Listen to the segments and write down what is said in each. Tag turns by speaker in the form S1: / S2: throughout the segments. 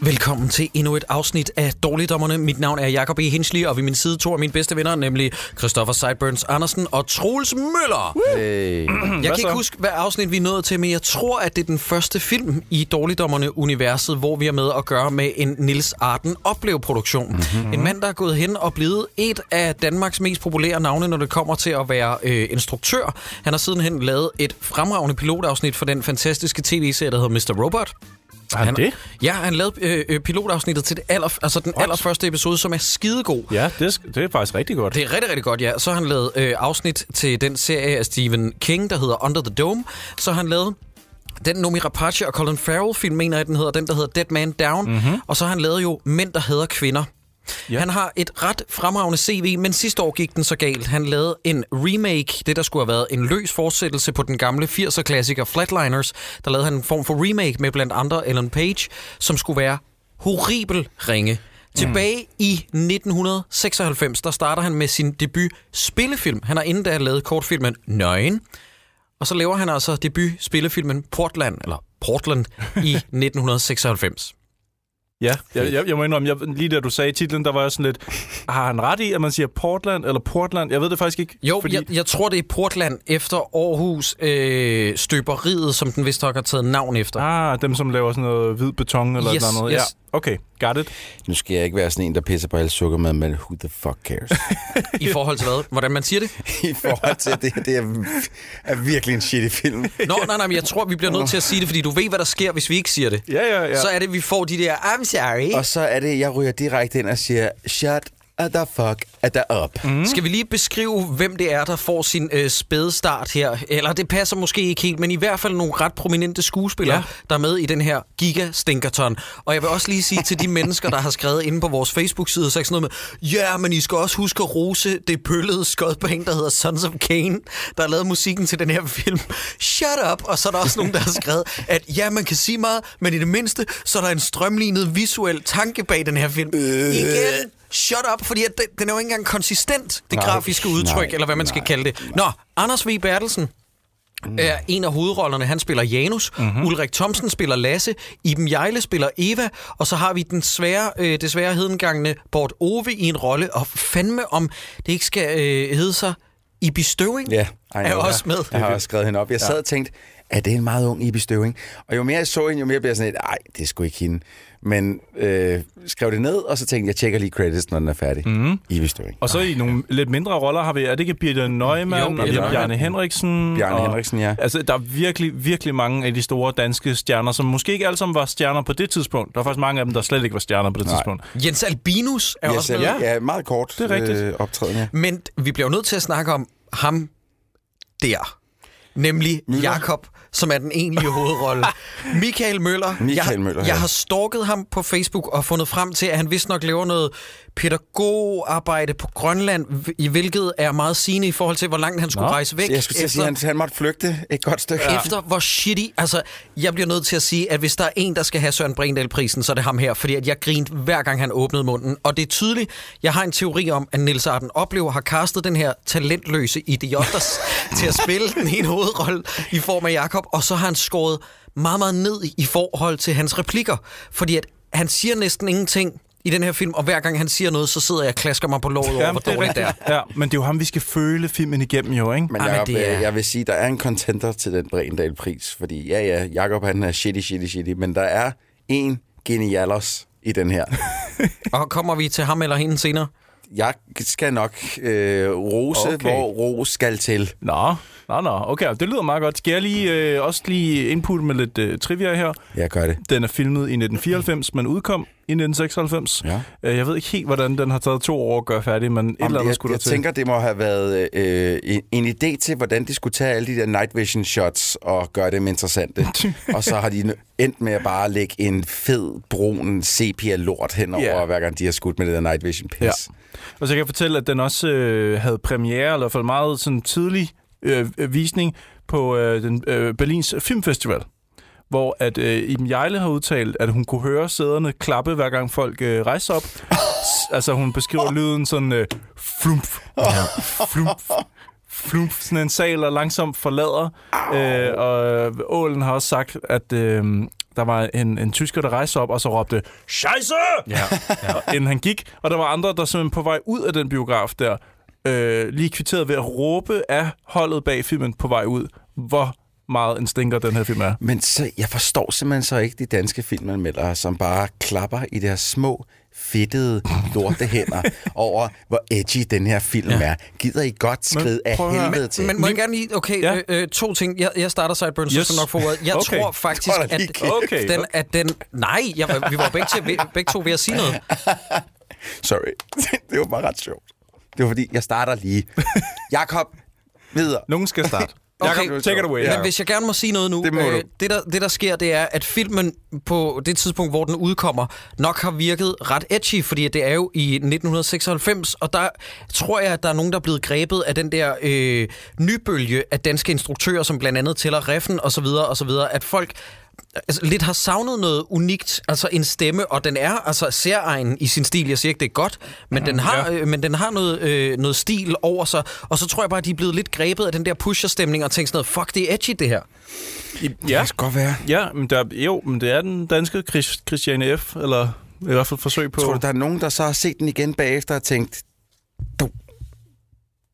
S1: Velkommen til endnu et afsnit af Dårligdommerne. Mit navn er Jakob E. Hinschli, og ved min side to af mine bedste venner, nemlig Christoffer Sideburns Andersen og Troels Møller.
S2: Hey.
S1: Jeg kan ikke huske, hvad afsnit vi nåede til, men jeg tror, at det er den første film i Dårligdommerne-universet, hvor vi er med at gøre med en Nils Arden opleveproduktion. Mm-hmm. En mand, der er gået hen og blevet et af Danmarks mest populære navne, når det kommer til at være øh, instruktør. Han har sidenhen lavet et fremragende pilotafsnit for den fantastiske tv-serie, der hedder Mr. Robot. Ah,
S2: Har han det?
S1: Ja, han lavede øh, øh, pilotafsnittet til det aller, altså den allerførste episode, som er skidegod.
S2: Ja, det, sk- det er faktisk rigtig godt.
S1: Det er rigtig, rigtig godt, ja. Så har han lavet øh, afsnit til den serie af Stephen King, der hedder Under the Dome. Så har han lavet den Nomi Rapace og Colin Farrell-film, mener jeg, den hedder. Den, der hedder Dead Man Down. Mm-hmm. Og så har han lavet jo Mænd, der hader kvinder. Ja. Han har et ret fremragende CV, men sidste år gik den så galt. Han lavede en remake, det der skulle have været en løs fortsættelse på den gamle 80'er-klassiker Flatliners. Der lavede han en form for remake med blandt andre Ellen Page, som skulle være horribel ringe. Tilbage mm. i 1996, der starter han med sin debut spillefilm. Han har inden da lavet kortfilmen Nøgen. Og så laver han altså debut spillefilmen Portland, eller Portland, i 1996.
S2: Ja, jeg, jeg, jeg må indrømme, jeg, lige da du sagde titlen, der var jeg sådan lidt, "Ah, har han ret i, at man siger Portland eller Portland? Jeg ved det faktisk ikke.
S1: Jo, fordi... jeg, jeg tror, det er Portland efter Aarhus øh, støberiet, som den vist nok har taget navn efter.
S2: Ah, dem som laver sådan noget hvid beton eller
S1: Yes,
S2: yes, noget.
S1: yes.
S2: Ja, okay, got it.
S3: Nu skal jeg ikke være sådan en, der pisser på alle sukkermad, men who the fuck cares?
S1: I forhold til hvad? Hvordan man siger det?
S3: I forhold til det, det er, er virkelig en shitty film.
S1: Nå, nej, nej, men jeg tror, vi bliver nødt til at sige det, fordi du ved, hvad der sker, hvis vi ikke siger det.
S2: Ja, ja, ja.
S1: Så er det, vi får de der, I'm sorry.
S3: Og så er det, jeg ryger direkte ind og siger, shut the fuck the up. Mm.
S1: Mm. Skal vi lige beskrive, hvem det er, der får sin øh, spæde start her? Eller det passer måske ikke helt, men i hvert fald nogle ret prominente skuespillere, ja.
S2: Ja.
S1: der er med i den her gigastinkerton. Og jeg vil også lige sige til de mennesker, der har skrevet inde på vores Facebook-side, så er sådan noget med, ja, men I skal også huske at rose det bøllede skodbane, der hedder Sons of Kane, der har lavet musikken til den her film. Shut up! Og så er der også nogen, der har skrevet, at ja, man kan sige meget, men i det mindste, så er der en strømlignet visuel tanke bag den her film. Øh. Igen! Shut up, fordi at den, den er jo ikke engang konsistent, det nej, grafiske udtryk, nej, eller hvad man nej, skal kalde det. Nå, Anders V. Bertelsen
S3: Mm.
S1: er en af hovedrollerne. Han spiller Janus,
S3: Mhm.
S1: mm-hmm. Ulrik Thomsen spiller Lasse, Iben Jejle spiller Eva, og så har vi den svære, øh, desværre hedengangne Bort Ove i en rolle, og fandme om det ikke skal øh, hedde sig Ibi Støving
S3: Ja, I
S1: er
S3: know.
S1: også med.
S3: Jeg har også skrevet hende op. Jeg sad og tænkte, er det en meget ung Ibi Støving? Og jo mere jeg så hende, jo mere blev jeg sådan lidt, nej, det er sgu ikke hende. Men øh, skrev det ned, og så tænkte jeg, jeg tjekker lige credits, når den er færdig. Mm. Ibi Støving.
S2: Og så i nogle lidt mindre roller har vi, er det ikke Birte
S1: Ah, Jo,
S2: Neumann,
S1: Birthe
S2: og det er
S1: Neumann.
S2: Bjarne Henriksen?
S3: Bjarne
S2: og,
S3: Henriksen, ja.
S2: Altså, der er virkelig, virkelig mange af de store danske stjerner, som måske ikke alle sammen var stjerner på det tidspunkt. Der var faktisk mange af dem, der slet ikke var stjerner på det Nej. tidspunkt.
S1: Jens Albinus er også med.
S3: ja. ja, meget kort
S2: Det er rigtigt.
S3: Øh, optræden, ja.
S1: Men vi bliver jo nødt til at snakke om ham der. Nemlig Jakob, som er den egentlige hovedrolle. Michael Møller.
S3: Michael
S1: jeg,
S3: Møller,
S1: Jeg
S3: ja.
S1: har stalket ham på Facebook og fundet frem til, at han vist nok laver noget pædagogarbejde på Grønland, hv- i hvilket er meget sigende i forhold til, hvor langt han skulle Nå.
S2: Nå.
S1: rejse væk.
S3: Jeg skulle til at sige, han, han måtte flygte et godt stykke.
S1: Ja. Efter hvor shitty... Altså, jeg bliver nødt til at sige, at hvis der er en, der skal have Søren Brindahl-prisen, så er det ham her, fordi at jeg grinte hver gang, han åbnede munden. Og det er tydeligt, jeg har en teori om, at Nils Arden Oplever har kastet den her talentløse idioters til at spille den ene hovedrolle i form af Jakob, og så har han skåret meget, meget ned i- i forhold til hans replikker, fordi at han siger næsten ingenting i den her film, og hver gang han siger noget, så sidder jeg og klasker mig på låret over, hvor
S2: Jamen, det er
S1: dårligt det er.
S2: rigtigt. Ja, men det er jo ham, vi skal føle filmen igennem jo, ikke?
S3: Men
S1: Ej, men
S3: Jacob,
S1: det er-
S3: er... jeg vil sige, der er en contender til den Brindal-pris, fordi ja, ja, Jakob han er shitty, shitty, shitty, men der er en genialos i den her.
S1: Og kommer vi til ham eller hende senere?
S3: Jeg skal nok øh, rose, okay.
S2: Okay.
S3: hvor ros skal til.
S2: Nå, nå, nå. Okay, det lyder meget godt. Skal jeg lige, øh, også lige input med lidt øh, trivia her?
S3: Jeg gør det.
S2: Den er filmet i 1994, men udkom i 1996.
S3: Ja.
S2: Øh, Jeg ved ikke helt, hvordan den har taget to år at gøre færdig, men et
S3: Om
S2: eller
S3: det,
S2: andet
S3: jeg,
S2: skulle
S3: jeg
S2: der til.
S3: tænker, det må have været øh, en, en idé til, hvordan de skulle tage alle de der night vision shots og gøre dem interessante. og så har de endt med at bare lægge en fed, brun sepia-lort henover,
S2: Ja.
S3: yeah. hver gang de har skudt med det der night vision pis.
S2: Ja.
S3: Ja.
S2: Og så kan jeg fortælle, at den også øh, havde premiere, eller i hvert fald meget sådan, tidlig øh, øh, visning på øh, den, øh, Berlins Filmfestival, hvor at øh, Iben Jejle har udtalt, at hun kunne høre sæderne klappe, hver gang folk øh, rejste sig op. S- altså hun beskriver lyden sådan øh, flumf, flumf, flumf, sådan en sal, der langsomt forlader. Øh, og Ålen har også sagt, at øh, der var en, en tysker, der rejste sig op og så råbte, Scheisse! Ja, ja. inden han gik. Og der var andre, der simpelthen på vej ud af den biograf der, øh, lige kvitteret ved at råbe af holdet bag filmen på vej ud, hvor meget en stinker den her film er.
S3: Men så, jeg forstår simpelthen så ikke de danske filmanmeldere, som bare klapper i deres små, fedtede, lorte hænder over, hvor edgy den her film ja. er. Gider I godt skride af
S2: prøv at høre.
S3: helvede til?
S1: Men må jeg gerne lige... Okay,
S2: Ja.
S1: ja. øh, øh, to ting. Jeg, jeg starter Sideburns, yes.
S2: Yes.
S1: så skal du nok få ordet. Jeg
S2: Okay.
S1: okay. tror faktisk,
S3: Tror jeg da
S1: at,
S3: lige,
S1: at,
S2: Kate. Okay,
S1: den,
S2: okay.
S1: at den... Nej, jeg, var- vi var begge, til, vi- begge to ved at sige noget.
S3: Sorry. det var bare ret sjovt. Det var fordi, jeg starter lige. Jakob, videre.
S2: Nogen skal starte.
S1: Okay.
S2: Jacob, take it away.
S1: Men hvis jeg gerne må sige noget nu, øh,
S3: Det må du.
S1: det, der, det der sker, det er, at filmen på det tidspunkt, hvor den udkommer, nok har virket ret edgy, fordi det er jo i 1996, og der tror jeg, at der er nogen, der er blevet grebet af den der øh, nybølge af danske instruktører, som blandt andet tæller Reffen osv., osv., at folk altså, lidt har savnet noget unikt, altså en stemme, og den er altså særegen i sin stil. Jeg siger ikke, det er godt, men, den, har, øh, men den har noget, øh, noget stil over sig, og så tror jeg bare, at de er blevet lidt grebet af den der pusherstemning og tænkt sådan noget, fuck, det er edgy det her.
S2: Ja,
S3: kan godt være.
S2: ja men der, jo, men det er den danske Chris, Christiane F., eller i hvert fald forsøg på...
S3: Tror du, der er nogen, der så har set den igen bagefter og tænkt, du,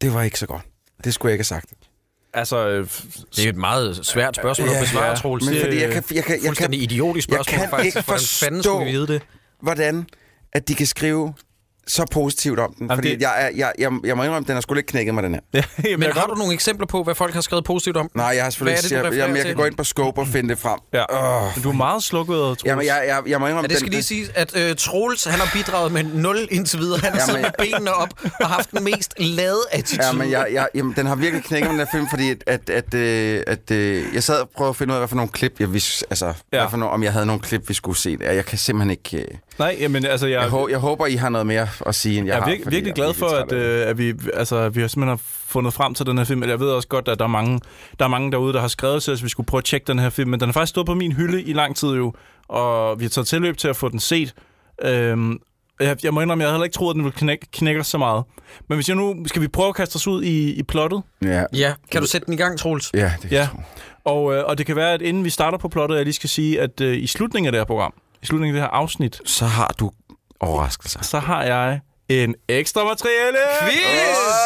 S3: det var ikke så godt. Det skulle jeg ikke have sagt.
S2: Altså, øh, f-
S1: Det er et meget svært spørgsmål
S3: Ja,
S1: at besvare,
S2: ja.
S1: ja, Troels.
S3: Men
S1: Det er
S3: fordi jeg kan, jeg kan, jeg
S1: fuldstændig
S3: kan
S1: idiotisk
S3: jeg
S1: spørgsmål,
S3: kan
S1: faktisk.
S3: ikke
S1: Hvordan fanden
S3: forstå-
S1: skulle vi vide det?
S3: hvordan at de kan skrive så positivt om den.
S2: Jamen,
S3: fordi
S2: det-
S3: det... jeg, er- jeg, jeg, jeg, må indrømme, at den har sgu lidt knækket mig, den her.
S2: ja, jamen,
S1: Men
S2: jeg
S1: har
S2: godt-
S1: du nogle eksempler på, hvad folk har skrevet positivt om?
S3: Nej, jeg har
S1: Hvad
S3: selvfølgelig
S1: er det,
S3: ikke...
S1: du
S3: Jeg,
S1: refererer
S3: jamen, jeg kan
S1: til?
S3: gå ind på Scope og finde det frem.
S2: Ja. Men du er meget slukket, Troels.
S3: Jamen, jeg, jeg, jeg må indrømme...
S1: Ja, det skal
S3: den,
S1: lige sige, at øh, Troels, han har bidraget med 0 indtil videre. Han har
S3: Jamen,
S1: siddet med benene op og haft den mest lade attitude.
S3: Ja, men jeg, jeg, jamen, den har virkelig knækket mig, den her film, fordi at, at, at, øh, at øh, jeg sad og prøvede at finde ud af, hvad for nogle klip, jeg vidste, altså, ja. hvad for nogle, om jeg havde nogle klip, vi skulle se. Ja, Jeg kan simpelthen ikke... Øh,
S2: Nej, jamen, altså, jeg,
S3: jeg, hå- jeg håber, I har noget mere at sige, end jeg,
S2: jeg er
S3: har.
S2: vir-
S3: fordi
S2: virkelig
S3: jeg
S2: glad
S3: er
S2: for, at,
S3: træt af det.
S2: øh, at vi, altså, vi har simpelthen har fundet frem til den her film. Jeg ved også godt, at der er mange, der er mange derude, der har skrevet til os, at vi skulle prøve at tjekke den her film. Men den har faktisk stået på min hylde i lang tid jo, og vi har taget tilløb til at få den set. Øhm, jeg, jeg må indrømme, jeg havde heller ikke troet, at den ville knække, knække os så meget. Men hvis jeg nu... Skal vi prøve at kaste os ud i, i plottet?
S3: Ja,
S1: Ja, kan du sætte den i gang, Troels?
S3: ja, det kan
S2: Ja,
S3: jeg tro.
S2: og, øh, og det kan være, at inden vi starter på plottet, jeg lige skal sige, at øh, i slutningen af det her program, i slutningen af det her afsnit,
S3: Så har du overraskelser.
S2: så har jeg en ekstra materiale!
S1: Quiz!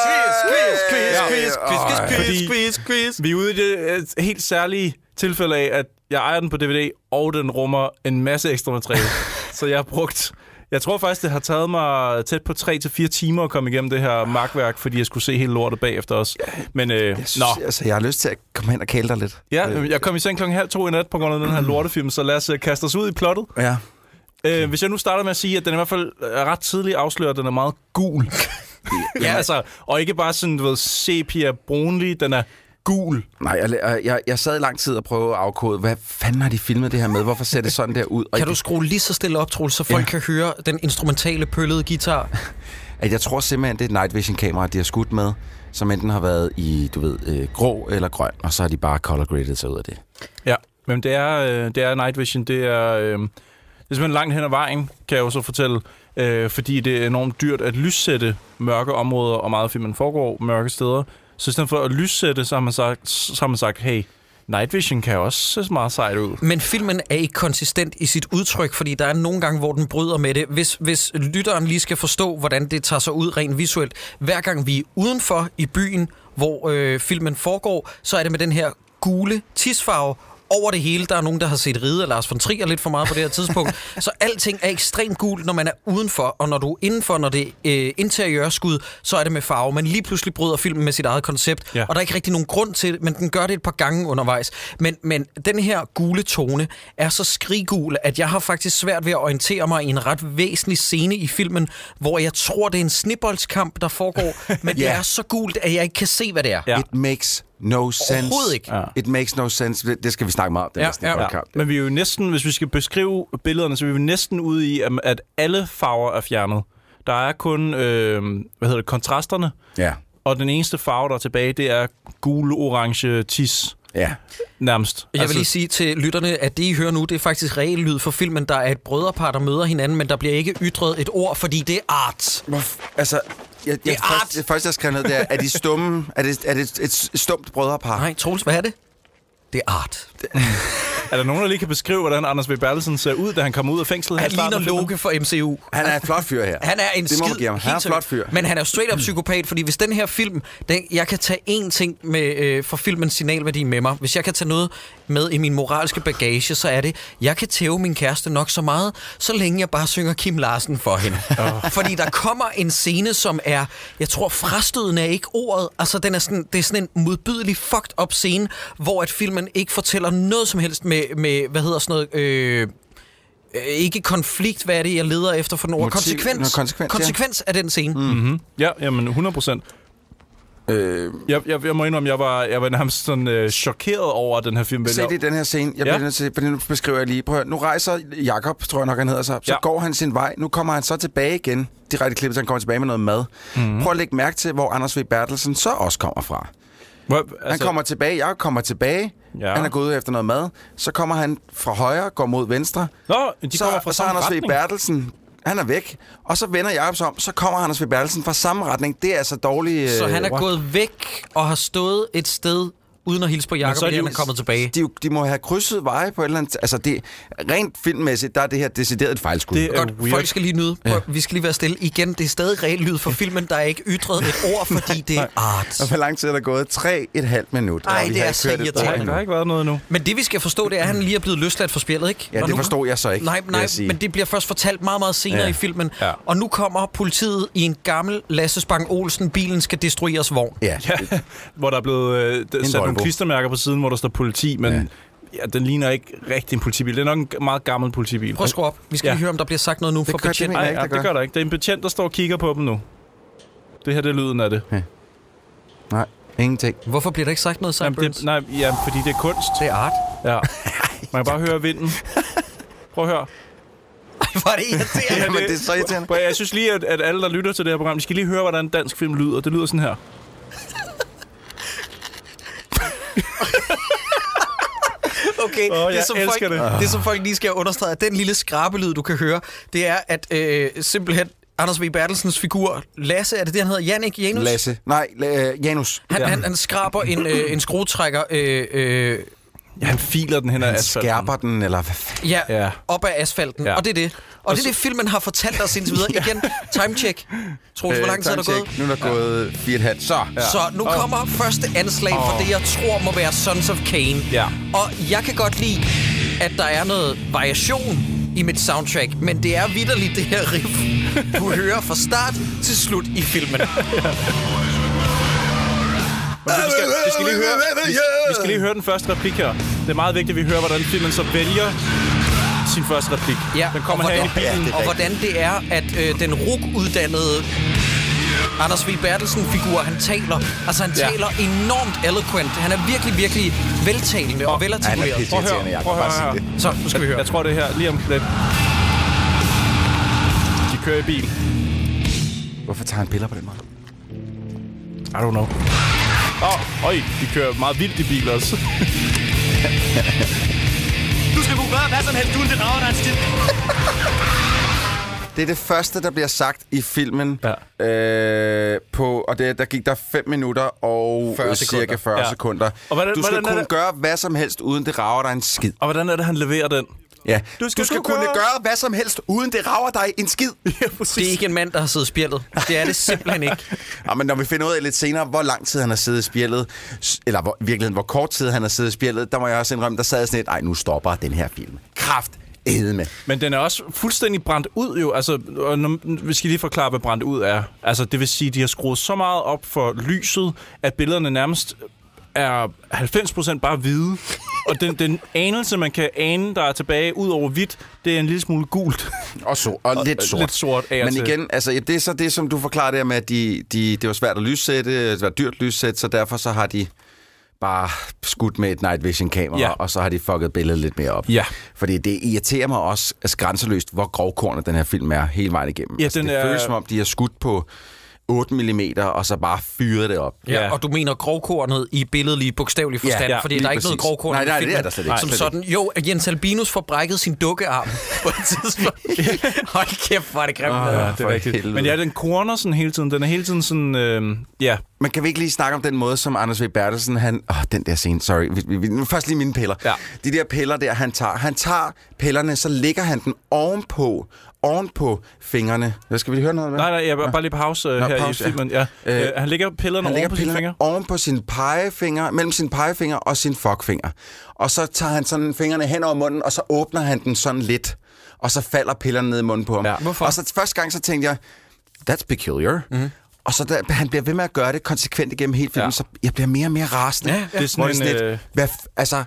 S1: Quiz, quiz, quiz,
S3: Ja.
S1: quiz, quiz, quiz,
S3: Ej.
S1: quiz,
S2: Fordi-
S1: quiz, quiz.
S2: Vi er ude i det øh, helt særlige tilfælde af, at jeg ejer den på DVD, og den rummer en masse ekstra materiale. så jeg har brugt... Jeg tror faktisk, det har taget mig tæt på 3-4 timer at komme igennem det her magtværk, fordi jeg skulle se hele lortet bagefter os. Men øh,
S3: Jeg, synes,
S2: nå,
S3: altså, jeg har lyst til at komme hen og kæle dig lidt. Øh,
S2: ja, jeg kom i seng klokken halv to i nat på grund af den her lortefilm, så lad os øh, kaste os ud i plottet.
S3: Ja.
S2: Øh, hvis jeg nu starter med at sige, at den i hvert fald er ret tidligt afslører, at den er meget gul. ja, altså, og ikke bare sådan, du ved, sepia brunlig, den er gul.
S3: Nej, jeg, jeg- jeg, jeg sad i lang tid og prøvede at afkode, hvad fanden har de filmet det her med? Hvorfor ser det sådan der ud? Og
S1: Kan du skrue lige så stille op, Troels, så folk
S3: Ja.
S1: kan høre den instrumentale pøllede guitar?
S3: at jeg tror simpelthen, det er et night vision kamera, de har skudt med, som enten har været i, du ved, øh, grå eller grøn, og så har de bare color graded sig ud af det.
S2: Ja, men det er, øh, det er night vision, det er, øh, det er simpelthen langt hen ad vejen, kan jeg jo så fortælle, øh, fordi det er enormt dyrt at lyssætte mørke områder, og meget af filmen foregår mørke steder. Så i stedet for at lyssætte, så har man sagt, så har man sagt hey, night vision kan også se meget sejt ud.
S1: Men filmen er ikke konsistent i sit udtryk, fordi der er nogle gange, hvor den bryder med det. Hvis, hvis lytteren lige skal forstå, hvordan det tager sig ud rent visuelt, hver gang vi er udenfor i byen, hvor øh, filmen foregår, så er det med den her gule tisfarve, over det hele. Der er nogen, der har set ride af Lars von Trier lidt for meget på det her tidspunkt. så alting er ekstremt gult, når man er udenfor, og når du er indenfor, når det er øh, interiørskud, så er det med farve. Men lige pludselig bryder filmen med sit eget koncept,
S2: Ja.
S1: ja. og der er ikke rigtig nogen grund til det, men den gør det et par gange undervejs. Men, men den her gule tone er så skriggul, at jeg har faktisk svært ved at orientere mig i en ret væsentlig scene i filmen, hvor jeg tror, det er en snibboldskamp, der foregår, men ja. det
S3: Ja.
S1: er så gult, at jeg ikke kan se, hvad det er.
S2: Ja.
S3: It makes no sense.
S1: Overhovedet ikke.
S2: Ja.
S3: It makes no sense. Det- Det skal vi snakke meget om, den
S1: Ja,
S3: ja, næste
S1: ja.
S3: ja,
S2: Ja.
S3: podcast.
S2: Men vi er jo næsten, hvis vi skal beskrive billederne, så er vi jo næsten ude i, at- at alle farver er fjernet. Der er kun, øh, hvad hedder det, kontrasterne,
S3: Ja.
S2: og den eneste farve, der er tilbage, det er gul, orange, tis,
S3: ja.
S2: nærmest. Altså,
S1: Jeg vil lige sige til lytterne, at det, I hører nu, det er faktisk reellyd for filmen. Der er et brødrepar, der møder hinanden, men der bliver ikke ytret et ord, fordi det er art.
S3: Hvorf- Altså, jeg,
S1: Det
S3: jeg,
S1: er art.
S3: først, det første, jeg skrev ned, det er, er de stumme? Er det, er det et, et stumt brødrepar?
S1: Nej, Troels, hvad er det? Det er art.
S2: Er der nogen, der lige kan beskrive, hvordan Anders V. Bertelsen ser ud, da han kommer ud af fængslet? her
S1: Han
S2: i starten
S1: ligner
S2: af
S1: Loke
S2: filmen?
S1: for MCU.
S3: Han er en flot fyr her.
S1: Han er en
S3: det må man
S1: skid.
S3: give ham. Han er en
S1: helt
S3: flot
S1: seriøst.
S3: fyr. Mm.
S1: Men han er jo straight up psykopat, fordi hvis den her film, den, jeg kan tage én ting med, øh, fra filmens signalværdi med mig. Hvis jeg kan tage noget med i min moralske bagage, så er det, jeg kan tæve min kæreste nok så meget, så længe jeg bare synger Kim Larsen for hende. fordi der kommer en scene, som er, jeg tror frastødende er ikke ordet, altså den er sådan, det er sådan en modbydelig fucked up scene, hvor at filmen ikke fortæller noget som helst med, med hvad hedder sådan noget... Øh, øh, ikke konflikt, hvad er det, jeg leder efter for den ord?
S3: Motiv- Nå,
S1: Konsekvens.
S3: konsekvens, ja.
S1: konsekvens af den scene. Mm.
S2: Ja, jamen 100 procent.
S3: Øh,
S2: Jeg, jeg, jeg må indrømme, jeg var, jeg var nærmest sådan øh, chokeret over, at den her film
S3: se det i
S2: vælger.
S3: den her scene. Jeg
S2: Ja.
S3: bliver nødt til, for nu beskriver jeg lige. Prøv at høre. Nu rejser Jakob, tror jeg nok, han hedder sig. Så
S2: Ja.
S3: ja. går han sin vej. Nu kommer han så tilbage igen. Direkte klippet, så han kommer tilbage med noget mad.
S1: Mhm.
S3: Mm. Prøv at lægge mærke til, hvor Anders V. Bertelsen så også kommer fra.
S2: Hvor,
S3: Altså, han kommer tilbage, jeg kommer tilbage.
S2: Ja.
S3: Ja. Han er gået ud efter noget mad. Så kommer han fra højre, går mod venstre.
S2: Nå, de
S3: så,
S2: kommer fra
S3: og så er
S2: samme
S3: Anders V.
S2: retning.
S3: Bertelsen, han er væk. Og så vender Jacob sig om, så kommer Anders V. Bertelsen fra samme retning. Det er altså dårlig...
S1: Så
S3: øh,
S1: han er
S3: what?
S1: gået væk og har stået et sted uden at hilse på Jacob,
S2: så er
S1: fordi
S2: de jo-
S1: han er kommet tilbage.
S3: De, er jo- de må have krydset veje på et eller andet... Altså, det, rent filmmæssigt, der er det her decideret et fejlskud.
S2: Det er
S1: Godt,
S2: weird.
S1: folk skal lige nyde. Prøv, Vi skal lige være stille igen. Det er stadig reelt lyd for filmen, der er ikke ytret et ord, fordi det er art.
S3: Og hvor lang tid er der gået? Tre et halvt minut.
S1: Ej,
S3: og vi
S1: det
S3: har
S1: er
S3: ikke
S1: så
S3: kørt et
S1: irriterende.
S3: ord
S2: Der
S3: endnu.
S2: har ikke været noget endnu.
S1: Men det vi skal forstå, det er, at han lige er blevet løsladt fra spillet, ikke?
S3: Ja,
S1: Og
S3: det
S1: nu-
S3: forstod jeg så ikke,
S1: Nej,
S3: vil
S1: nej,
S3: jeg sige.
S1: men det bliver først fortalt meget, meget senere
S3: Ja.
S1: i filmen.
S2: Ja.
S1: Og nu kommer politiet i en gammel Lasse Spang Olsen, bilen skal destrueres vogn.
S3: Ja,
S2: Ja, hvor der er blevet øh, d- sat nogle
S3: Volvo.
S2: klistermærker på siden, hvor der står politi, men ja. Ja, den ligner ikke rigtig en politibil. Det er nok en g- meget gammel politibil.
S1: Prøv at skrue op. Vi skal
S2: Ja.
S1: ja. lige høre, om der bliver sagt noget nu for
S3: gør de
S1: betjent.
S3: mener
S2: Nej,
S3: jeg ikke,
S2: ja,
S3: der
S2: det
S3: gør.
S2: gør der ikke. Det er en betjent, der står og kigger på dem nu. Det her, det er lyden af det.
S3: nej, ingenting.
S1: Hvorfor bliver der ikke sagt noget,
S2: Jamen,
S1: Sideburns?
S2: det nej, ja, fordi det er kunst.
S1: det er art.
S2: Ja. Man kan bare høre vinden. Prøv at høre.
S1: Ej, hvor er det irriterende.
S3: Jamen, det er så irriterende.
S2: Prøv, at- jeg synes lige, at, at alle, der lytter til det her program, de skal lige høre, hvordan dansk film lyder. Det lyder sådan her.
S1: Okay,
S2: Åh, jeg
S1: det, som folk,
S2: elsker det.
S1: det. det som folk lige skal understrege, at den lille skrabelyd, du kan høre, det er, at øh, simpelthen Anders V. Bertelsens figur, Lasse, er det det, han hedder? Jannik Janus?
S3: Lasse. Nej, la- øh, Janus.
S1: Han,
S2: Ja.
S1: ja. han, han skraber en, øh, en skruetrækker øh, øh,
S2: Ja, han filer den hen ad
S3: Han
S2: asfalten.
S3: skærper den, eller hvad fanden?
S1: ja,
S2: Ja.
S1: ja. op ad asfalten,
S2: Ja.
S1: ja. og det er det. Og, og det er det, filmen har fortalt os indtil videre. Igen, timecheck. Troels, hvor
S3: Øh,
S1: lang tid er der gået?
S3: Nu er der gået fire og et halvt. Så.
S1: Ja. Så nu kommer første anslag oh. for det, jeg tror må være Sons of Kane.
S2: Ja.
S1: Og jeg kan godt lide, at der er noget variation i mit soundtrack, men det er vidderligt det her riff, du hører fra start til slut i filmen.
S2: Vi skal, vi, skal lige høre, vi, vi skal lige høre den første replik her. Det er meget vigtigt, at vi hører, hvordan filmen så vælger sin første replik.
S1: Ja,
S2: den kommer
S1: og
S2: her i
S1: hvordan-
S2: bilen.
S3: det er
S1: Og
S3: rigtigt.
S1: hvordan det er, at øh, den ruguddannede Anders V. Bertelsen-figur, han taler, altså han
S2: Ja.
S1: taler enormt eloquent. Han er virkelig, virkelig veltalende og
S3: Han
S1: velartikuleret.
S3: er pisse
S2: Prøv at høre,
S3: irriterende, jeg
S2: prøv
S3: kan
S2: at
S3: bare
S2: høre
S3: sige det.
S1: Så, nu skal vi høre.
S2: Jeg tror, det er her lige om lidt. De kører i bil.
S3: Hvorfor tager han piller på den måde?
S2: I don't know. Åh, oh, øj, de kører meget vildt i bil også.
S4: Du skal kunne gøre hvad som helst, uden det rager dig en skid.
S3: Det er det første, der bliver sagt i filmen.
S2: Ja.
S3: Øh, på, og det, der gik der 5 minutter og
S1: 40
S3: cirka
S1: sekunder.
S3: 40
S2: Ja.
S3: sekunder.
S2: Og hvordan-
S3: du skal
S2: hvordan er
S3: kunne
S2: det-
S3: gøre hvad som helst, uden det rager dig en skid.
S2: Og hvordan er det, han leverer den?
S3: Ja. Du
S2: skal
S3: skal, du skal
S2: kunne
S3: kunne
S2: gøre-
S3: gøre hvad som helst, uden det rager dig en skid.
S2: Ja, præcis.
S1: Det er ikke en mand, der har siddet i spjældet. Det er det simpelthen ikke.
S3: Ja, men når vi finder ud af lidt senere, hvor lang tid han har siddet i spjældet, s- eller hvor, i virkeligheden, hvor kort tid han har siddet i spjældet, der må jeg også indrømme, der sad jeg sådan lidt, ej, nu stopper den her film. Kraft med.
S2: Men den er også fuldstændig brændt ud jo. Altså, og nu, vi skal lige forklare, hvad brændt ud er. Altså, det vil sige, at de har skruet så meget op for lyset, at billederne nærmest er 90% bare hvide. og den, den anelse, man kan ane, der er tilbage ud over hvidt, det er en lille smule gult.
S3: Og, så, og, og lidt sort.
S2: lidt sort af og
S3: Men
S2: til.
S3: igen, altså, ja, det er så det, som du forklarer der med, at de, de, det var svært at lyssætte, det var dyrt lyssæt, så derfor så har de bare skudt med et night vision kamera, ja.
S2: Ja.
S3: og så har de fucket billedet lidt mere op.
S2: Ja.
S3: Fordi det irriterer mig også altså, grænseløst, hvor grovkornet den her film er hele vejen igennem.
S2: Ja,
S3: altså,
S2: den
S3: det
S2: er-
S3: føles som om, de har skudt på 8 mm, og så bare fyret det op.
S1: Ja.
S2: Ja.
S1: Og du mener grovkornet i billedlig bogstavelig forstand,
S3: Ja,
S1: ja,
S3: ja,
S1: ja, fordi
S3: lige
S1: der er ikke noget
S3: præcis.
S1: grovkorn
S3: Nej,
S1: i
S3: nej, det er
S1: filmen,
S3: der slet ikke.
S1: Som
S3: Slet
S1: sådan, jo, at Jens Albinus får brækket sin dukkearm på et tidspunkt. Hold kæft, hvor er det grimt.
S3: Ah,
S1: Oh,
S3: ja. for helvede.
S2: Men ja, den corner sådan hele tiden. Den er hele tiden sådan... Øh, ja,
S3: Men kan vi ikke lige snakke om den måde, som Anders V. Bertelsen, han... Åh, den der scene, sorry. Vi, vi, vi, nu først lige mine piller.
S2: Ja.
S3: De der piller der, han tager. Han tager pillerne, så lægger han den ovenpå, ovenpå fingrene. Hvad skal vi lige høre noget med?
S2: nej, nej, jeg er bare lige på pause øh,
S3: Nå,
S2: her
S3: pause,
S2: i
S3: ja.
S2: filmen. Ja.
S3: Øh,
S2: Øh, han lægger pillerne
S3: han
S2: han over på
S3: lægger
S2: sine
S3: pillerne
S2: fingre.
S3: oven på sin pegefinger, mellem sin pegefinger og sin fuckfinger. Og så tager han sådan fingrene hen over munden, og så åbner han den sådan lidt. Og så falder pillerne ned i munden på ham.
S2: Ja.
S1: Hvorfor?
S3: Og så første gang, så tænkte jeg, that's peculiar. Mm. Og så der, han bliver ved med at gøre det konsekvent igennem hele filmen, ja.
S2: Ja.
S3: så jeg bliver mere og mere rasende.
S1: Ja, ja.
S3: Det er sådan, en, sådan lidt,
S2: øh,
S3: hvad, f- altså,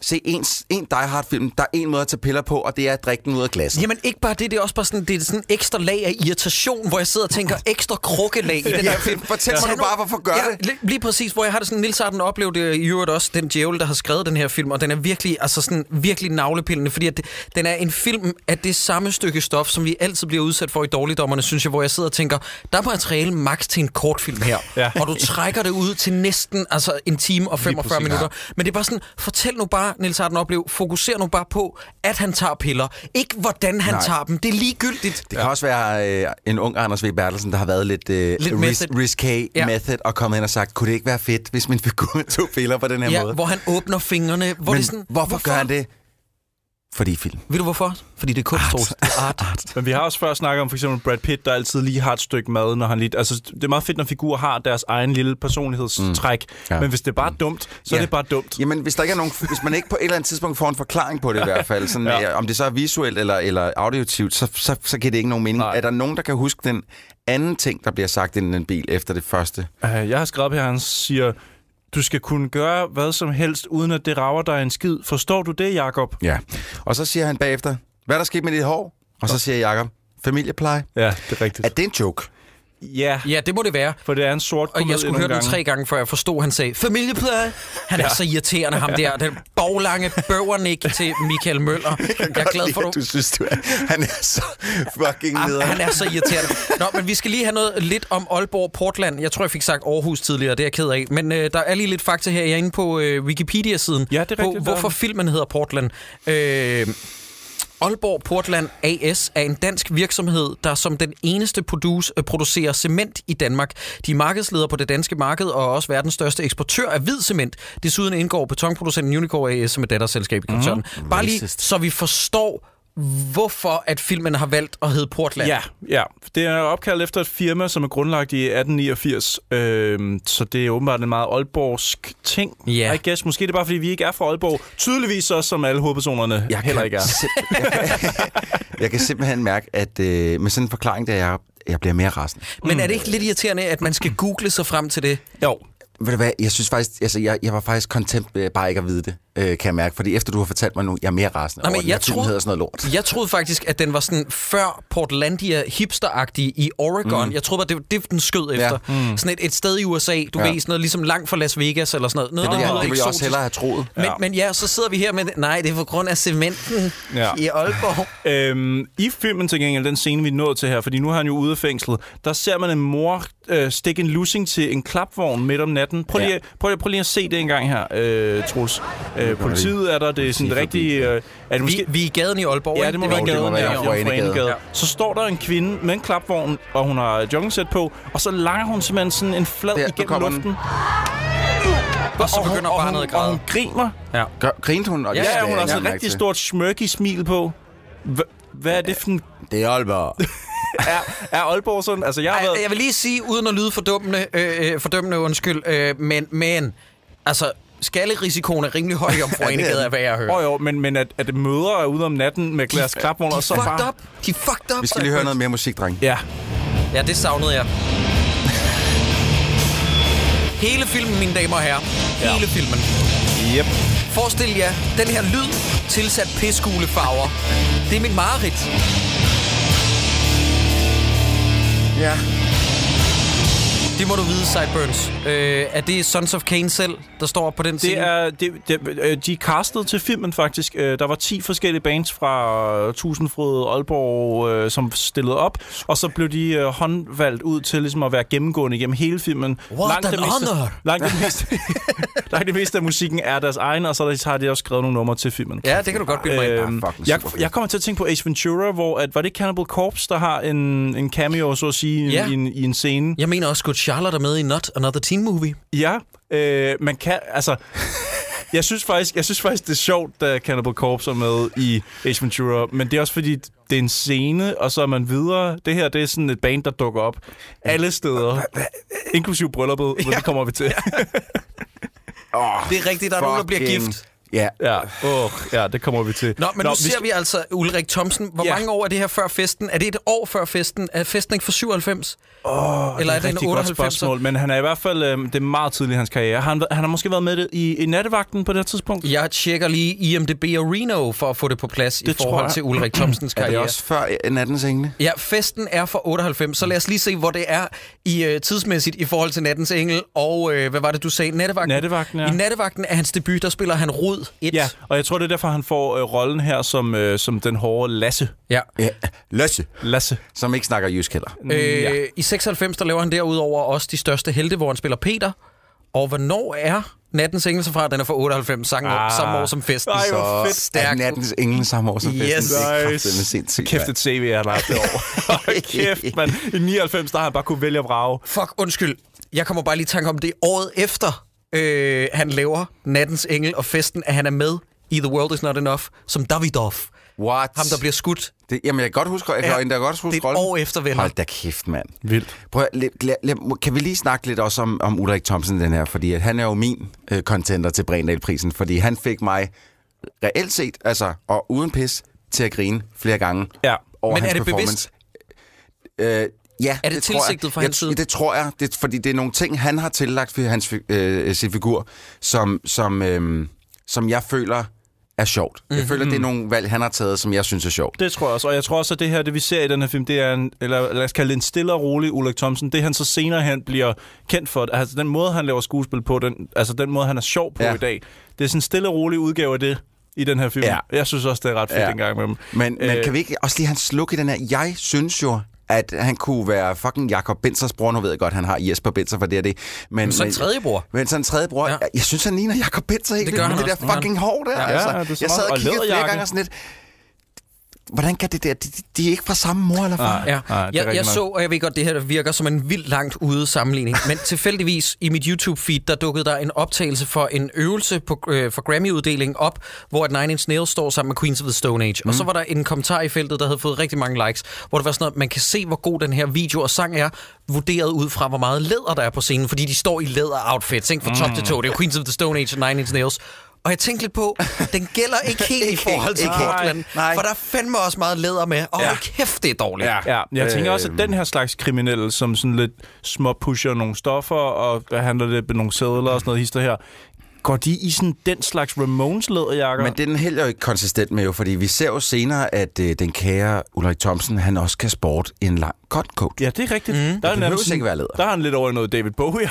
S3: se en, en Die Hard-film, der er en måde at tage piller på, og det er at drikke den ud af glasset.
S1: Jamen ikke bare det, det er også bare sådan, det er sådan ekstra lag af irritation, hvor jeg sidder og tænker ekstra krukkelag i den
S3: Ja,
S1: her film.
S3: fortæl mig
S1: Tag
S3: nu bare, hvorfor gør det?
S1: li- Lige præcis, hvor jeg har det sådan, Nils Arden oplevede det i øvrigt også, den djævel, der har skrevet den her film, og den er virkelig, altså sådan, virkelig navlepillende, fordi at det, den er en film af det samme stykke stof, som vi altid bliver udsat for i dårligdommerne, synes jeg, hvor jeg sidder og tænker, der er materiale maks til en kortfilm her,
S2: Ja.
S1: og du trækker det ud til næsten altså en time og 45
S3: præcis.
S1: minutter. Men det er bare sådan, fortæl nu bare, Nils Arden Oplev, fokuser nu bare på, at han tager piller. Ikke hvordan han
S3: Nej.
S1: Nej. tager dem. Det er ligegyldigt.
S3: Det kan ja. også være øh, en ung Anders V. Bertelsen, der har været lidt, øh,
S1: Lidt method.
S3: ris- risqué ja.
S1: Ja.
S3: method og kommet ind og sagt, kunne det ikke være fedt, hvis min figur tog piller på den her
S1: Ja,
S3: måde?
S1: hvor han åbner fingrene. Hvor
S3: Men
S1: det er sådan,
S3: hvorfor, hvorfor gør han det? Fordi film.
S1: Ved du hvorfor? Fordi det er kunst, Troels. Det er art. art.
S2: Men vi har også før snakket om for eksempel Brad Pitt, der altid lige har et stykke mad, når han lige... Altså, det er meget fedt, når figurer har deres egen lille personlighedstræk. Mm.
S3: Ja.
S2: Ja. Men hvis det er bare mm. dumt, så
S3: Ja.
S2: er det bare dumt.
S3: Jamen, hvis, der ikke er nogen, hvis man ikke på et eller andet tidspunkt får en forklaring på det i hvert fald, sådan, ja.
S2: Ja.
S3: om det så er visuelt eller, eller auditivt, så, så, så giver det ikke nogen mening. Nej.
S2: Nej.
S3: Er der nogen, der kan huske den anden ting, der bliver sagt inden en bil efter det første?
S2: Uh, jeg har skrevet op her, han siger, du skal kunne gøre hvad som helst, uden at det rager dig en skid. Forstår du det, Jakob?
S3: Ja. Og så siger han bagefter, hvad er der sket med dit hår? Og så siger Jacob, familiepleje.
S2: Ja, det er rigtigt.
S3: Er
S2: At...
S3: det en joke?
S2: Ja,
S1: Ja, det må det være.
S2: for det er en sort
S1: Og
S2: komedie
S1: jeg skulle
S2: nogle
S1: høre den
S2: gange.
S1: tre gange, før jeg forstod, han sagde, familieplade. Han er så irriterende, ham der. Den boglange bøvernik til Michael Møller. Jeg er glad for,
S3: at du synes, du er, han er så fucking
S1: Ah,
S3: nederen.
S1: Han er så irriterende. Nå, men vi skal lige have noget lidt om Aalborg Portland. Jeg tror, jeg fik sagt Aarhus tidligere, det er jeg ked af. Men øh, der er lige lidt fakta her. Jeg er inde på øh, Wikipedia-siden.
S2: Ja, det er
S1: på,
S2: rigtigt, der er
S1: Hvorfor
S2: den.
S1: filmen hedder Portland. Øh, Aalborg Portland AS er en dansk virksomhed, der som den eneste produce, øh, producerer cement i Danmark. De er markedsleder på det danske marked og er også verdens største eksportør af hvid cement. Desuden indgår betonproducenten Unicore AS som et datterselskab i
S2: Mhm.
S1: koncernen. Mm, Bare lige,
S3: racist.
S1: så vi forstår, hvorfor at filmen har valgt at hedde Portland.
S2: Ja, ja. Det er opkaldt efter et firma, som er grundlagt i 1889. Øhm, så det er åbenbart en meget Aalborgsk ting,
S1: Ja.
S2: I guess. Måske det er bare, fordi vi ikke er fra Aalborg. Tydeligvis også, som alle hovedpersonerne jeg heller
S3: kan
S2: ikke er.
S3: simp- jeg, kan, jeg kan simpelthen mærke, at øh, med sådan en forklaring, der jeg, jeg bliver mere rasende.
S1: Men er det ikke lidt irriterende, at man skal google sig frem til det?
S2: Jo.
S3: Ved du hvad, jeg synes faktisk, altså, jeg, jeg var faktisk content med bare ikke at vide det, øh, kan jeg mærke. Fordi efter du har fortalt mig nu, jeg er mere rasende
S1: Nå,
S3: Nå,
S1: men
S3: over, jeg
S1: jeg
S3: den, tror...
S1: troede-
S3: hedder sådan noget lort.
S1: Jeg troede faktisk, at den var sådan før Portlandia hipsteragtig i Oregon. Mm. Jeg troede bare, det var det, den skød efter. Mm. Sådan et, et sted i USA, du
S3: Ja.
S1: ja. ved, sådan noget, ligesom langt fra Las Vegas eller sådan noget. Noget,
S3: Det,
S1: der
S3: ja,
S1: lyder
S3: det ville jeg også
S1: eksotisk.
S3: hellere have troet.
S1: Men, men ja, så sidder vi her med, nej, det er på grund af cementen
S2: Ja.
S1: ja. i Aalborg.
S2: Øhm, I filmen til gengæld, den scene, vi nåede til her, fordi nu har han jo ude af fængslet, der ser man en mor øh, stikke en lussing til en klapvogn midt om natten. Prøv lige,
S3: Ja.
S2: ja. prøv, lige- prøv lige at se det en gang her, øh, Troels. Øh, politiet er der, det er sådan det rigtige... Øh, er det
S1: Vi,
S2: måske,
S1: vi er i gaden i Aalborg,
S2: Ja,
S1: ikke?
S2: det må
S1: er
S2: være
S1: rigtigt.
S3: det må
S2: gaden,
S3: være
S2: ja.
S3: Jomfru
S2: Jomfru
S3: Ane Gade.
S2: Anegade. Så står der en kvinde med en klapvogn, og hun har joggingsæt på, og så langer hun simpelthen sådan en flad
S3: Der, nu
S2: igennem
S3: kommer den.
S2: luften.
S1: og så begynder
S2: og
S1: barnet
S2: hun,
S1: at
S2: og
S1: græde.
S2: hun griner.
S3: Gør, grinte hun? Og
S2: Ja,
S3: det
S2: ja,
S3: skal
S2: hun
S3: jeg
S2: har sådan
S3: ikke
S2: et rigtig
S3: mærke
S2: stort smørky smil på. Hva- Hvad er det for en...
S3: til. Det er Aalborg.
S2: Er, er Aalborg sådan? Altså, jeg har
S1: Ej,
S2: været...
S1: jeg vil lige sige, uden at lyde fordømmende, øh, øh, fordømmende undskyld, øh, men, men altså, skallerisikoen er rimelig høj om fru Enegade, er hvad jeg hører.
S2: Åh jo, men, men at, at mødre er ude om natten med glas klapvogn, og så
S1: fucked
S2: bare...
S1: up. De er fucked up.
S3: Vi skal
S1: så-
S3: lige høre noget mere musik, dreng.
S2: Ja.
S1: Ja, det savnede jeg. Hele filmen, mine damer og herrer. Hele ja. filmen.
S2: Yep.
S1: Forestil jer, den her lyd tilsat pisgule farver. Det er mit mareridt.
S3: Ja.
S1: Det må du vide, Sideburns. Øh, er det Sons of Cain selv, der står på den
S2: Det
S1: scene?
S2: er, det, det, øh, de er castet til filmen faktisk. Øh, Der var 10 forskellige bands fra Tusindfrøde Aalborg, øh, som stillede op. Og så blev de øh, håndvalgt ud til ligesom at være gennemgående gennem hele filmen.
S1: What an
S2: det meste,
S1: honor!
S2: Langt det, meste, langt det meste af musikken er deres egen, og så har de også skrevet nogle numre til filmen.
S1: Ja, det kan du godt blive mig.
S2: Øhm,
S3: Ah, fucking
S2: jeg,
S3: superfedt.
S2: jeg kommer til at tænke på Ace Ventura, hvor at, var det Cannibal Corpse, der har en, en cameo, så at sige,
S1: Ja.
S2: yeah. i, en, i en scene?
S1: Jeg mener også, at Charlotte er med i Not Another Teen Movie.
S2: Ja, øh, man kan, altså... Jeg synes, faktisk, jeg synes faktisk, det er sjovt, da Cannibal Corpse er med i Ace Ventura, men det er også fordi, det er en scene, og så er man videre. Det her, det er sådan et band, der dukker op alle steder, inklusiv brylluppet, hvor det kommer vi til.
S3: Oh,
S1: Det er rigtigt, der er nogen, der bliver gift.
S3: Ja.
S2: Ja, oh, ja det kommer vi til.
S1: Nå, men Nå, nu
S2: vi
S1: ser vi altså Ulrik Thomsen. Hvor ja.
S2: Ja.
S1: mange år er det her før festen? Er det et år før festen? Er festen ikke fra 97? Oh, Eller er det,
S2: rigtig
S1: en
S2: godt
S1: 98?
S2: spørgsmål, men han er i hvert fald, øh, det er meget tidligt i hans karriere. Han, han har måske været med det i, i nattevagten på det her tidspunkt.
S1: Jeg tjekker lige IMDB og Reno for at få det på plads det i
S2: Det tror
S1: forhold
S2: jeg.
S1: til Ulrik Thomsens
S3: Er det
S1: karriere.
S3: også før øh, Nattens Engle?
S1: Ja, festen er fra 98, så lad os lige se, hvor det er i øh, tidsmæssigt i forhold til Nattens Engel, og øh, hvad var det, du sagde? Nattevagten?
S2: Nattevagten, ja.
S1: I Nattevagten er hans debut, der spiller han Rod 1.
S2: Ja, og jeg tror, det er derfor, han får øh, rollen her som, øh, som den hårde Lasse.
S1: ja.
S3: Ja. Løsse,
S2: Lasse.
S3: som ikke snakker jysk heller.
S2: Mm,
S1: Øh, ja. I 96, der laver han derudover også De Største Helte, hvor han spiller Peter. Og hvornår er Nattens Engel så fra? Den er fra 98, sang ah.
S2: Ah.
S1: samme år som festen.
S2: Ej,
S1: så.
S2: hvor fedt.
S3: Er
S1: Stærk.
S3: Nattens Engle samme år som
S1: Yes.
S3: festen? Det er kraftedeme sindssygt.
S2: Kæft
S3: mand.
S2: et CV, han har haft det år. Hold kæft, mand. I 99, der har han bare kunne vælge at vrage.
S1: Fuck, undskyld. Jeg kommer bare lige i tanke om det er året efter, øh, han laver Nattens Engel og festen, at han er med i The World Is Not Enough, som Davidoff.
S3: What?
S1: Ham, der bliver skudt.
S3: Det, jamen, jeg kan godt huske, jeg kan,
S1: Ja.
S3: ja. jeg kan godt
S1: Det er
S3: huske
S1: et
S3: rollen.
S1: år efter, venner.
S3: Hold da kæft, mand.
S2: Vildt.
S3: Prøv, at- lad, lad, lad, kan vi lige snakke lidt også om, om Ulrik Thomsen, den her? Fordi at han er jo min øh, contender til Brindal-prisen, fordi han fik mig reelt set, altså, og uden pis, til at grine flere gange
S2: Ja.
S3: over
S1: Men
S3: hans
S1: er det
S3: performance. Øh, ja,
S1: Er det
S3: tror jeg.
S1: tilsigtet fra
S3: jeg,
S1: hans side?
S3: Det tror jeg, det, fordi det er nogle ting, han har tillagt for hans, fi- øh, sin figur, som, som, øh, som jeg føler er sjovt. Jeg
S1: Mhm.
S3: føler, det er nogle valg, han har taget, som jeg synes er sjovt.
S2: Det tror jeg også. Og jeg tror også, at det her, det vi ser i den her film, det er en, eller lad os kalde det en stille og rolig Ulrik Thomsen. Det han så senere hen bliver kendt for, altså den måde, han laver skuespil på, den, altså den måde, han er sjov på
S3: Ja.
S2: ja. i dag. Det er sådan en stille og rolig udgave af det i den her film.
S3: Ja.
S2: Ja. Jeg synes også, det er ret fedt
S3: Ja.
S2: ja. en gang med dem.
S3: Men, øh, men kan vi ikke også lige have hans look i den her? Jeg synes jo, at han kunne være fucking Jakob Bensers bror. Nu ved jeg godt, han har Jesper Benser for det og det. Men,
S1: så en tredje bror.
S3: Men så en tredje bror.
S1: Ja.
S3: Ja. Jeg synes, han ligner Jakob Benser helt
S1: Det
S3: vildt
S1: gør
S3: med
S1: han
S3: det
S1: også.
S3: der fucking hår der.
S1: Ja,
S3: altså.
S2: ja, det er så
S3: jeg sad
S2: meget-
S3: og
S2: og
S3: kiggede flere
S2: læderjakke.
S3: gange og sådan lidt... Hvordan kan det der... De, de er ikke fra samme mor eller far.
S1: Ja,
S2: Nej, det er
S1: jeg, jeg
S2: rigtigt nok.
S1: så, og jeg ved godt, det her virker som en vildt langt ude sammenligning, men tilfældigvis i mit YouTube-feed, der dukkede der en optagelse for en øvelse på, øh, for Grammy-uddelingen op, hvor at Nine Inch Nails står sammen med Queens of the Stone Age. Mm. Og så var der en kommentar i feltet, der havde fået rigtig mange likes, hvor det var sådan noget, man kan se, hvor god den her video og sang er, vurderet ud fra, hvor meget læder der er på scenen, fordi de står i læder-outfits, ikke? Fra top til tå. Det er jo Queens of the Stone Age og Nine Inch Nails. Og jeg tænkte lidt på, den gælder ikke helt i
S3: Ikke
S1: forhold til
S3: helt, ikke
S2: helt.
S1: Portland,
S3: Nej.
S1: for der er fandme også meget læder med. Og ja. kæft, det er dårligt.
S3: Ja.
S2: Ja, jeg tænker
S3: Øh,
S2: også, at den her slags kriminelle, som sådan lidt småpusher nogle stoffer og handler lidt med nogle sædler og sådan noget hister her, går de i sådan den slags Ramones læderjakker?
S3: Men det er den heller jo ikke konsistent med, jo, fordi vi ser jo senere, at øh, den kære Ulrik Thomsen, han også kan sport en lang cut coat.
S2: Ja, det er rigtigt. Mm. Der, er
S3: behøver
S2: nærmest sådan-
S3: ikke være læder.
S2: der er han lidt over i noget David bowie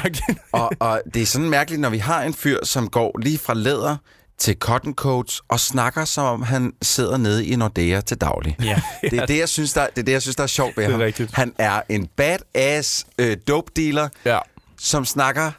S3: og, og det er sådan mærkeligt, når vi har en fyr, som går lige fra læder til cotton coats og snakker, som om han sidder nede i Nordea til daglig. Ja. Det, er det, jeg synes, der, det er det, jeg synes, der er sjovt ved
S2: er
S3: ham.
S2: rigtigt.
S3: Han er en badass øh, dope dealer,
S2: Ja.
S3: som snakker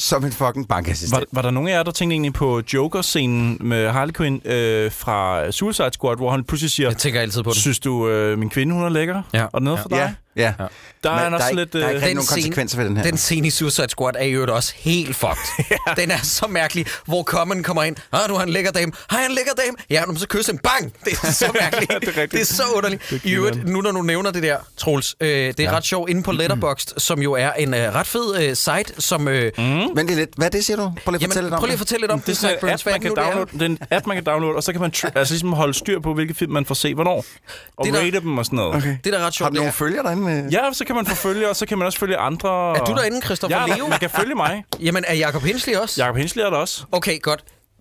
S3: som en fucking
S2: Var,
S3: bankassistent.
S2: var der nogen af jer, der tænkte egentlig på Joker-scenen med Harley Quinn øh, fra Suicide Squad, hvor han pludselig siger,
S1: Jeg tænker altid på det.
S2: synes du, øh, min kvinde hun er lækker?
S1: Ja.
S2: Og noget for
S3: Ja.
S2: dig?
S3: Ja.
S2: Ja. Der er
S3: Men
S2: han også
S3: der er
S2: lidt...
S3: ikke- der er
S2: øh,
S3: ikke- rigtig nogen konsekvenser ved den her.
S1: Den scene i Suicide Squad er jo også helt fucked. ja. Den er så mærkelig, hvor Common kommer ind. Ah, du har en lækker dame. Har jeg en lækker dame? Ja, nu så kysse en bang. Det er så mærkeligt.
S2: Det er rigtigt.
S1: det er så underligt. I øvrigt, nu når du nævner det der, Troels, øh, det er ja. ret sjovt. Inde på Letterboxd, som jo er en øh, ret fed øh, site, som... Øh, mm.
S3: Mm.
S2: Hmm?
S3: Vent lige lidt. Hvad er det, siger du? Prøv lige at fortælle
S1: Jamen,
S3: lidt om
S1: prøv lige at fortælle lidt om det.
S2: det er sådan
S1: Burns.
S2: en app,
S1: Hvad er
S2: man kan
S1: det nu, det er?
S2: downloade, det er en app, man kan downloade, og så kan man tr- altså ligesom holde styr på, hvilke film man får se, hvornår, og
S1: Det
S2: det
S1: der-
S2: rate dem og sådan noget. Okay.
S1: Det, der er ret
S3: det. Har
S1: sjovt,
S3: du
S1: det
S3: nogle
S1: er...
S3: følger derinde? Med?
S2: Ja, så kan man forfølge, og så kan man også følge andre.
S1: Er du derinde, Christopher
S2: Ja,
S1: Leo?
S2: man kan følge mig.
S1: Jamen, er Jacob Hensley også?
S2: Jakob Hensley er der også.
S1: Okay, godt.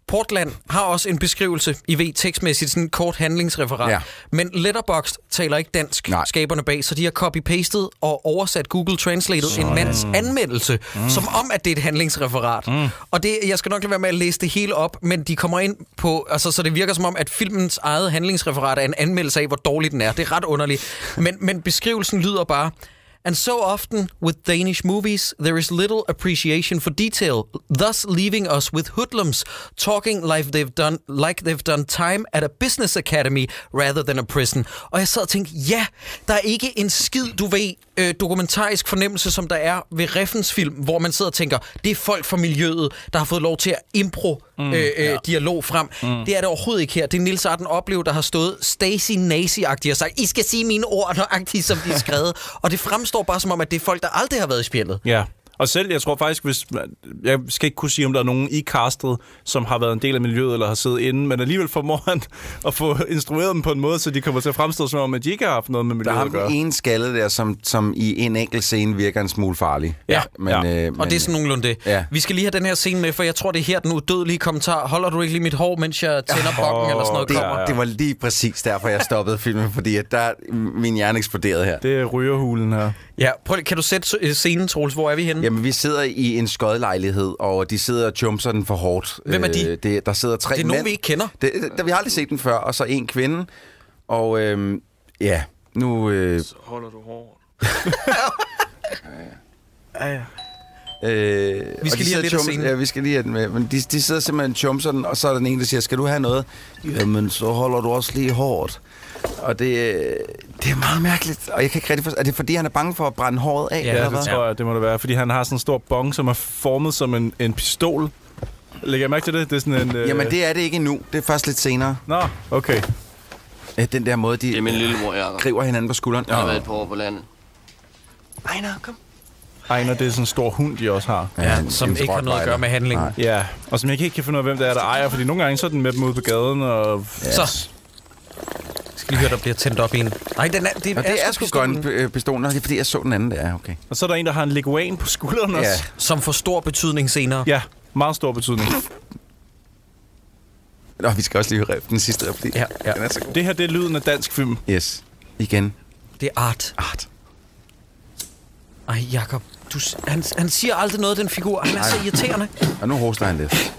S1: Portland har også en beskrivelse i V tekstmæssigt, sådan en kort handlingsreferat. Ja.
S3: Ja.
S1: Men Letterboxd taler ikke dansk, Nej.
S3: Nej.
S1: skaberne bag, så de har copy-pastet og oversat Google Translated en mands anmeldelse, mm. som om, at det er et handlingsreferat. Mm. Og det, jeg skal nok lade være med at læse det hele op, men de kommer ind på, altså, så det virker som om, at filmens eget handlingsreferat er en anmeldelse af, hvor dårlig den er. Det er ret underligt. Men, men beskrivelsen lyder bare, And so often with Danish movies, there is little appreciation for detail, thus leaving us with hoodlums talking like they've done, like they've done time at a business academy rather than a prison. Og jeg sad og tænkte, ja, der er ikke en skid, du ved, øh, dokumentarisk fornemmelse, som der er ved Reffens film, hvor man sidder og tænker, det er folk fra miljøet, der har fået lov til at impro mm, øh, øh, dialog frem. Mm. Det er det overhovedet ikke her. Det er Nils Arden Oplev, der har stået Stacy Nazi-agtigt og sagt, I skal sige mine ord nøjagtigt, som de er skrevet. og det fremstår bare som om, at det er folk, der aldrig har været i spjældet.
S2: Ja. Og selv, jeg tror faktisk, hvis, jeg skal ikke kunne sige, om der er nogen i castet, som har været en del af miljøet eller har siddet inde, men alligevel formår han at få instrueret dem på en måde, så de kommer til at fremstå som om, at de ikke har haft noget med
S3: Der
S2: miljøet
S3: har
S2: at gøre.
S3: den ene skalle der, som, som i en enkelt scene virker en smule farlig.
S2: Ja.
S3: Men,
S2: Ja.
S3: Øh,
S1: Og det er sådan nogenlunde det.
S3: Ja.
S1: Vi skal lige have den her scene med, for jeg tror, det er her, den udødelige kommentar. Holder du ikke lige mit hår, mens jeg tænder bokken eller sådan noget?
S3: det,
S1: kommer?
S3: det var lige præcis derfor, jeg stoppede filmen, fordi at der, min hjerne eksploderede her.
S2: Det er rygerhulen her.
S1: Ja, prøv, lige- kan du sætte øh, scenen, Troels? Hvor er vi henne?
S3: Jamen, vi sidder i en skodlejlighed, og de sidder og jumper den for hårdt.
S1: Hvem er de?
S3: Øh, det, der sidder tre
S1: Det er
S3: mænd.
S1: nogen, vi ikke kender.
S3: Det, det, vi har aldrig set den før, og så en kvinde. Og øhm, ja, nu... Øh, så holder du hårdt. ja, ja. Øh, og
S1: lige
S3: de
S1: have
S3: sidder
S1: lidt af
S3: og chum-
S1: scenen.
S3: Ja, vi skal lige have den med. Men de, de sidder simpelthen og chumser den, og så er der den ene, der siger, skal du have noget? Jamen, så holder du også lige hårdt. Og det, øh, det er meget mærkeligt, og jeg kan ikke rigtig forstå. Er det fordi, han er bange for at brænde håret af?
S1: Ja,
S2: Ja,
S3: eller
S2: det
S3: hvad?
S2: tror jeg, det må det være. Fordi han har sådan en stor bong, som er formet som en, en pistol. Lægger jeg mærke til det? Det er sådan en... Øh...
S3: Jamen, det er det ikke endnu. Det er først lidt senere.
S2: Nå, okay.
S3: Ja, den der måde, de øh,
S5: Det er min lillebror, Jacob.
S3: griber hinanden på skulderen.
S5: Jeg har
S3: Ja.
S5: været på år på landet. Ejner, kom.
S2: Ejner, det er sådan en stor hund, de også har.
S1: Ja,
S3: en-
S1: som
S3: en
S1: ikke har noget at gøre
S3: rottweiler.
S1: med handlingen.
S3: Nej.
S2: Ja, og som jeg ikke kan finde ud af, hvem det er, der ejer, fordi nogle gange så er den med dem ude på gaden, og...
S1: Så. Jeg skal lige høre, der bliver tændt op i en. Nej, den er, det,
S3: Nå, det er sgu
S1: pistolen,
S3: godt øh, pistolen. Nå, det er fordi, jeg så den anden der. Okay.
S2: Og så er der en, der har en leguan på skulderen
S3: Ja.
S2: også.
S1: Som får stor betydning senere.
S2: Ja, meget stor betydning.
S3: Nå, vi skal også lige høre den sidste replik.
S1: Ja, ja.
S3: Den er så god.
S2: Det her, det er lyden af dansk film.
S3: Yes. Igen.
S1: Det er art.
S3: Art.
S1: Ej, Jacob. Du, s- han, han siger aldrig noget, den figur. Han er så irriterende.
S3: Og nu hoster han lidt.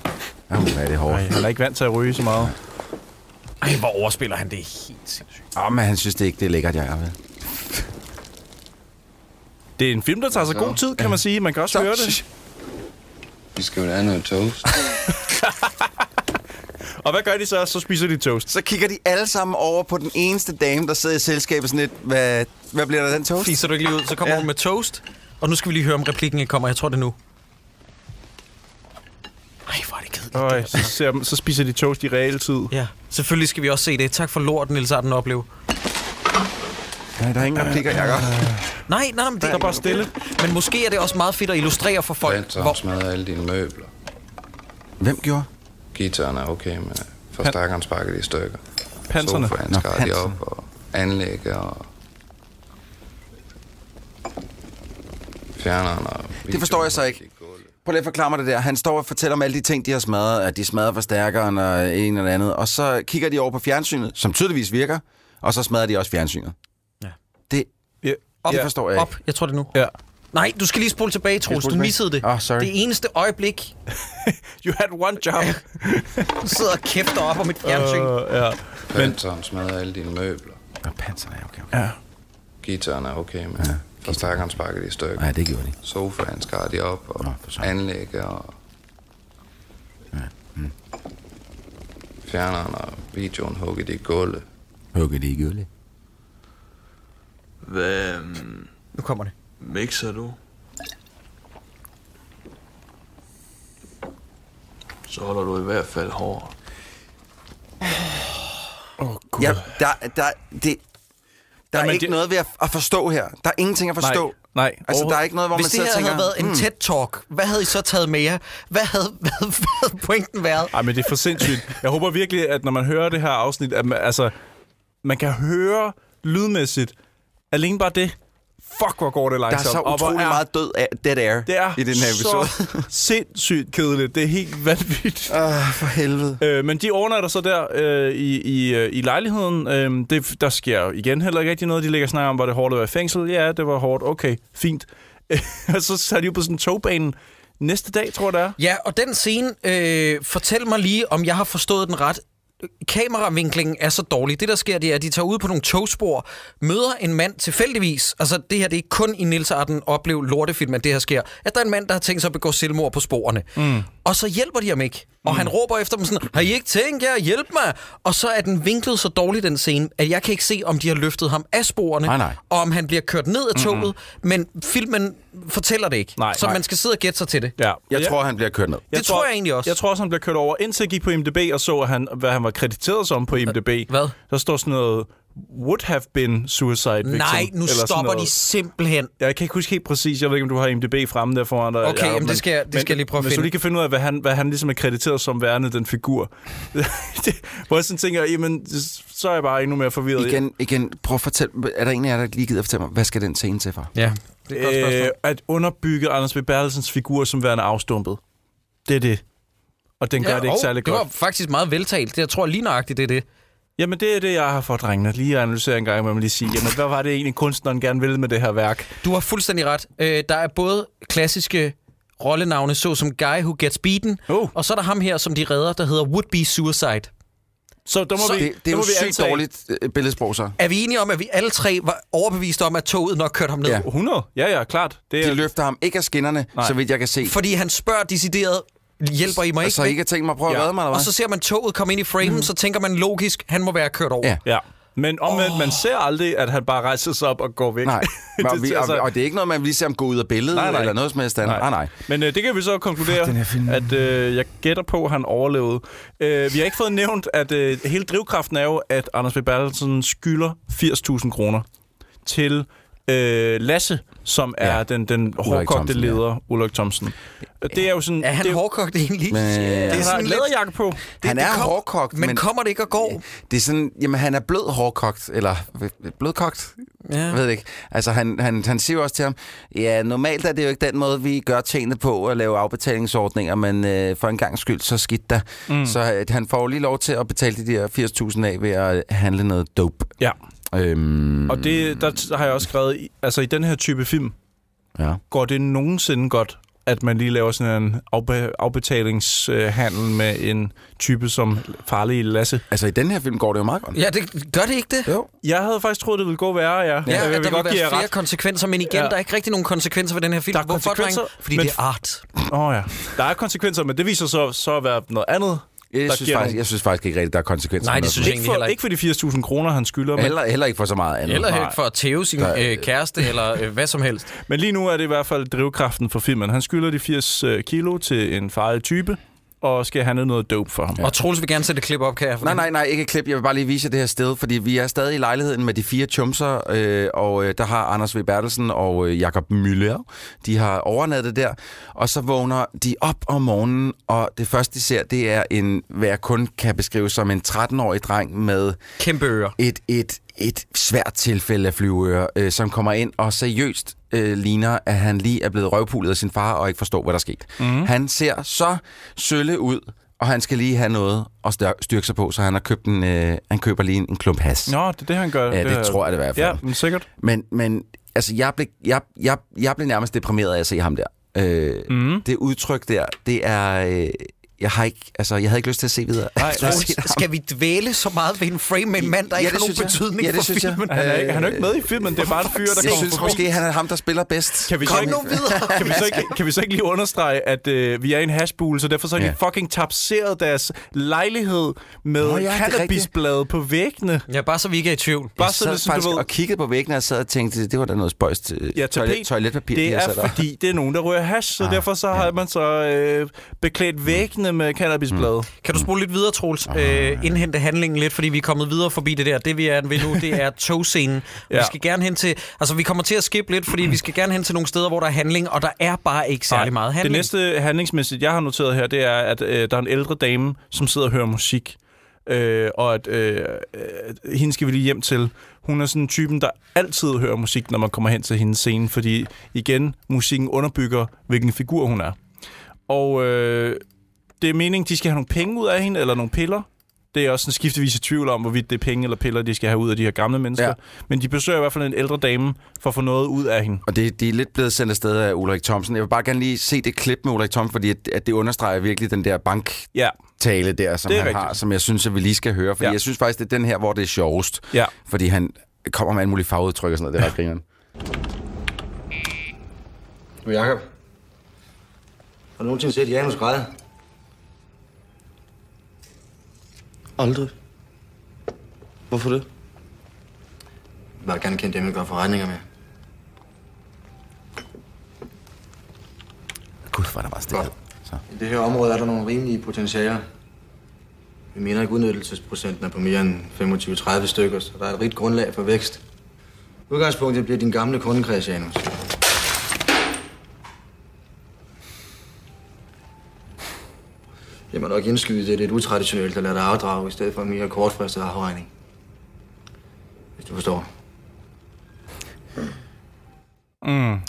S3: Jamen, hvad er det hårdt.
S2: Ej, han er ikke vant til at ryge så meget.
S1: Ej, hvor overspiller han det helt sindssygt.
S3: Åh, men han synes det ikke, det er lækkert, Jacob.
S2: Det er en film, der tager sig god tid, kan man sige. Man kan også høre det.
S5: Vi skal jo have noget toast.
S2: Og hvad gør de så? Så spiser de toast.
S3: Så kigger de alle sammen over på den eneste dame, der sidder i selskabet sådan lidt. Hvad, hvad bliver der af den toast?
S1: Fiser du ikke lige ud, så kommer
S3: Ja.
S1: hun med toast. Og nu skal vi lige høre, om replikken ikke kommer. Jeg tror det er nu. Ej, hvor er det kedeligt.
S2: Øj, så, ser, dem- så spiser de toast i realtid.
S1: Ja, selvfølgelig skal vi også se det. Tak for lort, Niels Arden opleve.
S3: Nej, der er ingen replikker, Jacob.
S1: Nej, nej, nej, men det
S2: Der er bare stille.
S1: Men måske er det også meget fedt at illustrere for folk,
S6: Banter, han
S1: hvor,
S6: smadrer alle dine møbler.
S3: Hvem gjorde?
S6: Gitaren er okay, men øh, forstakkeren sparker de i stykker.
S2: Panserne.
S6: Sofaen
S3: Nå,
S6: skar de
S3: panserne.
S6: op, og anlæg og... Fjerneren og...
S3: Det forstår jeg så ikke. Prøv lige at forklare mig det der. Han står og fortæller om alle de ting, de har smadret, at de smadrer forstærkeren og en eller andet, og så kigger de over på fjernsynet, som tydeligvis virker, og så smadrer de også fjernsynet.
S1: Ja.
S3: Det,
S2: Ja.
S1: Op,
S3: det forstår jeg
S1: op. Jeg tror det er nu.
S2: Ja.
S1: Nej, du skal lige spole tilbage, Troels.
S3: spole
S1: Du
S3: tilbage?
S1: missede det.
S3: Ah, sorry.
S1: Det eneste øjeblik,
S2: You had one job.
S1: du sidder og kæfter op om et fjernsyn.
S3: Øh.
S2: Uh, ja. Men
S6: Panseren smadrer alle dine møbler.
S3: ikke. Nå, panserne er okay.
S2: ja.
S6: Gitaren er okay, men ja. forstakkeren sparker de i stykker.
S3: Nej, det gjorde de.
S6: Sofaen skar de op, og
S3: Nå, for søren.
S6: anlæg og...
S3: mm.
S6: Fjerneren og videoen hugget i gulvet.
S3: Hugger de i gulvet.
S7: Hvad
S1: Nu kommer det.
S7: mixer du? Så holder du i hvert fald hårdt.
S3: Ja, der, der, det, der er
S2: Jamen,
S3: ikke
S2: det-
S3: noget ved at, at forstå her. Der er ingenting at forstå.
S2: nej,
S3: Altså, der er
S2: overhovedet-
S3: ikke noget, hvor man
S1: Hvis det
S3: sidder og
S1: her
S3: tænker... hmm,
S1: havde været en TED-talk, hvad havde I så taget med jer? Hvad havde, hvad, hvad havde pointen været?
S2: Ej, men det er for sindssygt. Jeg håber virkelig, at når man hører det her afsnit, at man, altså, man kan høre lydmæssigt alene bare det. Fuck, hvor går det
S3: Der er
S2: langsomt.
S3: så
S2: og hvor
S3: utrolig
S2: er-
S3: meget død af dead air
S2: det er
S3: i den her episode.
S2: så sindssygt kedeligt. Det er helt vanvittigt.
S3: Åh, for helvede.
S2: Øh, men de overnatter så der øh, i, i, øh, i lejligheden. Øh, det, der sker jo igen heller ikke rigtig noget. De ligger og snakker om, var det hårdt at være i fængsel? Ja, det var hårdt. Okay, fint. og så tager de jo på sådan en togbane næste dag, tror jeg det er.
S1: Ja, og den scene, øh, fortæl mig lige, om jeg har forstået den ret. Kameravinklingen er så dårlig. Det, der sker, det er, at de tager ud på nogle togspor, møder en mand tilfældigvis. Altså, det her, det er ikke kun i Nils Arden opleve lortefilm, at det her sker. At der er en mand, der har tænkt sig at begå selvmord på sporene. Mm. Og så hjælper de ham ikke. Og han råber efter dem sådan, har I ikke tænkt jer at hjælpe mig? Og så er den vinklet så dårlig, den scene, at jeg kan ikke se, om de har løftet ham af sporene,
S3: Nej, nej.
S1: og om han bliver kørt ned af toget, mm-hmm. men filmen fortæller det ikke.
S2: Nej,
S1: så
S2: nej.
S1: man skal sidde og gætte sig til det.
S2: Ja.
S3: Jeg tror, han bliver kørt ned.
S1: Det tror jeg egentlig også.
S2: Jeg tror også, han blev kørt over, indtil jeg gik på IMDb og så, at han, hvad han var krediteret som på IMDb.
S1: Hvad?
S2: Der står sådan noget, would have been suicide victim.
S1: Nej, nu
S2: eller sådan
S1: stopper de
S2: noget.
S1: simpelhen.
S2: Jeg kan ikke huske helt præcis, jeg ved ikke, om du har IMDb fremme der foran dig.
S1: Okay,
S2: Jacob,
S1: jamen, det skal jeg- det skal jeg lige prøve at
S2: Hvis du
S1: finde.
S2: lige kan finde ud af, hvad han, hvad han ligesom er krediteret som værende, den figur. Det- Hvor jeg sådan tænker, jamen, så er jeg bare endnu mere forvirret.
S3: Igen, igen, prøv at fortælle, er der en af jer, der lige gider at fortælle mig, hvad skal den scene til for?
S1: Ja, det er et godt spørgsmål.
S2: Øh, at underbygge Anders B. Bertelsens figur som værende afstumpet. Det er det. Og den gør det ikke
S1: og
S2: særlig
S1: det
S2: godt.
S1: var faktisk meget veltalt. Det, jeg tror lige nøjagtigt, det er det.
S2: Jamen, det er det, jeg har for drengene. Lige at analysere en gang, hvad man lige sige. Jamen, hvad var det egentlig, kunstneren gerne ville med det her værk?
S1: Du har fuldstændig ret. Øh, der er både klassiske rollenavne, såsom Guy Who Gets Beaten,
S2: Oh.
S1: og så er der ham her, som de redder, der hedder Would Be Suicide.
S2: Så der må
S3: Så
S2: vi,
S3: det, det
S2: der
S3: er
S2: må
S3: jo
S2: vi
S3: sygt
S2: antage-
S3: dårligt øh, billedsprog, så.
S1: Er vi enige om, at vi alle tre var overbeviste om, at toget nok kørte ham ned?
S3: Ja.
S2: 100? Ja, ja, klart. Det er,
S3: De løfter ham ikke af skinnerne,
S2: Nej.
S3: så vidt jeg kan se.
S1: Fordi han spørger decideret, hjælper I mig ikke?
S3: så I kan tænke mig at prøve
S2: Ja.
S3: at redde mig, eller
S1: og
S3: hvad?
S1: så ser man toget komme ind i framen, mm. så tænker man logisk, han må være kørt over.
S3: Ja.
S2: ja. Men omvendt, oh. man ser aldrig, at han bare rejser sig op og går væk.
S3: Nej, og,
S2: det,
S3: vi,
S2: tager sig-
S3: og, og det er ikke noget, man lige ser ham gå ud af billedet,
S2: Nej, nej.
S3: eller noget som helst andet. Ah, Nej, nej.
S2: Men øh, det kan vi så konkludere, at øh, jeg gætter på, at han overlevede. Øh, vi har ikke fået nævnt, at øh, hele drivkraften er jo, at Anders B. Bertelsen skylder 80.000 kroner til øh, Lasse, som er
S3: Ja.
S2: den, den hårdkogte
S3: Thomsen, ja.
S2: leder, Ulrik Thomsen. Og det er jo øh, sådan...
S1: Er han
S2: det,
S1: hårdkogt egentlig? Men,
S2: det
S1: det
S2: han har en
S1: sådan lidt-
S2: læderjakke på.
S3: Han
S1: det
S3: er
S1: kom-
S3: hårdkogt,
S1: men, men
S3: men-
S1: kommer det ikke og går?
S3: Det er sådan, jamen han er blød hårdkogt, eller øh, blødkogt, ja. jeg ved det ikke. Altså han, han, han siger jo også til ham, ja normalt er det jo ikke den måde, vi gør tingene på at lave afbetalingsordninger, men øh, for en gang skyld, så skidt da. Mm. Så øh, han får jo lige lov til at betale de der 80.000 af ved at handle noget dope.
S2: Ja,
S3: Øhm,
S2: og det, der t- har jeg også skrevet, i- altså i den her type film,
S3: ja.
S2: går det nogensinde godt, at man lige laver sådan en afbe- afbetalingshandel med en type som farlige Lasse?
S3: Altså i den her film går det jo meget godt.
S1: Ja, det, gør det ikke det?
S3: Jo.
S2: Jeg havde faktisk troet, det ville gå værre, ja.
S1: Ja,
S2: jeg
S1: at der vil
S2: give
S1: være
S2: jer
S1: flere ret. konsekvenser, men igen,
S2: Ja.
S1: ja. der er ikke rigtig nogen konsekvenser ved den her film.
S2: Der er
S1: Hvorfor,
S2: konsekvenser,
S1: drenge? Fordi
S2: men-
S1: men... det er art.
S2: Åh, ja. Der er konsekvenser, men det viser så, så at være noget andet.
S3: Jeg
S2: der
S3: synes,
S2: giver
S3: faktisk,
S2: nogle-
S3: jeg synes faktisk ikke rigtigt, der er konsekvenser.
S1: Nej,
S3: for
S1: det
S3: noget.
S1: synes jeg
S2: Ikke
S1: egentlig
S2: for,
S1: heller ikke.
S2: ikke for de 80.000 kroner, han skylder, men,
S3: Heller, heller ikke for så meget andet.
S1: Eller
S2: Nej.
S1: ikke for at tæve sin øh, kæreste eller øh, hvad som helst.
S2: men lige nu er det i hvert fald drivkraften for filmen. Han skylder de 80 øh, kilo til en farlig type, og skal have noget dope for ham.
S1: Og Troels vil gerne sætte et klip op, kan jeg?
S3: Nej, nej, nej, ikke et klip. Jeg vil bare lige vise jer det her sted, fordi vi er stadig i lejligheden med de fire chumser, øh, og øh, der har Anders V. Bertelsen og øh, Jakob Müller, de har overnattet der, og så vågner de op om morgenen, og det første, de ser, det er en, hvad jeg kun kan beskrive som en 13-årig dreng med
S1: Kæmpe ører.
S3: et, et, et svært tilfælde af flyveører, øh, som kommer ind og seriøst øh, ligner, at han lige er blevet røvpulet af sin far og ikke forstår, hvad der er sket.
S2: Mhm.
S3: Mm. Han ser så sølle ud, og han skal lige have noget at stør- styrke sig på, så han har købt en, øh, han køber lige en, en klump has.
S2: Nå, det er det, han gør.
S3: Ja, det tror jeg det i hvert fald.
S2: Ja, men sikkert.
S3: Men, men altså, jeg blev, jeg, jeg,
S2: Mhm.
S3: jeg blev nærmest deprimeret af at se ham der. Øh, mm. Det udtryk der, det er... Øh, jeg har ikke, altså, jeg havde ikke lyst til at se videre.
S2: Nej,
S3: Jeg
S2: nej.
S3: har set ham.
S1: Skal vi dvæle så meget ved en frame med en mand, der
S3: Ja,
S1: ikke
S3: det
S1: har nogen
S3: synes jeg.
S1: betydning
S3: Ja, det
S1: for
S3: synes jeg.
S1: filmen?
S2: Han er, ikke, han er ikke med i filmen, det er bare en fyr, der
S3: Jeg
S2: kommer
S3: synes
S2: forbi.
S3: måske, han er ham, der spiller bedst.
S2: Kan vi, så
S1: Kom
S2: ikke,
S1: nu videre!
S2: kan, vi så ikke, kan vi så ikke lige understrege, at øh, vi er i en hashbule, så derfor så har
S3: Ja.
S2: de fucking tapseret deres lejlighed med
S3: Nå ja,
S2: oh,
S3: det er
S2: ja,
S3: rigtigt.
S2: cannabisblade på væggene.
S1: Ja, bare så vi ikke er i tvivl.
S2: Bare
S3: Jeg
S2: så
S3: sad
S2: det, sådan,
S3: faktisk
S2: du ved,
S3: og kiggede på væggen, og jeg sad og tænkte, det var da noget spøjst øh,
S2: Ja,
S3: toilet,
S2: tapet,
S3: toiletpapir, de
S2: det
S3: har
S2: er
S3: sat der.
S2: fordi, det er nogen, der rører hash, så
S3: Ah,
S2: ah, derfor så har man så øh, beklædt væggene med cannabisblade. Mm.
S1: Kan du spole lidt videre, Troels?
S2: Ah,
S1: Øh, indhente handlingen lidt, fordi vi er kommet videre forbi det der. Det vi er ved nu, det er togscenen. ja. Vi
S2: Ja.
S1: skal gerne hen til... Altså, vi kommer til at skippe lidt, fordi vi skal gerne hen til nogle steder, hvor der er handling, og der er bare ikke særlig meget handling.
S2: Det næste handlingsmæssigt, jeg har noteret her, det er, at øh, der er en ældre dame, som sidder og hører musik. Øh, og at øh, øh, hende skal vi lige hjem til. Hun er sådan en typen, der altid hører musik, når man kommer hen til hendes scene, fordi igen, musikken underbygger, hvilken figur hun er. Og øh, det er meningen, de skal have nogle penge ud af hende, eller nogle piller. Det er også en skiftevis i tvivl om, hvorvidt det er penge eller piller, de skal have ud af de her gamle mennesker.
S3: Ja.
S2: Ja. Men de besøger i hvert fald en ældre dame for at få noget ud af hende.
S3: Og det, de er lidt blevet sendt afsted af Ulrik Thomsen. Jeg vil bare gerne lige se det klip med Ulrik Thomsen, fordi at, at det understreger virkelig den der banktale
S2: Ja,
S3: der, som
S2: Det
S3: han
S2: er
S3: har,
S2: rigtigt.
S3: som jeg synes, at vi lige skal høre. Fordi ja.
S2: Ja.
S3: jeg synes faktisk, det er den her, hvor det er sjovest.
S2: ja.
S3: Fordi han kommer med alle mulige farveudtryk og sådan noget. Det er ret grineren.
S8: Du, Jacob. Har du nogensinde set Janus græde?
S5: Aldrig. Hvorfor det?
S8: Jeg vil bare gerne kende dem, der gør forretninger med.
S3: Gud, hvor er der bare stillhed. Så.
S8: I det her område er der nogle rimelige potentialer. Vi mener ikke udnyttelsesprocenten er på mere end 25-30 stykker, så der er et rigt grundlag for vækst. Udgangspunktet bliver din gamle kundekreds, Janus. Jeg må nok indskyde, det er lidt utraditionelt at lade dig afdrage, i stedet for en mere kortfristet afregning. Hvis du forstår.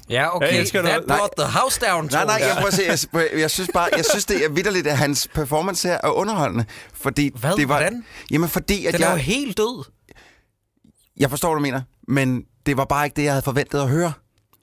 S1: Ja, okay.
S2: Jeg elsker
S1: That
S2: det.
S1: brought the house down,
S3: Nej, nej,
S1: Troels.
S3: jeg prøver at se. Jeg, jeg- jeg synes bare, jeg synes det er vidderligt, at hans performance her er underholdende. Fordi
S1: Hvad?
S3: Det var,
S1: Hvordan?
S3: Jamen, fordi at
S1: Den er jo
S3: jeg,
S1: helt død.
S3: jeg forstår, hvad du mener, men det var bare ikke det, jeg havde forventet at høre.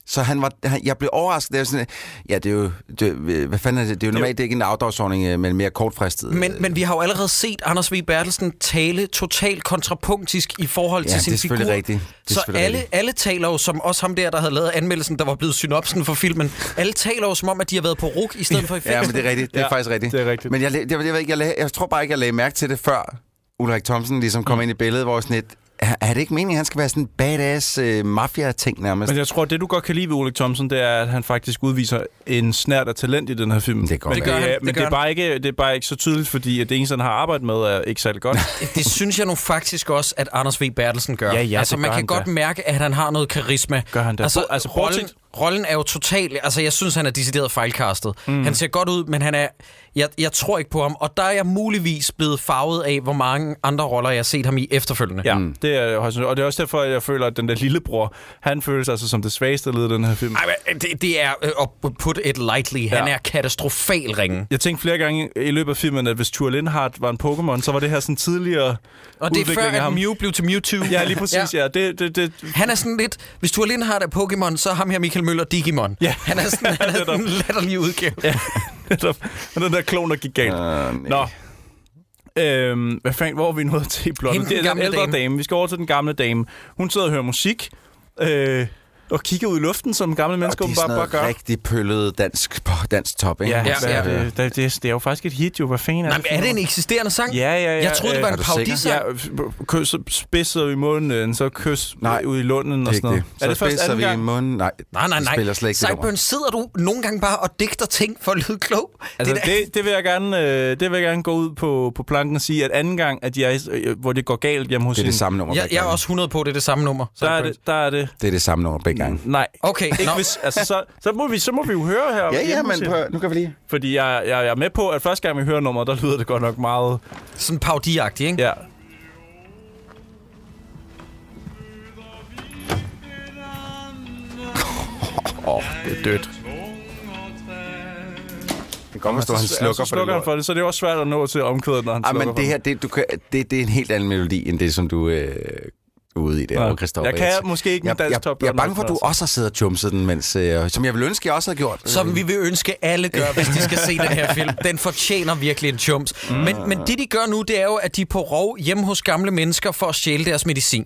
S3: Så han var, han, jeg blev overrasket. Det er sådan, ja, det er jo, det, hvad fanden er det? Det er jo normalt det er ikke en outdoorsordning, øh, men mere kortfristet.
S1: Men, men vi har jo allerede set Anders V. Bertelsen tale totalt kontrapunktisk i forhold til
S3: Ja,
S1: sin
S3: det er selvfølgelig
S1: figur.
S3: rigtigt. Det
S1: så
S3: er selvfølgelig
S1: alle,
S3: rigtigt.
S1: alle taler jo, som også ham der, der havde lavet anmeldelsen, der var blevet synopsen for filmen, alle taler jo som om, at de har været på RUK i stedet for i
S3: Ja,
S1: fængsel.
S3: men det er rigtigt. Det er
S2: Ja,
S3: faktisk rigtigt.
S2: det er rigtigt.
S3: Men jeg, jeg, jeg, ved- jeg, ved ikke, jeg, lagde, jeg tror bare ikke, jeg lagde mærke til det, før Ulrik Thomsen ligesom
S2: Mm.
S3: kom ind i billedet, hvor jeg sådan lidt, er, er det ikke meningen, at han skal være sådan en badass øh, mafia-ting nærmest?
S2: Men jeg tror, det du godt kan lide ved Ulrik Thomsen, det er, at han faktisk udviser en snært af talent i den her film.
S3: Det kan godt
S2: men
S3: være.
S1: Det gør
S2: det,
S1: han,
S2: er,
S1: det
S2: men
S1: gør
S2: det er,
S1: han.
S2: bare ikke, det er bare ikke så tydeligt, fordi at det eneste, han har arbejdet med, er ikke særlig godt.
S1: Det synes jeg nu faktisk også, at Anders V. Bertelsen gør.
S2: Ja, ja,
S1: altså,
S2: det
S1: man
S2: gør
S1: kan
S2: han
S1: godt
S2: da.
S1: mærke, at han har noget karisma.
S2: Gør han da.
S1: Altså,
S2: Bo- altså,
S1: altså rollen, rollen er jo total... Altså, jeg synes, han er decideret fejlkastet. Mm. Han ser godt ud, men han er... Jeg, jeg tror ikke på ham, og der er jeg muligvis blevet farvet af, hvor mange andre roller, jeg har set ham i efterfølgende.
S2: ja, mm. det er, højst sandsynligt. og det er også derfor, at jeg føler, at den der lillebror, han føles altså som det svageste led i den her film.
S1: Ej, men det, det er, øh, at put it lightly, han
S2: Ja.
S1: er katastrofal ringen.
S2: Jeg tænkte flere gange i løbet af filmen, at hvis Tur Lindhardt var en Pokémon, så var det her sådan tidligere
S1: Og det er
S2: udvikling
S1: før,
S2: af
S1: at
S2: ham.
S1: Mew blev til Mewtwo.
S2: Ja, lige præcis, ja. ja. Det, det, det,
S1: Han er sådan lidt, hvis du alene har der Pokémon, så er ham her Michael Møller Digimon.
S2: Ja.
S1: Han er sådan, han er sådan en
S2: Netop.
S1: latterlig udgave.
S2: den der klon, der gik galt.
S3: Øh,
S2: Nå. Øhm, hvad fanden, hvor er vi nået til i plottet?
S1: Hende den
S2: Det er den
S1: gamle
S2: ældre
S1: dame.
S2: dame. dame. Vi skal over til den gamle dame. Hun sidder og hører musik, øh, og kigger ud i luften, som gamle
S3: Og
S2: mennesker
S3: det er
S2: bare,
S3: sådan
S2: bare
S3: noget
S2: gør.
S3: rigtig pøllet dansk, dansk top, ikke? øh,
S2: Ja,
S1: Ja,
S2: altså,
S1: ja.
S2: ja, Det, det, det, det er jo faktisk et hit, jo. Hvad fanden er
S1: Nej,
S2: det?
S1: men
S2: for
S1: er det
S2: noget?
S1: en eksisterende sang?
S2: Ja, ja, ja.
S1: Jeg troede, det
S2: øh,
S1: var
S3: Er
S1: en
S3: du
S1: parodisang.
S2: Ja, f- kys spidser i munden, øh, så kys
S3: Nej,
S2: Nej, ud i lunden og sådan noget.
S3: Så er det først
S2: anden
S3: vi i
S2: gang?
S3: munden. Nej,
S1: Nej, nej,
S3: det
S1: nej.
S3: spiller slet ikke det nummer.
S1: Sideburn, sidder du nogle gange bare og digter ting for at lyde klog?
S2: Altså,
S1: er da-
S2: det, det, vil jeg gerne, øh, det vil jeg gerne gå ud på, på planken og sige, at anden gang, at jeg, øh, hvor det går galt hjemme hos
S3: Det er det
S2: hende,
S3: samme nummer
S1: jeg,
S3: begge
S1: jeg er
S3: gange.
S1: også 100 på, det er det samme nummer.
S2: der er det, der er det
S3: Det er det samme nummer begge gange.
S2: Nej.
S1: Okay,
S2: Ikke
S1: nå.
S2: hvis, altså, så, så, må vi, så må vi jo høre her.
S3: Ja, ja,
S2: hjemme
S3: men
S2: til-
S3: prøv, nu kan vi lige...
S2: Fordi jeg, jeg, jeg er med på, at første gang vi hører nummeret, der lyder det godt nok meget...
S1: Sådan parodiagtigt, ikke?
S2: Ja.
S3: Åh, oh, det er dødt. Det kommer stå, han altså, slukker
S2: Altså, så
S3: for det
S2: slukker han
S3: lort.
S2: for det, så det er også svært at nå til omkvædet, når han
S3: Ej,
S2: slukker
S3: men det her, det, du kan, det, det er en helt anden melodi, end det, som du øh, ude i det
S2: Nå,
S3: over Christoffer.
S2: jeg kan måske ikke med
S3: jeg,
S2: dansk
S3: jeg,
S2: Top
S3: jeg, jeg er
S2: Gun
S3: bange for, at du
S2: podcast.
S3: også har siddet og chumset den, mens, øh, som jeg ville ønske, jeg også havde gjort.
S1: Som vi vil ønske alle gør, hvis de skal se den her film. Den fortjener virkelig en chums. Mm. Men, men det, de gør nu, det er jo, at de er på rov hjemme hos gamle mennesker for at stjæle deres medicin.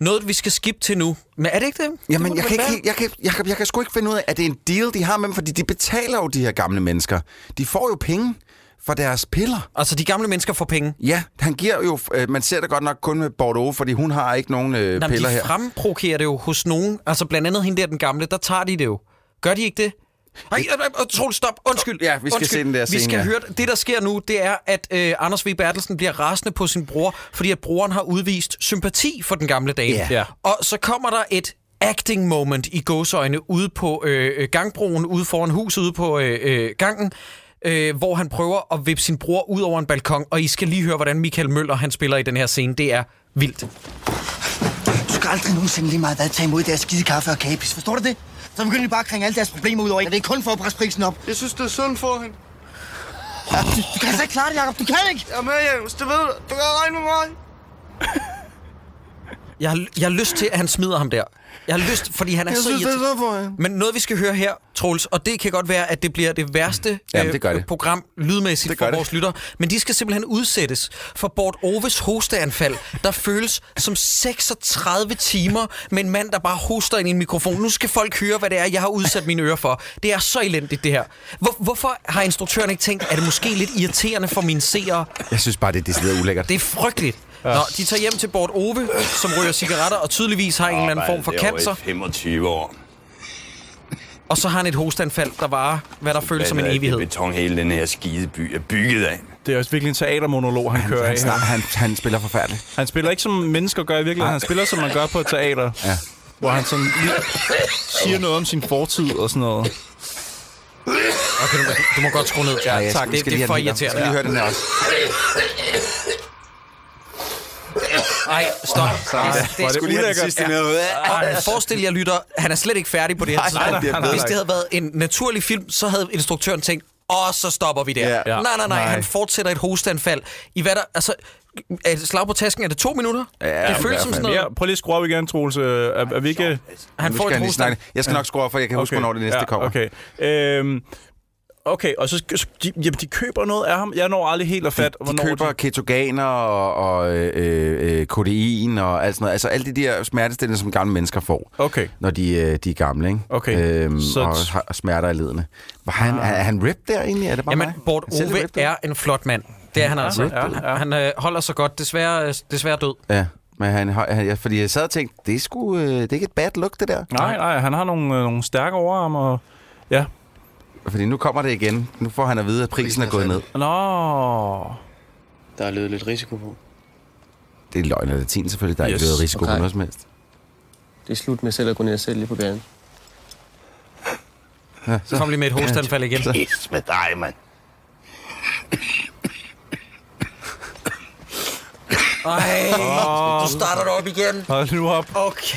S1: Noget, vi skal skip til nu. Men er det ikke det? det må
S3: Jamen,
S1: det
S3: jeg kan,
S1: vel
S3: ikke,
S1: være.
S3: helt- jeg, kan, jeg, kan, jeg kan sgu ikke finde ud af, er det en deal, de har med dem? Fordi de betaler jo de her gamle mennesker. De får jo penge for deres piller.
S1: Altså, de gamle mennesker får penge.
S3: Ja, han giver jo... Øh, man ser det godt nok kun med Bordeaux, fordi hun har ikke nogen øh,
S1: Jamen,
S3: piller
S1: de
S3: her.
S1: fremprovokerer det jo hos nogen. Altså, blandt andet hende der, den gamle, der tager de det jo. Gør de ikke det? Ej, øh, øh, Troels, stop. Undskyld.
S3: Ja, vi skal
S1: Undskyld.
S3: se den der
S1: Vi
S3: scene,
S1: skal
S3: ja.
S1: høre, det der sker nu, det er, at øh, Anders V. Bertelsen bliver rasende på sin bror, fordi at broren har udvist sympati for den gamle dame.
S3: Ja.
S2: Ja.
S1: Og så kommer der et acting moment i gåsøjne ude på øh, øh, gangbroen, ude foran huset, ude på øh, øh, gangen, øh, hvor han prøver at vippe sin bror ud over en balkon, og I skal lige høre, hvordan Michael Møller han spiller i den her scene. Det er vildt.
S9: Du skal aldrig nogensinde lige meget hvad tage imod deres skide kaffe og kapis. Forstår du det? Så begynder de bare at kringe alle deres problemer ud over en, og det er kun for at presse prisen op.
S7: Jeg synes, det er synd for hende.
S9: Du, du kan altså ikke klare det, Jacob. Du kan ikke!
S7: Jeg er med, James. Det ved du. Du kan regne med mig.
S1: Jeg har, jeg har lyst til, at han smider ham der. Jeg har lyst, fordi han er så irriterende.
S7: synd for hende.
S1: Men noget, vi skal høre her, Troels, og det kan godt være, at det bliver det værste
S3: Jamen, det gør
S1: øh,
S3: det.
S1: program lydmæssigt
S3: Det
S1: for
S3: gør det.
S1: vores lytter, men de skal simpelthen udsættes for Bort Oves hosteanfald, der føles som 36 timer med en mand, der bare hoster ind i en mikrofon. Nu skal folk høre, hvad det er, jeg har udsat mine ører for. Det er så elendigt, det her. Hvor, hvorfor har instruktøren ikke tænkt, er det måske lidt irriterende for mine seere?
S3: Jeg synes bare, det er decideret ulækkert.
S1: Det er frygteligt. Ja. Nå, de tager hjem til Bort Ove, som ryger cigaretter og tydeligvis har en eller anden form for cancer.
S10: 25 år.
S1: Og så har han et hostanfald, der varer, hvad der føles som en
S10: Hvad er
S1: evighed.
S10: Det beton, hele den her skide by er bygget af.
S2: Det er også virkelig en teatermonolog, han, han kører
S3: han,
S2: af.
S3: snak, han, han spiller forfærdeligt.
S2: Han spiller ikke som mennesker gør i virkeligheden, han spiller som man gør på et teater. Ja. Hvor han sådan lige siger noget om sin fortid og sådan noget.
S1: Okay, du, må, du må godt skrue ned. Ja,
S3: jeg
S1: tak.
S3: skal- vi
S1: Det,
S3: skal
S1: det
S3: lige
S1: er
S3: have
S1: for
S3: den her. Vi skal
S1: irriterende.
S3: lige
S1: Ja.
S3: høre den her også.
S1: Ej, stop. Ej, det er
S2: Var det
S1: sgu
S2: ulækkert? Ja.
S1: Ej, forestil jer, lytter, han er slet ikke færdig på det her tidspunkt.
S2: nej, nej.
S1: Hvis det havde været en naturlig film, så havde instruktøren tænkt, og så stopper vi der.
S3: Ja.
S1: Nej, nej, nej,
S2: Nej.
S1: han fortsætter et hostanfald. I hvad der, altså, er det slag på tasken, er det to minutter?
S3: Ja,
S1: det
S3: i
S1: føles
S3: hvert
S1: som
S3: fald.
S1: sådan
S2: Ja,
S1: noget.
S2: prøv lige at skrue op igen, Troels. Øh, Er, er vi ikke...
S1: Han
S3: Nu
S1: får
S3: skal
S1: et
S3: jeg, lige
S1: hostanfald.
S3: snakke. jeg skal nok score, for jeg kan huske, hvornår det næste
S2: ja,
S3: kommer.
S2: Okay. Øhm, okay, og så så- de, jamen, de køber noget af ham. Jeg når aldrig helt at fat,
S3: De
S2: hvornår
S3: køber ketogener og, og øh, øh, øh, kodein og alt sådan noget. Altså alle de der smertestillende, som gamle mennesker får.
S2: Okay.
S3: Når de, øh, de er gamle, ikke?
S2: Okay.
S3: Øhm,
S2: Så-
S3: så... Og har smerter i ledene. Var han, er, er han ripped der egentlig? Er det bare
S1: Ah. Jamen,
S3: mig?
S1: Bort
S3: Er selv
S1: Ove
S3: ripped der?
S1: er en flot mand. Det er han altså.
S2: Ja, ja, ja.
S1: Han øh, holder sig godt. Desværre, øh, desværre død.
S3: Ja. Men han, har- han, ja, fordi jeg sad og tænkte, det er, sgu, øh, det er ikke et bad look, det der.
S2: Nej, nej, han har nogle, øh, nogle stærke overarm og... Ja.
S3: Fordi nu kommer det igen. Nu får han at vide, at prisen er gået ned.
S2: Nå...
S5: Der er løbet lidt risiko på.
S3: Det er løgn og latin selvfølgelig. Der er yes.
S2: Yes.
S3: ikke noget risiko okay.
S5: Okay.
S3: på noget som helst.
S5: Det er slut med selv at gå ned og sælge på gaden.
S1: Så kom lige med et hostanfald igen.
S10: Pis med dig, mand.
S1: Ej, du starter det op igen.
S2: Hold nu op.
S1: Okay.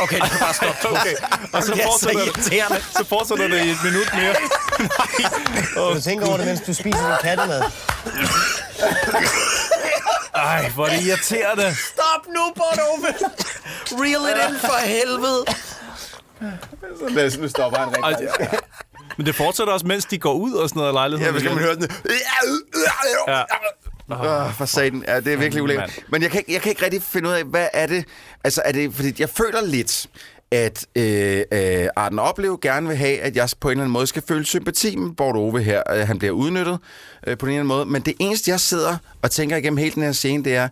S1: Okay, du kan bare stoppe.
S2: Okay, og så
S1: Det er så
S2: fortsætter det.
S1: irriterende.
S2: Så fortsætter det i et minut mere.
S9: Du tænker over det, mens du spiser din kattemad.
S2: Ej, hvor er det irriterende.
S1: Stop nu, Bornholm. Reel it in for helvede.
S6: Nu stopper han rent.
S2: Ej, det- Men det fortsætter også, mens de går ud og sådan noget af lejligheden.
S3: hvis
S2: igen.
S3: høre sådan...
S2: Ja.
S3: Åh, for satan. Ja, det er virkelig ulækkert. Men jeg kan, ikke, jeg kan ikke rigtig finde ud af, hvad er det? Altså, er det... Fordi jeg føler lidt, at øh, øh, Arden Oplev gerne vil have, at jeg på en eller anden måde skal føle sympati med Bort Ove her. Øh, Han bliver udnyttet øh, på en eller anden måde. Men det eneste, jeg sidder og tænker igennem hele den her scene, det er,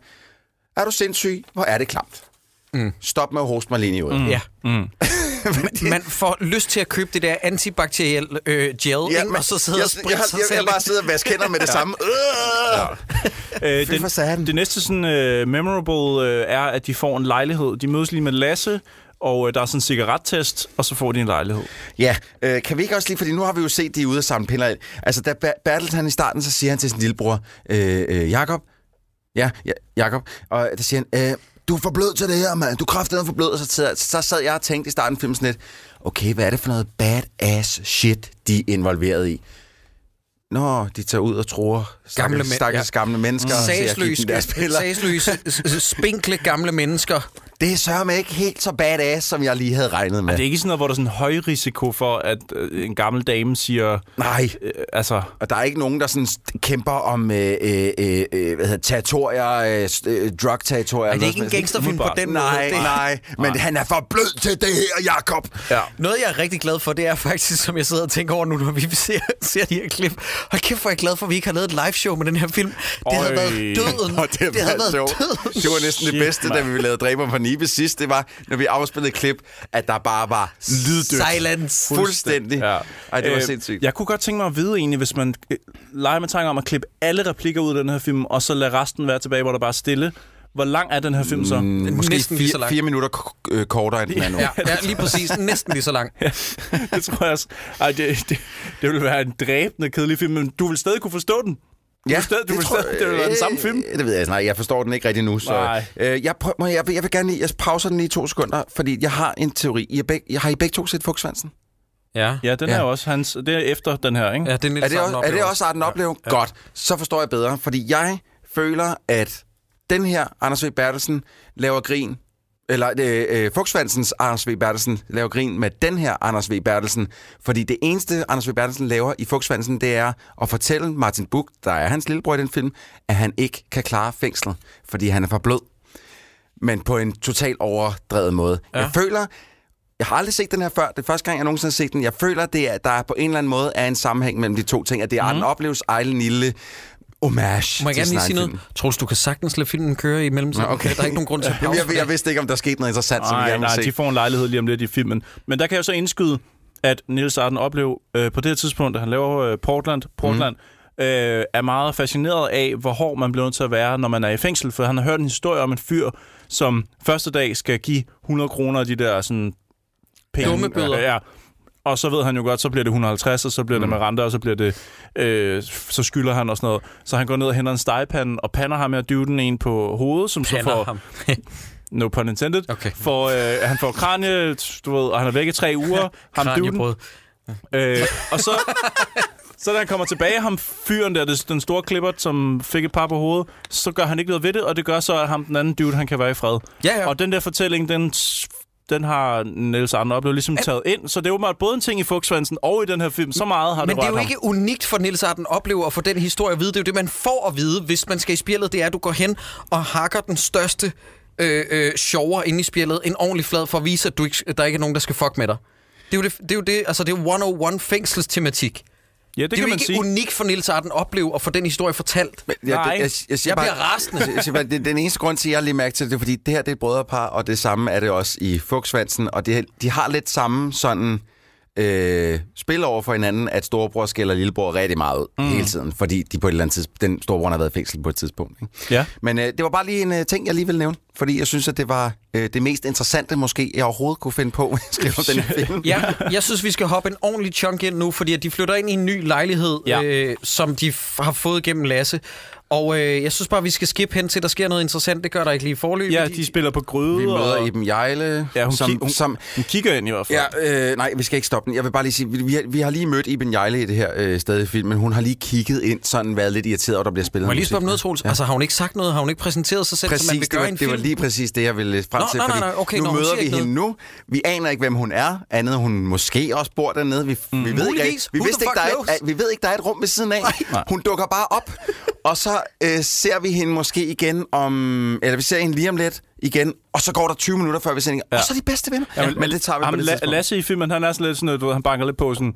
S3: er du sindssyg? Hvor er det klamt? Mm. Stop med at hoste mig lige i øjet. Mm.
S1: Ja. Man får lyst til at købe det der antibakterielle øh, gel, ja, og så sidder og
S3: jeg, jeg,
S1: spritte
S3: jeg,
S1: sig
S3: jeg, jeg
S1: selv.
S3: bare sidder og vasker hænder med det samme. Øh!
S2: Øh,
S3: Fy for satan.
S2: den, det næste sådan, uh, memorable uh, er, at de får en lejlighed. De mødes lige med Lasse, og uh, der er sådan en cigarettest, og så får de en lejlighed.
S3: Ja, øh, kan vi ikke også lige, fordi nu har vi jo set, de er ude og samle piller ind. Altså, da Ber- Bertelt han i starten, så siger han til sin lillebror, øh, øh, Jakob, ja, ja, Jakob, og der siger han, øh, du er for blød til det her, mand, du er kraftedeme for blød, og så, sidder- så sad jeg og tænkte i starten af filmen sådan lidt, okay, hvad er det for noget badass shit, de er involveret i? Nå, de tager ud og tror gamle,
S1: mænd,
S3: stakkels
S1: ja. Mm.
S3: gamle mennesker. og ser at give dem
S1: Sagsløse,
S3: deres piller.
S1: sagsløse, s- s- spinkle gamle mennesker.
S3: Det sørger mig ikke helt så badass, som jeg lige havde regnet med.
S2: Er det ikke sådan noget, hvor der er sådan en høj risiko for, at øh, en gammel dame siger...
S3: Nej.
S2: Øh, altså...
S3: Og der er ikke nogen, der sådan st- kæmper om øh, øh, øh, øh, hvad hedder, territorier, øh, st- øh, drug-territorier.
S1: Ej, det er
S3: eller
S1: ikke en
S3: noget som helst.
S1: gangsterfilm på den måde.
S3: Nej,
S1: Det-
S3: nej. Men
S1: Nej.
S3: han er for blød til det her, Jakob.
S2: Ja.
S1: Noget, jeg er rigtig glad for, det er faktisk, som jeg sidder og tænker over nu, når vi ser, ser de her klip. Hold kæft, hvor er jeg glad for, at vi ikke har lavet et liveshow med den her film. Det havde
S2: Øj.
S1: været døden.
S3: Og det, det,
S1: havde været
S3: sjovt.
S1: døden.
S3: det var næsten Shit,
S2: Shit,
S3: det bedste, da
S2: mand.
S3: vi lavede Dræber for Nibe sidst. Det var, når vi afspillede et klip, at der bare var lyddødt.
S1: Silence.
S3: Fuldstændig. Ja. Ej, det var
S2: Øh,
S3: sindssygt.
S2: Jeg kunne godt tænke mig at vide egentlig, hvis man øh, leger med tanken om at klippe alle replikker ud af den her film, og så lade resten være tilbage, hvor der bare er stille. Hvor lang er den her film så? Mm.
S1: Måske næsten lige så
S3: Fire,
S1: lang.
S3: fire minutter k- øh, kortere end den anden.
S1: Ja, ja, lige præcis. Næsten lige så lang.
S2: det tror jeg også. Ej, det, det, det ville være en dræbende kedelig film, men du vil stadig kunne forstå den. Du vil stadig, du vil stadig, det ville være den samme film.
S3: Øh, Det ved jeg snart. Jeg forstår den ikke rigtig nu. Så,
S2: Nej.
S3: øh, jeg, prøver, må jeg, jeg, vil, jeg vil gerne lige, jeg pauser den lige i to sekunder, fordi jeg har en teori. I er beg, jeg har I begge to set Fugtsvansen?
S1: Ja.
S2: Ja, den
S3: Ja.
S2: er jo også hans. Det er efter den her, ikke?
S1: Ja, det er, lidt
S3: Er det,
S1: sådan,
S3: også, er
S1: oplever.
S3: det også Arten Oplev? Ja. Godt. Så forstår jeg bedre, fordi jeg føler, at den her Anders V. Bertelsen laver grin, eller øh, øh, Fugtsvansens Anders V. Bertelsen laver grin med den her Anders V. Bertelsen, fordi det eneste, Anders V. Bertelsen laver i Fugtsvansen, det er at fortælle Martin Buch, der er hans lillebror i den film, at han ikke kan klare fængslet, fordi han er for blød. Men på en totalt overdrevet måde. Ja. Jeg føler, jeg har aldrig set den her før. Det er første gang, jeg nogensinde har set den. Jeg føler, det er, der er på en eller anden måde er en sammenhæng mellem de to ting. At det er mm. Arden Opleves egen lille homage
S1: Mhm. Må jeg
S3: til
S1: gerne lige sige
S3: sin egen
S1: noget? Troels, du kan sagtens lade filmen køre i mellemtiden.
S3: Nå, okay.
S1: Der er ikke nogen grund til at
S3: film. Jamen,
S1: pause.
S3: jeg, jeg, vidste ikke, om der skete noget interessant, som jeg
S2: Nej,
S3: gerne
S2: nej,
S3: ville se.
S2: de får en lejlighed lige om lidt i filmen. Men der kan jeg så indskyde, at Niels Arden oplev øh, på det her tidspunkt, at han laver øh, Portland, Portland mm.
S3: Mhm.
S2: øh, er meget fascineret af, hvor hård man bliver nødt til at være, når man er i fængsel. For han har hørt en historie om en fyr, som første dag skal give 100 kroner af de der sådan, penge.
S1: Dumme bøder.
S2: Ja, ja. Og så ved han jo godt, så bliver det 150, og så bliver mm.
S3: Mhm.
S2: det med renter, og så bliver det, øh, så skylder han og sådan noget. Så han går ned og henter en stegepande, og pander ham med at dyve den en på hovedet, som så
S1: Pander
S2: får...
S1: ham.
S2: No pun intended.
S1: Okay.
S2: For, øh, han får kranje, du ved, og han er væk i tre uger. ham
S1: Kranjebrød.
S2: duden. Øh, og så, så da han kommer tilbage, ham fyren der, det- den store klipper, som fik et par på hovedet, så gør han ikke noget ved det, og det gør så, at ham den anden dude, han kan være i fred.
S1: Ja, ja.
S2: Og den der fortælling, den, den har Niels Arne oplevet ligesom taget ind, så det er åbenbart både en ting i Fugtsvansen og i den her film. Så meget har
S1: Men
S2: det
S1: det er
S2: rørt
S1: jo
S2: ham.
S1: ikke unikt for Nils Arden oplever at få den historie at vide. Det er jo det, man får at vide, hvis man skal i spjældet. Det er, at du går hen og hakker den største øh, øh, sjover ind i spjældet. En ordentlig flad for at vise, at du ikke, der ikke er nogen, der skal fuck med dig. Det er jo det, det, er jo det altså det er 101 fængselstematik. Det,
S2: Ja, det,
S1: det er
S2: kan
S1: jo
S2: man
S1: ikke
S2: sige.
S1: unikt for Nils Arden oplever at få den historie fortalt.
S3: Men jeg,
S2: Nej.
S3: jeg, jeg, jeg, siger
S1: Jeg
S3: bare,
S1: bliver rasende.
S3: Jeg, jeg siger bare, det, den eneste grund til, at jeg lige mærke til det, det er, fordi det her det er et brødrepar, og det samme er det også i Fugtsvansen, og det, de har lidt samme sådan øh, spil over for hinanden, at storebror skælder lillebror rigtig meget ud mm. hele tiden, fordi de på et eller andet tidspunkt, den storebror har været i fængsel på et tidspunkt. Ikke?
S2: Ja.
S3: Men øh, det var bare lige en øh, ting, jeg lige ville nævne, fordi jeg synes, at det var øh, det mest interessante måske, jeg overhovedet kunne finde på, at skrive om den her film.
S1: Ja, jeg synes, vi skal hoppe en ordentlig chunk ind nu, fordi at de flytter ind i en ny lejlighed, ja.
S2: Ja.
S1: øh, som de f- har fået gennem Lasse. Og øh, jeg synes bare, vi skal skippe hen til, at der sker noget interessant. Det gør der ikke lige i forløbet.
S2: Ja, de spiller på gryde.
S3: Vi møder
S2: og,
S3: Iben Jejle,
S2: ja, hun,
S3: som,
S2: ki- hun,
S3: som
S2: hun kigger ind i hvert fald.
S3: Ja, øh, nej, vi skal ikke stoppe den. Jeg vil bare lige sige, vi, vi, har, vi har lige mødt Iben Jejle i det her øh, sted i filmen. Hun har lige kigget ind, sådan været lidt irriteret, over, at der bliver spillet
S1: Må jeg lige
S3: musik.
S1: spørge om noget, Troels? Ja. Altså, har hun ikke sagt noget? Har hun ikke præsenteret sig selv, som man vil
S3: Præcis, det
S1: gøre
S3: var,
S1: i en
S3: det var
S1: film?
S3: lige præcis det, jeg ville øh, frem
S1: Nå,
S3: til.
S1: nej, nej,
S3: fordi
S1: nej, okay,
S3: nu
S1: nå, hun
S3: møder
S1: siger
S3: vi
S1: ikke
S3: hende nu. Vi aner ikke, hvem hun er, andet end hun måske også bor dernede. Vi, mm. vi, ved, ikke,
S1: Muligvis.
S3: at- vi,
S1: Who
S3: vidste
S1: the
S3: ikke, der er,
S1: fuck
S3: et- at- vi ved ikke, der er et rum ved siden af.
S2: Nej.
S3: Hun dukker bare op, og så øh, ser vi hende måske igen om... Eller vi ser hende lige om lidt igen, og så går der 20 minutter, før vi ser hende. Ja. Og så er de bedste venner. Ja, men, men det tager vi på
S2: Ham,
S3: det
S2: La-
S3: tidspunkt.
S2: Lasse i filmen, han er sådan lidt sådan noget, du ved, han banker lidt på sådan,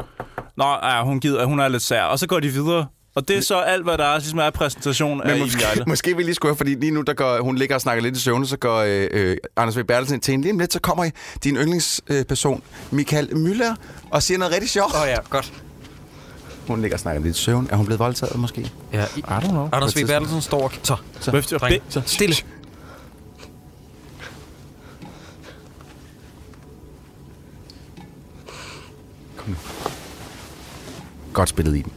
S2: Nå, ja, hun, gider, hun er lidt sær, og så går de videre. Og det er så alt, hvad der er, ligesom er præsentation af
S3: Men
S2: Iben
S3: måske,
S2: Hjejle.
S3: måske vi lige skulle høre, fordi lige nu, der går, hun ligger og snakker lidt i søvne, så går øh, øh, Anders V. Bertelsen ind til hende. Lige om lidt, så kommer din yndlingsperson, Michael Müller, og siger noget rigtig sjovt.
S1: Åh oh, ja, godt.
S3: Hun ligger og snakker lidt i søvn. Er hun blevet voldtaget, måske?
S1: Ja, I,
S3: I don't know.
S1: Anders V. Bertelsen står og... Så,
S2: Løft-
S1: dreng,
S2: det-
S1: stille.
S3: Godt spillet i den.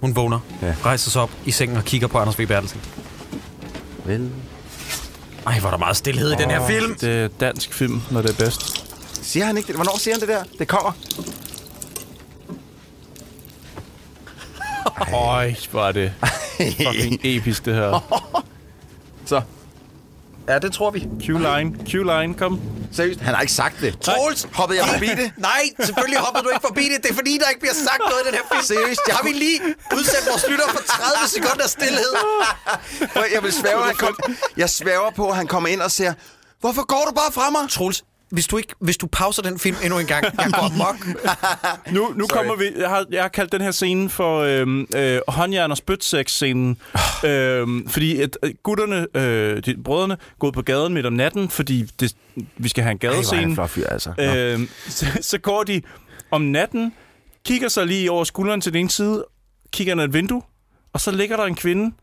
S1: Hun vågner,
S3: Ja.
S1: rejser sig op i sengen og kigger på Anders V. Bertelsen.
S3: Vel.
S1: Ej, hvor er der meget stillhed i den her film.
S2: Det er dansk film, når det er bedst.
S3: Siger han ikke det? Hvornår siger han det der? Det kommer.
S2: Øj, hvor er det fucking episk, det her. Så.
S3: Ja, det tror vi.
S2: Q-line, Q-line, kom.
S3: Seriøst, han har ikke sagt det.
S1: Troels,
S3: hoppede jeg forbi det?
S1: Nej, selvfølgelig hoppede du ikke forbi det. Det er fordi, der ikke bliver sagt noget i den her film.
S3: Seriøst, jeg
S1: Har vi lige udsat vores lytter for 30 sekunder stillhed?
S3: Prøv, jeg, vil svæve, han kom, jeg svæver på, at han kommer ind og siger, hvorfor går du bare fra mig?
S1: Troels, hvis du, ikke, hvis du pauser den film endnu en gang, jeg går mok.
S2: Nu, nu kommer vi... Jeg har, jeg har kaldt den her scene for øhm, øh, håndjern- og spytsex-scenen.
S3: Ah.
S2: øhm, fordi at øh, gutterne, øh, de, brødrene, går ud på gaden midt om natten, fordi det, vi skal have en
S3: Ej, hvor er han
S2: gadescene.
S3: en flot fyr,
S1: Øh,
S3: altså. Nå.
S2: øhm, så, så går de om natten, kigger sig lige over skulderen til den ene side, kigger ind ad et vindue, og så ligger der en kvinde,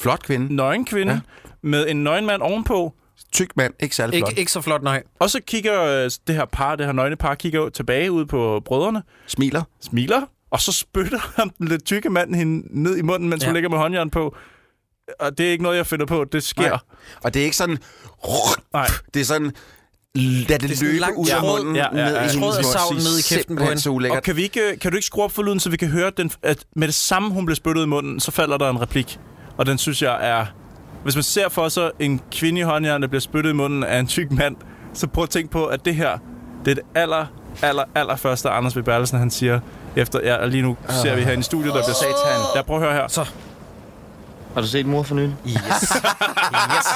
S3: Flot kvinde.
S2: nøgen kvinde, ja. med en nøgen mand ovenpå,
S3: Tyk mand, ikke særlig flot.
S1: Ikke, ikke så flot, nej.
S2: og så kigger øh, det her par, det her nøgne par, kigger jo tilbage ud på brødrene,
S3: Smiler.
S2: smiler, og så spytter ham den lidt tykke mand hende ned i munden, mens ja. hun ligger med håndjern på. Og det er ikke noget, jeg finder på, det sker.
S3: Nej. Og det er ikke sådan...
S2: Nej.
S3: Det er sådan... Lad det,
S1: er
S3: det
S1: sådan en
S3: løbe
S1: lang
S3: ud af
S1: tråd.
S3: munden.
S2: Ja, ja, ja.
S3: ned i
S2: Tråd
S3: hendes
S1: af
S3: mund.
S1: savl ned i kæften på
S3: Simpelthen
S1: hende.
S3: så ulækkert.
S2: Og kan, vi ikke, kan du ikke skrue op for lyden, så vi kan høre, den, at med det samme, hun bliver spyttet i munden, så falder der en replik. Og den synes jeg er... Hvis man ser for sig en kvinde i håndjern, der bliver spyttet i munden af en tyk mand, så prøv at tænke på, at det her, det er det aller, aller, aller første, Anders B. Bertelsen, han siger, efter, ja, lige nu ser vi her i studiet, der bliver satan. Ja, prøv at høre her. Så.
S5: Har du set mor for nylig?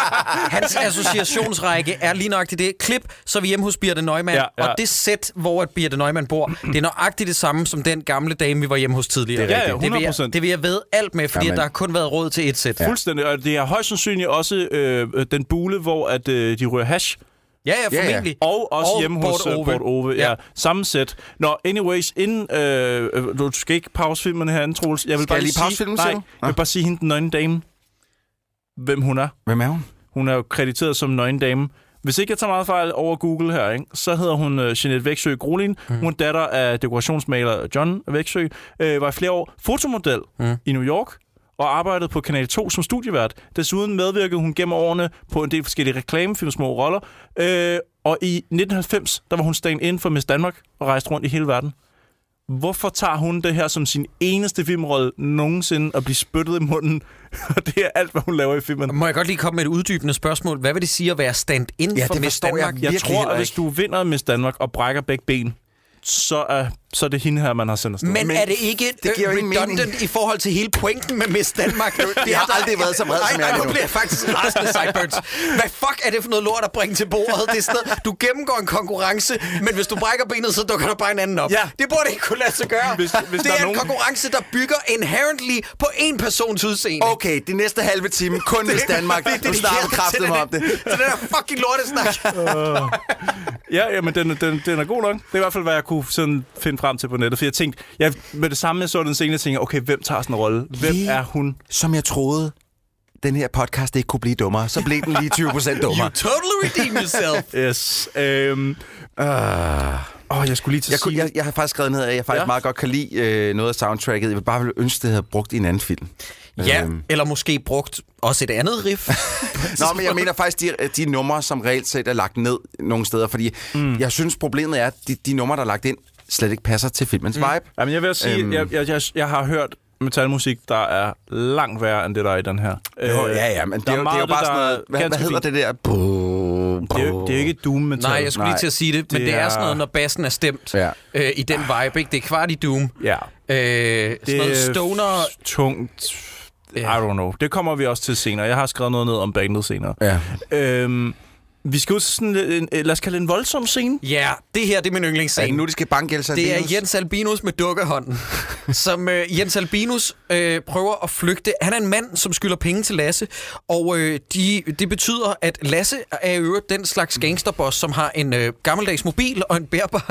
S1: Hans associationsrække er lige nøjagtigt det klip, så er vi hjemme hos Birte Neumann.
S2: Ja,
S1: Ja,
S2: ja.
S1: ja. Og det sæt, hvor at Birte Neumann bor, det er nøjagtigt det samme som den gamle dame, vi var hjemme hos tidligere.
S2: Det er Ja, rigtigt. ja,
S1: Det vil, jeg,
S2: 100%.
S1: det vil jeg ved alt med, fordi
S3: Jamen.
S1: Jamen. der har kun været råd til et sæt.
S2: Ja.
S1: Ja,
S2: Fuldstændig, og det er højst sandsynligt også øh, den bule, hvor at, øh, de ryger hash,
S1: ja, ja
S3: ja.
S1: formentlig.
S2: og også
S1: Og
S2: hjemme hos
S1: Bård
S2: øh,
S1: Ove.
S2: Bård Ove. Ja. ja.
S1: Ja.
S2: Samme sæt. Nå, anyways, inden... Øh, øh, du skal ikke pause filmen her, Troels. Jeg vil
S3: Skal
S2: bare
S3: jeg lige
S2: sige,
S3: pause filmen,
S2: Nej,
S3: siger
S2: jeg
S3: du? Nå.
S2: vil bare sige hende den nøgne dame, hvem hun er.
S3: Hvem er hun?
S2: Hun er jo krediteret som nøgen dame. Hvis ikke jeg tager meget fejl over Google her, ikke, så hedder hun øh, Jeanette Væksø Grolin. Mm. Hun er datter af dekorationsmaler John Væksø. Øh, var i flere år fotomodel mm. i New York og arbejdede på Kanal 2 som studievært. Desuden medvirkede hun gennem årene på en del forskellige reklamefilm, små roller. Øh, og i 1990, der var hun stand in for Miss Danmark og rejste rundt i hele verden. Hvorfor tager hun det her som sin eneste filmrolle nogensinde at blive spyttet i munden? Og det er alt, hvad hun laver i filmen.
S1: Må jeg godt lige komme med et uddybende spørgsmål? Hvad vil det sige at være stand-in
S3: Ja,
S1: for
S3: det
S1: Miss
S3: forstår jeg
S1: Danmark?
S2: Jeg
S3: Virkelig
S2: tror,
S3: heller
S2: at hvis
S3: ikke.
S2: du vinder Miss Danmark og brækker begge ben, så er, så er det hende her, man har sendt afsted.
S1: Men, men er det ikke det
S3: giver
S1: giver
S3: jo ingen
S1: redundant
S3: mening.
S1: i forhold til hele pointen med Miss Danmark? Det
S3: har aldrig været så vred, som jeg
S1: er
S3: er lige
S1: nu.
S3: nu.
S1: bliver jeg faktisk rasende sideburns. Hvad fuck er det for noget lort at bringe til bordet? Det er sådan noget, du gennemgår en konkurrence, men hvis du brækker benet, så dukker der bare en anden op.
S2: Ja.
S1: Det burde ikke kunne lade sig gøre.
S2: Hvis- hvis
S1: det
S2: der er
S1: er en
S2: nogen-
S1: konkurrence, der bygger inherently på en persons udseende.
S3: Okay, det næste halve time, kun hvis Danmark.
S1: det er
S3: Du snakker kraftet mig om det.
S1: Så det der fucking lortesnak.
S2: Ja, ja, men den, den, den er god nok. Det er i hvert fald, hvad jeg kunne sådan finde frem til på nettet. For jeg tænkte, jeg, med det samme, jeg så den scene, jeg tænkte, okay, hvem tager sådan en rolle? Hvem
S3: Lige-
S2: er hun?
S3: Som jeg troede, den her podcast ikke kunne blive dummere, så blev den lige 20 procent dummere.
S1: You totally redeem yourself.
S2: Yes. Øhm,
S3: Ah.
S2: åh, jeg skulle lige til at
S3: Jeg,
S2: sige...
S3: kunne, jeg, jeg har faktisk skrevet ned, at jeg faktisk
S2: Ja.
S3: ja. meget godt kan lide øh, noget af soundtracket. Jeg vil bare ville ønske, det havde brugt i en anden film.
S1: Ja,
S3: Øhm.
S1: eller måske brugt også et andet riff.
S2: Altså,
S3: Nå, men jeg mener faktisk, de, de numre, som reelt set er lagt ned nogle steder, fordi mm. jeg synes, problemet er, at de, de numre, der er lagt ind, slet ikke passer til filmens mm. vibe.
S2: Jamen, jeg vil også sige,
S3: Øhm.
S2: jeg, jeg, jeg, jeg har hørt metalmusik, der er langt værre end det, der er i den her.
S3: Jo,
S2: Øh,
S3: ja, ja, men det
S2: der
S3: er, jo, det
S2: meget
S3: er jo bare
S2: der
S3: sådan noget... Hvad, hvad
S2: ganske
S3: hedder
S2: fint.
S3: det der? Boom,
S2: Det er, jo, det er jo ikke doom metal.
S1: Nej, jeg skulle lige til at sige det, men
S2: Det
S1: det, det er,
S2: er-
S1: er sådan noget, når bassen er stemt
S3: Ja.
S1: ja. øh, i den vibe, ikke? Det er kvart i Doom.
S2: Ja.
S1: Øh, det sådan noget stoner...
S2: tungt. I
S1: Ja.
S2: don't know. Det kommer vi også til senere. Jeg har skrevet noget ned om bandet senere.
S3: Ja.
S2: Øhm, vi skal ud til sådan en, en, lad os kalde det en voldsom scene.
S1: Ja, det her det er min
S3: Er
S1: yndlingsscene.
S3: det nu, de skal banke Elsa
S1: Det er
S3: Albinus?
S1: Jens Albinus med dukkehånden, som øh, Jens Albinus øh, prøver at flygte. Han er en mand, som skylder penge til Lasse, og øh, de, det betyder, at Lasse er i øvrigt den slags gangsterboss, som har en øh, gammeldags mobil og en bærbar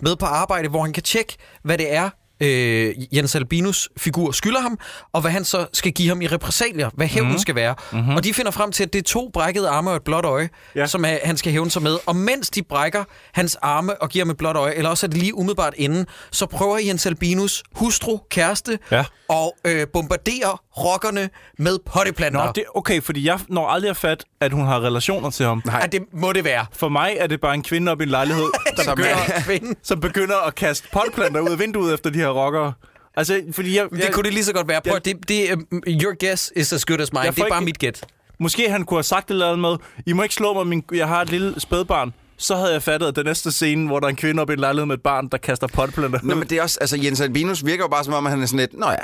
S1: med på arbejde, hvor han kan tjekke, hvad det er, øh, Jens Albinus figur skylder ham, og hvad han så skal give ham i repressalier, hvad hævnen
S2: Mhm.
S1: mm. skal være. Mm-hmm. Og de finder frem til, at det er to brækkede arme og et blåt øje,
S2: Ja.
S1: ja. som øh, han skal hævne sig med. Og mens de brækker hans arme og giver ham et blåt øje, eller også er det lige umiddelbart inden, så prøver Jens Albinus hustru, kæreste,
S2: Ja.
S1: og øh, bombarderer rockerne med potteplanter.
S2: Nå, det, okay, fordi jeg når aldrig at fat, at hun har relationer til ham.
S1: Ja, det må det være.
S2: For mig er det bare en kvinde op i en lejlighed, der
S1: Som
S2: begynder,
S1: er en kvinde.
S2: som begynder at kaste potplanter ud af vinduet efter de her rockere. Altså, fordi jeg, jeg,
S1: Det kunne det lige så godt være. Prøv, at- det, det, um, your guess is as good as mine.
S2: Jeg
S1: Det
S2: får
S1: er bare
S2: ikke-
S1: mit gæt.
S2: Måske han kunne have sagt det eller andet med, I må ikke slå mig, min, jeg har et lille spædbarn. Så havde jeg fattet, at den næste scene, hvor der er en kvinde op i en lejlighed med et barn, der kaster potplanter
S3: Nå,
S2: ud.
S3: men det er også, altså Jens Albinus virker jo bare som om, at han er sådan lidt, nå ja,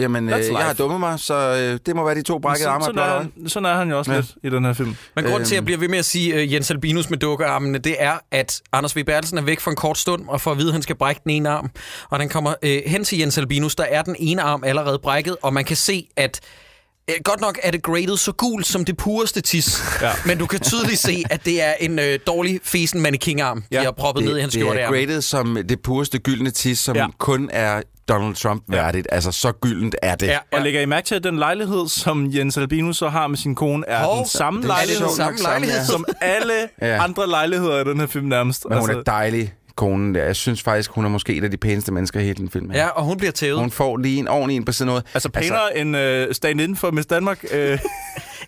S3: jamen øh,
S2: life."
S3: jeg har dummet mig, så øh, det må være de to brækkede
S2: sådan,
S3: arme. og
S2: sådan,
S3: blåt
S2: er
S3: øje.
S2: han, sådan er han jo også
S3: Ja.
S2: ja. lidt i den her film.
S1: Men grunden
S3: Øhm.
S1: til, at jeg bliver ved med at sige uh, Jens Albinus med dukkearmene, det er, at Anders V. Bertelsen er væk for en kort stund, og for at vide, at han skal brække den ene arm. Og den kommer uh, hen til Jens Albinus, der er den ene arm allerede brækket, og man kan se, at øh, Godt nok er det graded så gult som det pureste tis, ja.
S2: Ja.
S1: men du kan tydeligt se, at det er en øh, dårlig fesen mannequin-arm, ja. de har proppet ned i hans
S3: det er
S1: skjortearm.
S3: graded som det pureste gyldne tis, som ja.
S2: Ja.
S3: kun er Donald Trump værdigt. Ja. Altså, så gyldent er det.
S1: Ja,
S2: Og lægger I mærke til, at den lejlighed, som Jens Albinus så har med sin kone, er
S1: Hov,
S2: den samme
S3: det er
S2: lejlighed,
S3: sjovt nok
S1: samme
S3: samme,
S1: lejlighed.
S3: ja.
S2: som alle
S3: Ja.
S2: ja. andre lejligheder i den her film nærmest. Altså,
S3: Men hun er dejlig, konen der. Jeg synes faktisk, hun er måske et af de pæneste mennesker i hele den film. her.
S1: Ja, og hun bliver tævet.
S3: Hun får lige en ordentlig en på sådan noget.
S2: altså pænere altså, end øh, stand inden for Miss Danmark. Øh,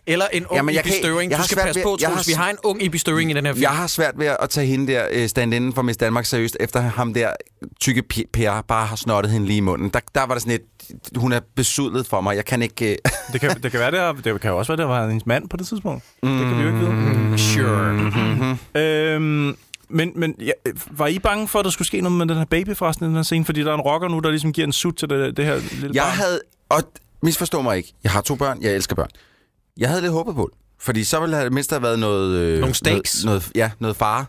S1: Eller en ung Jamen,
S3: Jamen, jeg kan
S1: Ibi
S3: ikke-
S1: Støvring.
S3: jeg
S1: Du
S3: har
S1: skal
S3: svært
S1: passe
S3: ved-
S1: på,
S3: jeg har
S1: Troels. Vi
S3: s-
S1: har en ung Ibi Støvring i den her film.
S3: Altså, Jeg har svært ved at tage hende der øh, stand inden for Miss Danmark seriøst, efter ham der tykke P- Per bare har snottet hende lige i munden. Der, der var det sådan et, hun er besudlet for mig. Jeg kan ikke... Øh,
S2: det, kan, det, kan være, det, har, det kan jo også være, det var hendes mand på det tidspunkt. Det kan vi jo ikke vide.
S3: Mm-hmm.
S1: Mm-hmm. Sure.
S2: Mm-hmm. Øhm, men men ja, var I bange for, at der skulle ske noget med den her baby forresten i den her scene? Fordi der er en rocker nu, der ligesom giver en sut til det, det her lille
S3: jeg
S2: barn.
S3: havde... Og misforstå mig ikke. Jeg har to børn. Jeg elsker børn. Jeg havde lidt håbet på det. Fordi så ville der mindst have været noget... Øh,
S1: Nogle stakes.
S3: Noget, noget, ja, noget fare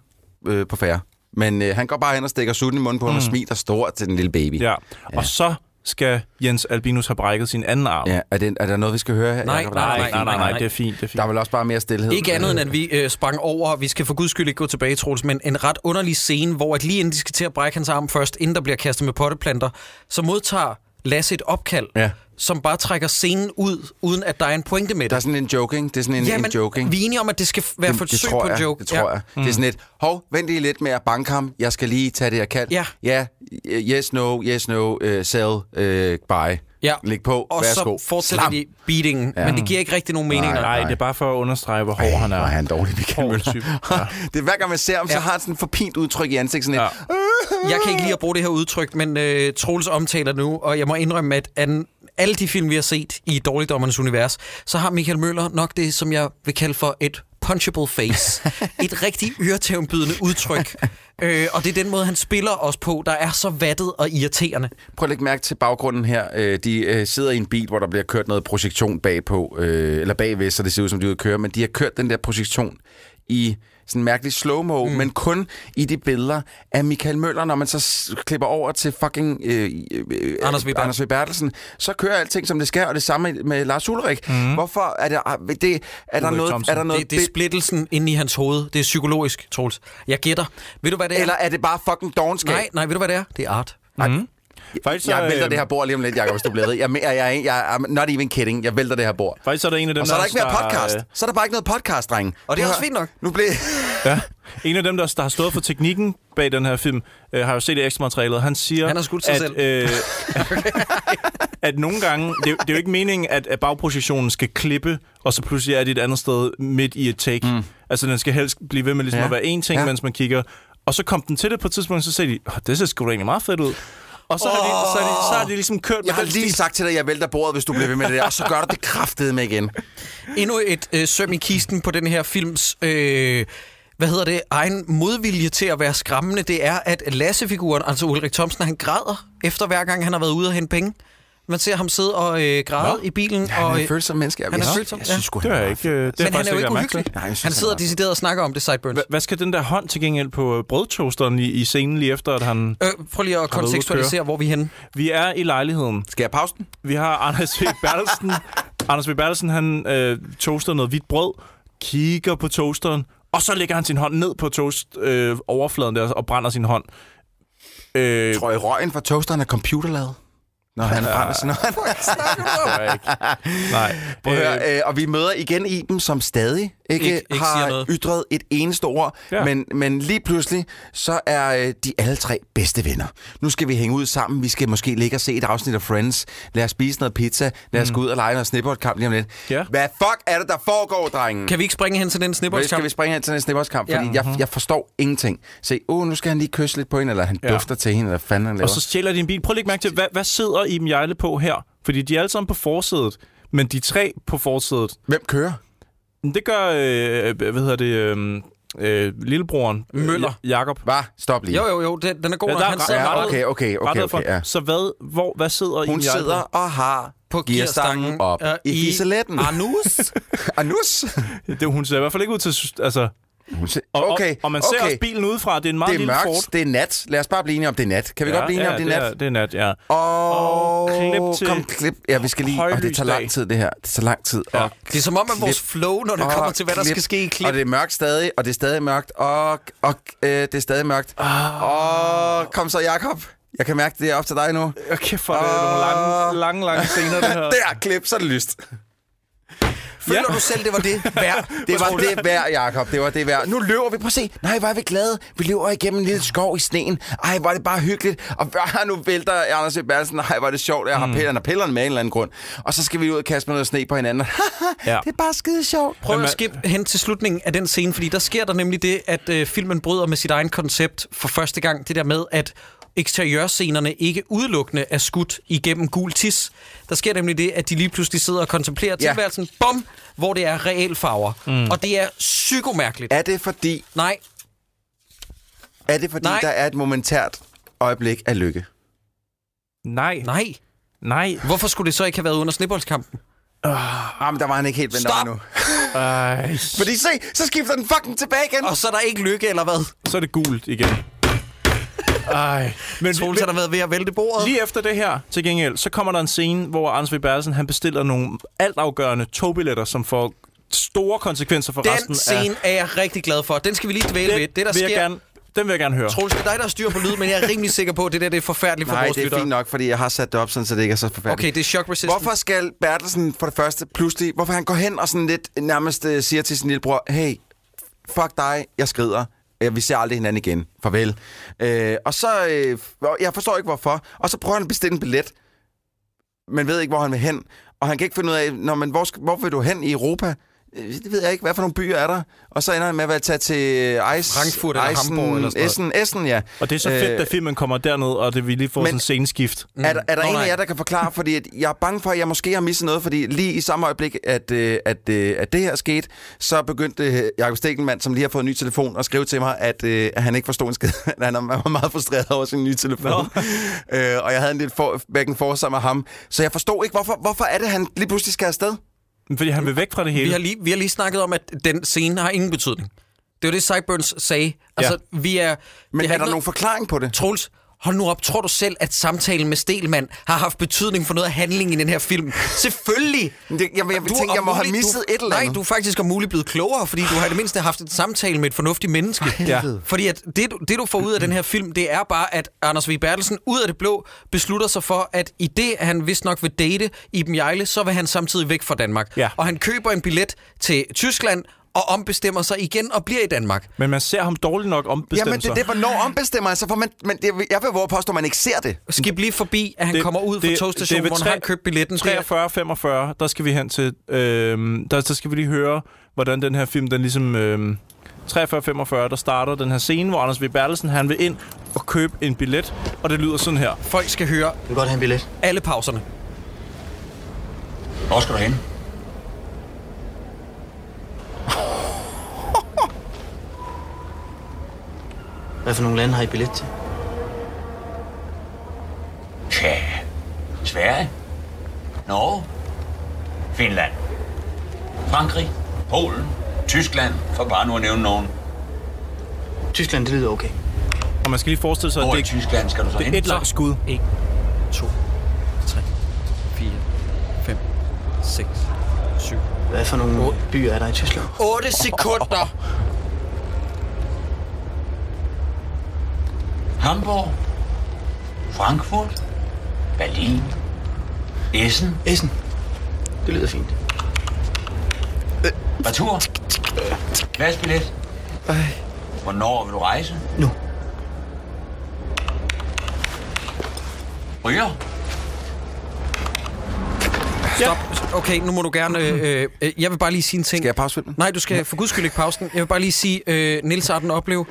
S3: øh, på færre. Men øh, han går bare hen og stikker sutten i munden på mm. ham og smiler stort til den lille baby.
S2: Ja. ja. Og så skal Jens Albinus have brækket sin anden arm.
S3: ja er, det, er der noget, vi skal høre her?
S1: Nej,
S3: Jacob?
S1: nej,
S2: Nej, nej, nej,
S1: nej,
S2: nej,
S1: nej.
S2: det er fint, det er fint.
S3: Der er vel også bare mere stillhed.
S1: Ikke andet end, at vi øh, sprang over, vi skal for guds skyld ikke gå tilbage, Troels, men en ret underlig scene, hvor at lige inden de skal til at brække hans arm først, inden der bliver kastet med potteplanter, så modtager Lasse et opkald,
S3: Ja.
S1: som bare trækker scenen ud, uden at der er en pointe med det.
S3: Der er sådan en joking. Det er sådan en, en joking.
S1: vi er enige om, at det skal f- være det,
S3: Det-
S1: forsøg
S3: det tror
S1: på en
S3: jeg,
S1: joke.
S3: Det tror jeg. Det er sådan lidt, hov, vent lige lidt med at banke ham. Jeg skal lige tage det, jeg kan.
S1: Ja.
S3: Ja, yes, no, yes, no, uh, sell, uh, buy.
S1: Ja.
S3: Læg på,
S1: Og
S3: værsgo.
S1: så fortsætter
S3: Slam.
S1: de beatingen, ja. men det giver ikke rigtig nogen mening.
S2: Nej, det er bare for at understrege, hvor hård han er.
S3: Hvor er han dårlig, Michael
S2: Hård
S3: Møller.
S2: type.
S3: Ja. det er hver gang, man ser ham, så
S1: Ja.
S3: har han sådan en forpint udtryk i ansigtet. Sådan ja.
S1: Jeg kan ikke lide at bruge det her udtryk, men øh, Troels omtaler det nu, og jeg må indrømme, at an, alle de film, vi har set i Dårligdommernes Univers, så har Michael Møller nok det, som jeg vil kalde for et punchable face. et rigtig øretævnbydende udtryk. Øh, og det er den måde, han spiller os på, der er så vattet og irriterende.
S3: Prøv at lægge mærke til baggrunden her. Øh, De øh, sidder i en bil, hvor der bliver kørt noget projektion bagpå, øh, eller bagved, så det ser ud som, de er ude at køre, men de har kørt den der projektion i sådan en mærkelig slow-mo, mm. men kun i de billeder af Michael Møller, når man så s- klipper over til fucking øh, øh,
S1: Anders V. Bertelsen.
S3: Anders v. Bertelsen, så kører alting, som det skal, og det samme med Lars Ulrik. Mm. Hvorfor er der, er det, er der
S2: Ulrik
S3: noget, er
S2: Thomsen.
S3: der noget
S1: Det, det er splittelsen inde i hans hoved. Det er psykologisk, Troels. Jeg gætter. Ved du, hvad det er?
S3: eller er det bare fucking dogenskab?
S1: Nej, nej, ved du, hvad det er? Det er art.
S2: Faktisk, så,
S3: Jeg vælter
S2: øh,
S3: det her bord lige om lidt, Jacob, hvis du bliver ved. Jeg, jeg, jeg, jeg, jeg, I'm not even kidding. Jeg vælter det her bord.
S2: Faktisk så er der en af dem,
S3: Og så er der
S2: der,
S3: ikke mere
S2: der-
S3: podcast. Så er der bare ikke noget podcast, drenge.
S1: øh, Og det er
S3: Nu
S1: også
S3: har-
S1: fint nok.
S3: Nu blev...
S2: Ja. En af dem, der, der har stået for teknikken bag den her film, øh, har jo set det ekstra materialet. Han siger,
S1: Han har skudt sig
S2: at,
S1: selv.
S2: Øh, at nogle gange, det, er jo- det er jo ikke meningen, at, at bagprojektionen skal klippe, og så pludselig er det et andet sted midt i et take. Mm. Altså, den skal helst blive ved med ligesom
S3: Ja.
S2: ja. at være én ting,
S3: Ja.
S2: ja. mens man kigger. Og så kom den til det på et tidspunkt, og så sagde de, oh, det ser sgu da egentlig meget fedt ud. Og så, oh. har de, så, har de, så har de ligesom kørt med
S3: Jeg har
S2: den
S3: lige
S2: stil.
S3: sagt til dig, at jeg vælter bordet, hvis du bliver ved med det der. Og så gør du det kraftede med igen.
S1: endnu et øh, søm i kisten på den her films... Øh, hvad hedder det? Egen modvilje til at være skræmmende, det er, at Lasse-figuren, altså Ulrik Thomsen, han græder efter hver gang, han har været ude og hente penge. Man ser ham sidde og øh, græde i bilen.
S3: Han
S1: og,
S3: er
S1: øh,
S3: en følsom menneske. Jeg,
S1: han er
S3: vidste-
S1: følsom,
S3: Jeg
S1: ja.
S3: synes sgu,
S2: Det er
S3: han
S2: jeg
S3: var-
S2: ikke. øh, Det er
S1: men han
S2: faktisk
S1: er jo ikke
S2: lagt mærke til.
S1: uhyggelig.
S3: Nej, jeg synes,
S1: han
S3: han
S1: sidder
S3: er meget-
S1: decideret og snakker om det, Sideburns. Øh,
S2: Hva- Hvad skal den der hånd til gengæld på øh, brødtoasteren i, i scenen lige efter, at han...
S1: Øh, prøv lige at
S2: køre?
S1: kontekstualisere, hvor vi er henne.
S3: Mm.
S2: Vi er i lejligheden.
S3: Skal jeg pause den?
S2: Vi har Anders V. Bertelsen. Anders V. Bertelsen, han øh, toaster noget hvidt brød, kigger på toasteren, og så lægger han sin hånd ned på toast-overfladen øh, overfladen der, og brænder sin hånd. Øh,
S3: Tror I, røgen fra toasteren er computerlavet? Når han brænder sådan noget.
S2: Nej.
S3: Prøv at
S2: Øh,
S3: øh, høre, øh, og vi møder igen Iben, som stadig
S1: Ikke-
S3: ikke, ikke
S1: ikke siger
S3: har
S1: noget.
S3: ytret et eneste ord,
S2: Ja.
S3: ja. men, men lige pludselig, så er øh, de alle tre bedste venner. Nu skal vi hænge ud sammen, vi skal måske ligge og se et afsnit af Friends, lad os spise noget pizza, lad os gå ud og lege noget snibboldkamp lige om lidt.
S2: Mm. Ja.
S3: Hvad fuck er det, der foregår, drengen?
S1: Kan vi ikke springe hen til den
S3: Hvad skal vi
S1: snibboldskamp?
S3: springe hen til den snibboldskamp?
S1: Ja.
S3: Fordi
S2: Mm-hmm.
S3: jeg, jeg forstår ingenting. Se, åh, oh, nu skal han lige kysse lidt på hende, eller han
S2: Ja.
S3: ja. dufter til hende, eller hvad fanden han laver.
S2: Og så stjæler din bil. Prøv at lægge mærke til, hvad, hvad sidder Iben Jejle på her? Fordi de er alle sammen på forsædet, men de er tre på forsædet.
S3: Hvem kører?
S2: Men Det gør, øh, hvad hedder det, øh, øh, lillebroren.
S1: Møller.
S2: Ja, Jakob.
S3: Hvad? Stop lige.
S1: Jo, jo, jo, den, den er god,
S2: Ja,
S1: ja,
S2: der er
S1: han
S2: ret-
S1: sidder
S2: ja,
S1: rettet-
S3: Ja, okay, okay, okay,
S2: Rettet for.
S3: okay ja.
S2: Så hvad, hvor, hvad sidder
S3: Hun
S2: Iben Jejle
S3: sidder
S2: på?
S3: og har
S1: på gearstangen
S3: gearstangen op
S1: øh,
S3: i fiseletten.
S1: Anus.
S3: Anus?
S2: Det, hun ser i hvert fald ikke ud til... sy- Altså,
S3: Hun se-
S2: og,
S3: Okay,
S2: og, og man ser
S3: okay.
S2: også bilen udefra. Det er en meget
S3: Det er
S2: lille
S3: mørkt,
S2: Ford.
S3: det er nat. Lad os bare blive enige om, det er nat. Kan vi godt blive enige
S2: ja,
S3: om, det er
S2: Ja,
S3: nat?
S2: det er nat, ja.
S3: Og
S2: klip til
S3: kom klip. Ja, vi skal lige... Og det tager
S2: højlysdag.
S3: lang tid, det her. Det tager lang tid.
S2: Ja.
S3: Og
S1: Det er som om, at vores flow, når det
S3: og
S1: kommer til, hvad der
S3: klip.
S1: skal ske i klip.
S3: Og det er mørkt stadig, og det er stadig mørkt, og, og øh, det er stadig mørkt. Og kom så, Jakob. Jeg kan mærke, det er op til dig nu.
S2: Okay, for det er nogle lange, lange, lange scener, det her.
S3: Der, klip, så er Ah. det lyst.
S1: Føler du selv, det var det værd?
S3: Det var det værd, Jakob. Det var det værd. Nu løber vi. Prøv at se. Nej, hvor er vi glade. Vi løber igennem en lille skov i sneen. Ej, hvor er det bare hyggeligt. Og ah, nu vælter Anders E. Bertelsen. Nej, hvor er det sjovt. Jeg har
S1: Mm.
S3: pillerne og pillerne med af en eller anden grund. Og så skal vi ud og kaste med noget sne på hinanden.
S2: Ja.
S3: ja. Det er bare skide sjovt.
S1: Prøv
S2: Men
S1: at
S2: man-
S1: skip hen til slutningen af den scene, fordi der sker der nemlig det, at øh, filmen bryder med sit egen koncept for første gang. Det der med, at eksteriørscenerne ikke udelukkende er skudt igennem gul tis. Der sker nemlig det, at de lige pludselig sidder og kontemplerer
S3: Ja.
S1: tilværelsen, bom, hvor det er realfarver. Mm. Og det er psykomærkeligt.
S3: Er det fordi,
S1: Nej,
S3: er det fordi
S1: Nej.
S3: der er et momentært øjeblik af lykke?
S2: Nej, nej,
S1: nej.
S2: nej.
S1: Hvorfor skulle det så ikke have været under snibboldskampen?
S3: Jamen, Ah, der var han ikke helt vendt over
S1: Stop!
S3: nu.
S2: Ej,
S3: Fordi se, så skifter den fucking tilbage igen.
S1: Og så er der ikke lykke, eller hvad?
S2: så er det gult igen. Ej. Men,
S1: Troels har der været ved at vælte bordet.
S2: Lige efter det her, til gengæld, så kommer der en scene, hvor Anders V. Bertelsen, han bestiller nogle altafgørende togbilletter, som får store konsekvenser for resten
S1: Den
S2: af...
S1: scene er jeg rigtig glad for. Den skal vi lige dvæle ved.
S2: Den,
S1: Det, der
S2: vil jeg
S1: sker...
S2: gerne, den vil jeg gerne høre.
S1: Troels, det er dig, der styrer på lyd, men jeg er rimelig sikker på, at det der det er forfærdeligt for
S3: Nej,
S1: vores
S3: det er
S1: lyttere.
S3: fint nok, fordi jeg har sat det op, sådan, så det ikke er så forfærdeligt.
S1: Okay, det er shock resistant.
S3: Hvorfor skal Bertelsen for det første pludselig, hvorfor han går hen og sådan lidt nærmest øh, siger til sin lillebror, hey, fuck dig, jeg skrider. Øh, Vi ser aldrig hinanden igen. Farvel. Øh, og så, øh, og jeg forstår ikke hvorfor. Og så prøver han at bestille en billet, men ved ikke, hvor han vil hen. Og han kan ikke finde ud af, Nå, men hvor, skal- hvor vil du hen i Europa? Øh, Det ved jeg ikke, hvad for nogle byer er der? Og så ender han med at være- tage til øh, Eis,
S1: Frankfurt eller Hamburg eller sådan noget.
S3: Essen, Essen, ja.
S2: Og det er så fedt, øh, at filmen kommer derned, og det vi lige får
S3: men-
S2: sådan en sceneskift.
S3: Mm. Er, der- er der
S1: Nå,
S3: en af
S1: nej.
S3: jer, der kan forklare? Fordi at jeg er bange for, at jeg måske har misset noget, fordi lige i samme øjeblik, at, øh, at, øh, at det her skete, så begyndte øh, Jakob Stegelmann, som lige har fået en ny telefon, at skrive til mig, at, øh, at han ikke forstod en skid. At han var meget frustreret over sin nye telefon. øh, og jeg havde en lidt for, bækken for sammen med ham. Så jeg forstod ikke, hvorfor, hvorfor er det, han lige pludselig skal afsted?
S2: Fordi han vil væk fra det hele.
S1: Vi har, lige, vi har lige snakket om, at den scene har ingen betydning. Det var det, Sideburns sagde. Altså, ja. vi er...
S3: Men
S1: det har
S3: er der
S1: ikke
S3: nogen
S1: noget-
S3: forklaring på det?
S1: Troels, hold nu op. Tror du selv, at samtalen med Stelman har haft betydning for noget af handlingen i den her film? Selvfølgelig!
S3: Men det- jamen, jeg
S1: Du er
S3: tænker, jeg
S1: om
S3: må have
S1: muligt-
S3: misset
S1: du,
S3: et eller andet.
S1: Nej, du er faktisk om muligt blevet klogere, fordi du har i det mindste haft en samtale med et fornuftigt menneske.
S2: Ja.
S1: Fordi at det, du- det, du får ud af den her film, det er bare, at Anders V. Bertelsen ud af det blå beslutter sig for, at i det, han vist nok vil date Iben Jejle, så vil han samtidig væk fra Danmark.
S2: Ja.
S1: Og han køber en billet til Tyskland og ombestemmer sig igen og bliver i Danmark.
S2: Men man ser ham dårligt nok ombestemme
S3: Jamen, det
S2: sig.
S3: er det, hvornår ombestemmer jeg sig? For man, men det, jeg vil våge at påstå, at man ikke ser det.
S1: Skib lige forbi, at han kommer ud fra togstationen,
S2: ved
S1: hvor han
S2: tre-
S1: har købt billetten. Det er-
S2: 43-45, der skal vi hen til... Øhm, der, der skal vi lige høre, hvordan den her film, den ligesom... Øhm, 43-45, der starter den her scene, hvor Anders V. Bertelsen, han vil ind og købe en billet, og det lyder sådan her.
S1: Folk skal høre
S4: Du vil godt have en billet.
S1: alle pauserne.
S4: Hvor skal du hen?
S9: Hvad for nogle lande har I billet til?
S4: Tja, Sverige. Norge. Finland. Frankrig. Polen. Tyskland, for bare nu at nævne nogen.
S9: Tyskland, det lyder okay.
S2: Og man skal lige forestille sig, at
S4: Hvor
S2: det
S4: i
S2: ikke
S4: Tyskland skal du så hen?
S2: et langt skud.
S1: 1, 2, 3, 4, 5, 6, 7.
S9: Hvad for nogle byer er der i Tyskland?
S1: 8 sekunder!
S4: Hamburg. Frankfurt. Berlin. Essen.
S9: Essen. Det lyder fint.
S4: Retur. Glasbillet. Hvornår vil du rejse?
S9: Nu.
S4: Ryger?
S1: Stop. Okay, nu må du gerne... Øh, øh, jeg vil bare lige sige en ting. Skal jeg pause Nej, du skal for guds skyld ikke pause den. Jeg vil bare lige sige, øh, Nils Arden Oplev,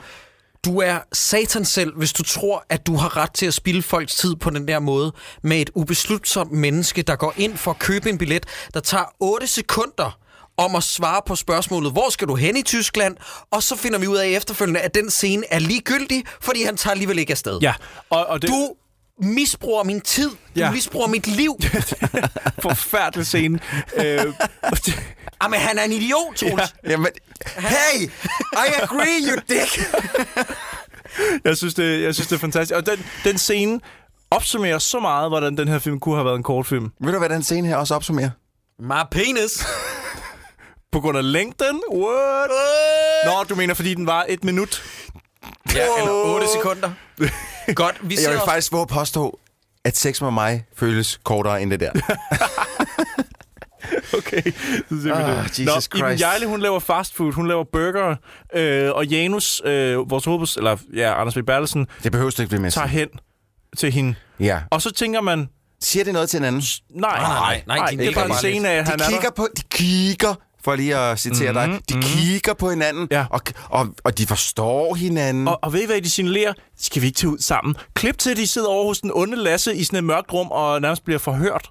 S1: du er satan selv, hvis du tror, at du har ret til at spille folks tid på den der måde med et ubeslutsomt menneske, der går ind for at købe en billet, der tager 8 sekunder om at svare på spørgsmålet, hvor skal du hen i Tyskland? Og så finder vi ud af efterfølgende, at den scene er ligegyldig, fordi han tager alligevel ikke afsted.
S2: Ja, og, og det...
S1: Du misbruger min tid. Du
S2: Ja.
S1: misbruger mit liv.
S2: Forfærdelig scene. øh,
S1: Jamen, han er en idiot, Troels.
S3: Ja. Jamen, hey! I agree, you dick!
S2: jeg, synes, det, jeg synes, det er fantastisk. Og den, den scene opsummerer så meget, hvordan den her film kunne have været en kortfilm.
S3: Ved du, hvad den scene her også opsummerer?
S1: My penis.
S2: På grund af længden? What? Nå, du mener, fordi den var et minut?
S1: Ja, eller 8 sekunder. Godt, vi
S3: Jeg
S1: ser
S3: vil
S1: os.
S3: faktisk våge at påstå, at sex med mig føles kortere end det der.
S2: Okay. Så ser vi
S3: Ah,
S2: det.
S3: Jesus
S2: Nå, Iben
S3: Christ.
S2: Jejle, hun laver fast food, hun laver burger, øh, og Janus, øh, vores hovedbus, eller ja, Anders B. Bertelsen,
S3: Det behøver du ikke blive med.
S2: tager hen til hende.
S3: Ja.
S2: Og så tænker man,
S3: Siger det noget til hinanden?
S2: nej,
S1: nej, nej, nej, de
S2: det er
S1: nikker
S2: bare
S1: bare
S2: en
S1: lidt.
S2: scene af, at han
S3: de
S2: er
S3: kigger
S2: der. Mhm,
S3: på, de kigger, for lige at citere mm-hmm, dig, de mm-hmm. kigger på hinanden,
S2: Ja.
S3: og, og, og de forstår hinanden.
S2: Og, og ved I, hvad de signalerer? Skal vi ikke tage ud sammen? Klip til, at de sidder over hos den onde Lasse i sådan et mørkt rum og nærmest bliver forhørt.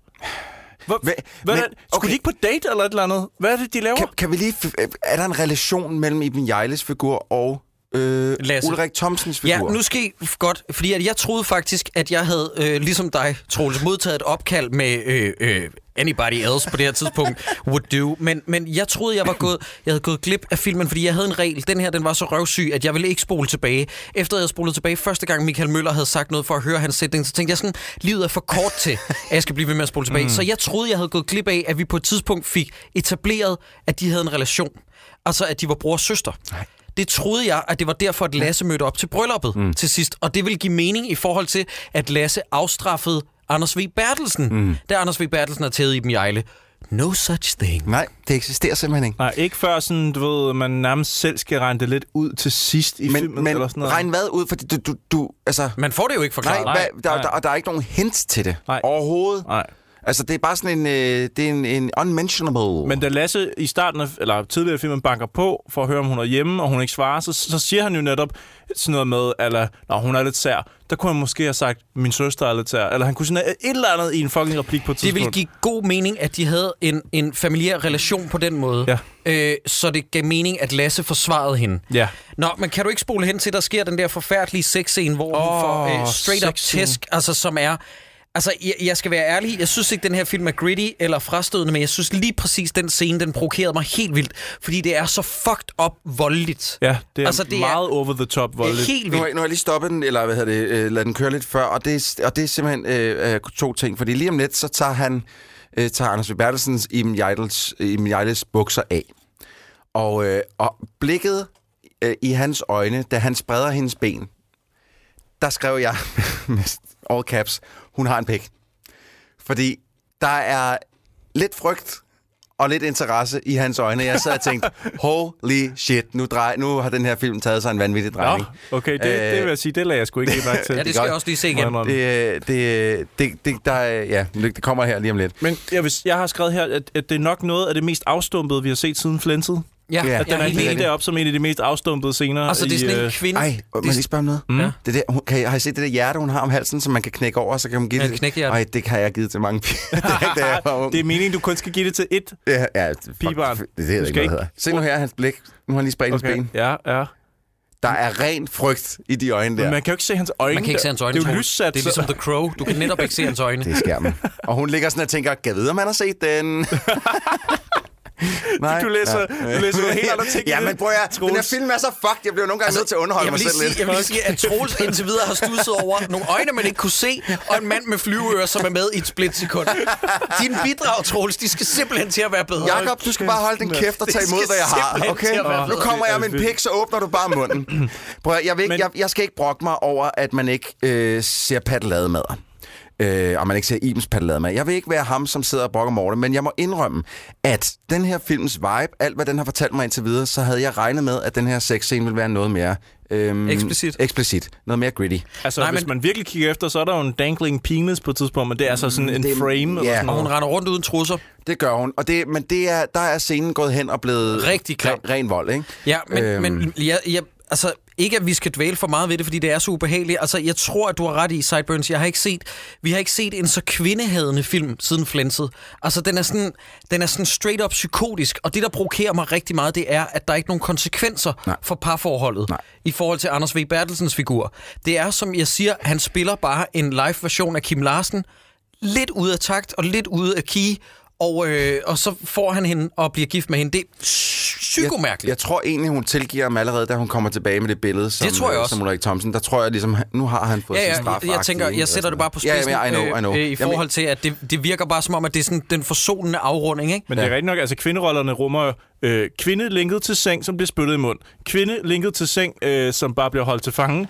S2: Hvor,
S3: Hva-
S2: hvad,
S3: men-
S2: men, skulle
S3: okay.
S2: de ikke på date eller et eller andet? Hvad er det, de laver?
S3: kan, kan vi lige... f- Er der en relation mellem Iben Jejles figur og øh,
S1: Lasse.
S3: Ulrik Thomsens figur?
S1: Ja, nu skal I f- godt, fordi at jeg troede faktisk, at jeg havde, øh, ligesom dig, Troels, modtaget et opkald med øh, øh, anybody else på det her tidspunkt, would do. Men, men jeg troede, jeg var gået, jeg havde gået glip af filmen, fordi jeg havde en regel. Den her, den var så røvsyg, at jeg ville ikke spole tilbage. Efter jeg havde spolet tilbage første gang, Michael Møller havde sagt noget for at høre hans sætning, så tænkte jeg sådan, livet er for kort til, at jeg skal blive ved med at spole tilbage. Mm. Så jeg troede, jeg havde gået glip af, at vi på et tidspunkt fik etableret, at de havde en relation. Altså, at de var bror og søster. Det troede jeg, at det var derfor, at Lasse mødte op til brylluppet mm. til sidst. Og det ville give mening i forhold til, at Lasse afstraffede Anders V. Bertelsen, mm. da Anders V. Bertelsen er taget i dem i Ejle. No such thing.
S3: Nej, det eksisterer simpelthen ikke.
S2: Nej, ikke før sådan, du ved, man nærmest selv skal regne det lidt ud til sidst i
S3: Men,
S2: filmen.
S3: men
S2: eller sådan noget.
S3: regn hvad ud, fordi du... du, du altså,
S1: Man får det jo ikke
S3: nej,
S1: forklaret.
S3: nej, hvad, der,
S2: nej.
S3: Der, og der er ikke nogen hints til det
S2: Nej.
S3: overhovedet.
S2: Nej.
S3: Altså, det er bare sådan en... Øh, det er en, en unmentionable...
S2: Men da Lasse i starten af, eller tidligere i filmen banker på for at høre, om hun er hjemme, og hun ikke svarer, så, så siger han jo netop sådan noget med, eller, når hun er lidt sær. Der kunne han måske have sagt, min søster er lidt sær. Eller han kunne sådan et eller andet i en fucking replik på et
S1: Det
S2: tidspunkt.
S1: ville give god mening, at de havde en, en familiær relation på den måde. Ja. Øh, så det gav mening, at Lasse forsvarede hende.
S2: Ja.
S1: Nå, men kan du ikke spole hen til, der sker den der forfærdelige sexscene, hvor oh, hun
S2: Åh,
S1: får øh, straight up
S2: sexscene.
S1: tæsk, altså som er... Altså, jeg, jeg skal være ærlig, jeg synes ikke, den her film er gritty eller frastødende, men jeg synes lige præcis, den scene, den provokerede mig helt vildt, fordi det er så fucked up voldeligt.
S2: Ja, det er
S1: Altså,
S2: altså,
S1: det er-
S2: det meget er, over the top
S1: det er
S2: voldeligt.
S1: helt
S3: Nu
S1: vildt.
S3: har, jeg- nu har jeg lige stoppet den, eller hvad hedder det, øh, lad den køre lidt før, og det, er- og det er simpelthen øh, øh, to ting, fordi lige om lidt, så tager han, øh, tager Anders V. Bertelsens Iben Jejles, Iben Jejles bukser af, og, øh, og blikket øh, i hans øjne, da han spreder hendes ben, der skrev jeg med all caps, hun har en pik. Fordi der er lidt frygt og lidt interesse i hans øjne. Jeg sad og tænkte, holy shit, nu, drej, nu har den her film taget sig en vanvittig drejning.
S2: Nå, okay, det, øh, det vil jeg sige, det lader jeg sgu ikke lige mærke til.
S1: Ja, det skal jeg også lige se igen.
S2: Må jeg indrømme.
S3: Det, øh, det, det, det, der, er- ja, det kommer her lige om lidt.
S2: Men jeg, vil, s- jeg har skrevet her, at, at det er nok noget af det mest afstumpede, vi har set siden Flintet.
S1: Ja,
S3: Ja,
S1: ja,
S2: At den
S1: ja
S2: er
S1: helt
S3: det er
S2: helt
S1: enig.
S3: rigtigt.
S2: deroppe som en af de mest afstumpede scener.
S1: Altså, det er sådan
S2: i,
S1: en
S2: øh,
S1: kvinde...
S3: Ej, må jeg lige spørge om noget? Mm? Det der, hun, kan, I- har I set det der hjerte, hun har om halsen, som man kan knække over, så kan man give
S1: Ja,
S3: det?
S1: knækhjerte.
S3: Ej, det har jeg givet til mange piger. det er ikke, da jeg var ung.
S2: det er meningen, du kun skal give det til ét.
S3: Ja, ja, fuck,
S2: Pigebarn.
S3: Det, det hedder
S2: Du
S3: ikke,
S2: skal
S3: hvad det
S2: ikke-
S3: hedder. Se nu her, hans blik. Nu har han lige spredt okay.
S2: Okay.
S3: ben.
S2: Ja, ja.
S3: Der er ren frygt i de øjne der.
S2: Men man kan jo ikke se hans øjne.
S1: Man kan ikke se
S2: der.
S1: hans øjne.
S2: Det er jo
S1: Troels.
S2: lyssat.
S1: Det er ligesom The Crow. Du kan netop ikke se hans øjne.
S3: Det er skærmen. og hun ligger sådan og tænker, kan vide, om han har set den? Nej.
S2: Du læser- du læser nogle helt andre ting i
S3: Ja,
S2: det,
S3: men prøv at, høre, den her
S2: Troels. Altså,
S3: film er så fucked, jeg bliver nogle gange nødt til at underholde
S1: Jeg
S3: mig
S1: vil, lige
S3: selv lidt.
S1: sige, jeg vil lige sige, at Troels indtil videre har stusset over nogle øjne, man ikke kunne se, og en mand med flyveører, som er med i et splitsekund. Dine bidrag, Troels, de skal simpelthen til at være bedre.
S3: Jakob, du skal bare holde din kæft og tage
S1: Det
S3: imod,
S1: skal
S3: hvad jeg har,
S1: simpelthen til at være Altså,
S3: okay? Nu
S1: bedre.
S3: kommer jeg
S2: Det
S3: med
S2: er
S3: en
S2: vildt.
S3: pik, så åbner du bare munden. Prøv at, jeg, vil ikke,
S2: Men-
S3: jeg, jeg skal ikke brokke mig over, at man ikke øh, ser paddelademader. øh, og man ikke ser Ibens paddelade med. Jeg vil ikke være ham, som sidder og brokker mig over det, men jeg må indrømme, at den her films vibe, alt hvad den har fortalt mig indtil videre, så havde jeg regnet med, at den her sexscene ville være noget mere... Øhm,
S2: Eksplicit.
S3: Eksplicit. Noget mere gritty.
S2: Altså, Nej, hvis man virkelig kigger efter, så er der jo en dangling penis på et tidspunkt, men det er altså sådan en
S3: det-
S2: det, frame. eller
S3: ja.
S2: sådan
S3: Og hun
S1: render rundt uden trusser.
S3: Det gør hun, og det, men det er, der er scenen gået hen og blevet
S1: Rigtig
S3: ren, ren vold, ikke?
S1: Ja, men, øhm. men jeg, jeg, altså, ikke at vi skal dvæle for meget ved det, fordi det er så ubehageligt. Altså, jeg tror, at du har ret i, Sideburns. Jeg har ikke set, vi har ikke set en så kvindehadende film siden Flænset. Altså, den er, sådan, den er sådan straight up psykotisk, og det, der provokerer mig rigtig meget, det er, at der er ikke nogen konsekvenser Nej. for parforholdet Nej. i forhold til Anders V. Bertelsens figur. Det er, som jeg siger, han spiller bare en live-version af Kim Larsen, lidt ude af takt og lidt ude af key, og, øh, og så får han hende og bliver gift med hende. Det er psykomærkeligt.
S3: Jeg, jeg tror egentlig, hun tilgiver ham allerede, da hun kommer tilbage med det billede, som,
S1: Det tror jeg
S3: øh,
S1: også.
S3: som Ulrik Thomsen. Der tror jeg ligesom, han- nu har han fået
S1: Ja,
S3: sin
S1: ja,
S3: straf.
S1: jeg, jeg tænker, jeg sætter det bare på
S3: Ja,
S1: spidsen
S3: ja, I know, I know.
S1: øh, øh, i forhold
S3: Jamen,
S1: til, at det, det virker bare som om, at det er sådan den forsonende afrunding, ikke?
S2: Men det er rigtigt nok, altså kvinderollerne rummer øh, kvinde linket til seng, som bliver spyttet i mund. Kvinde linket til seng, øh, som bare bliver holdt til fange.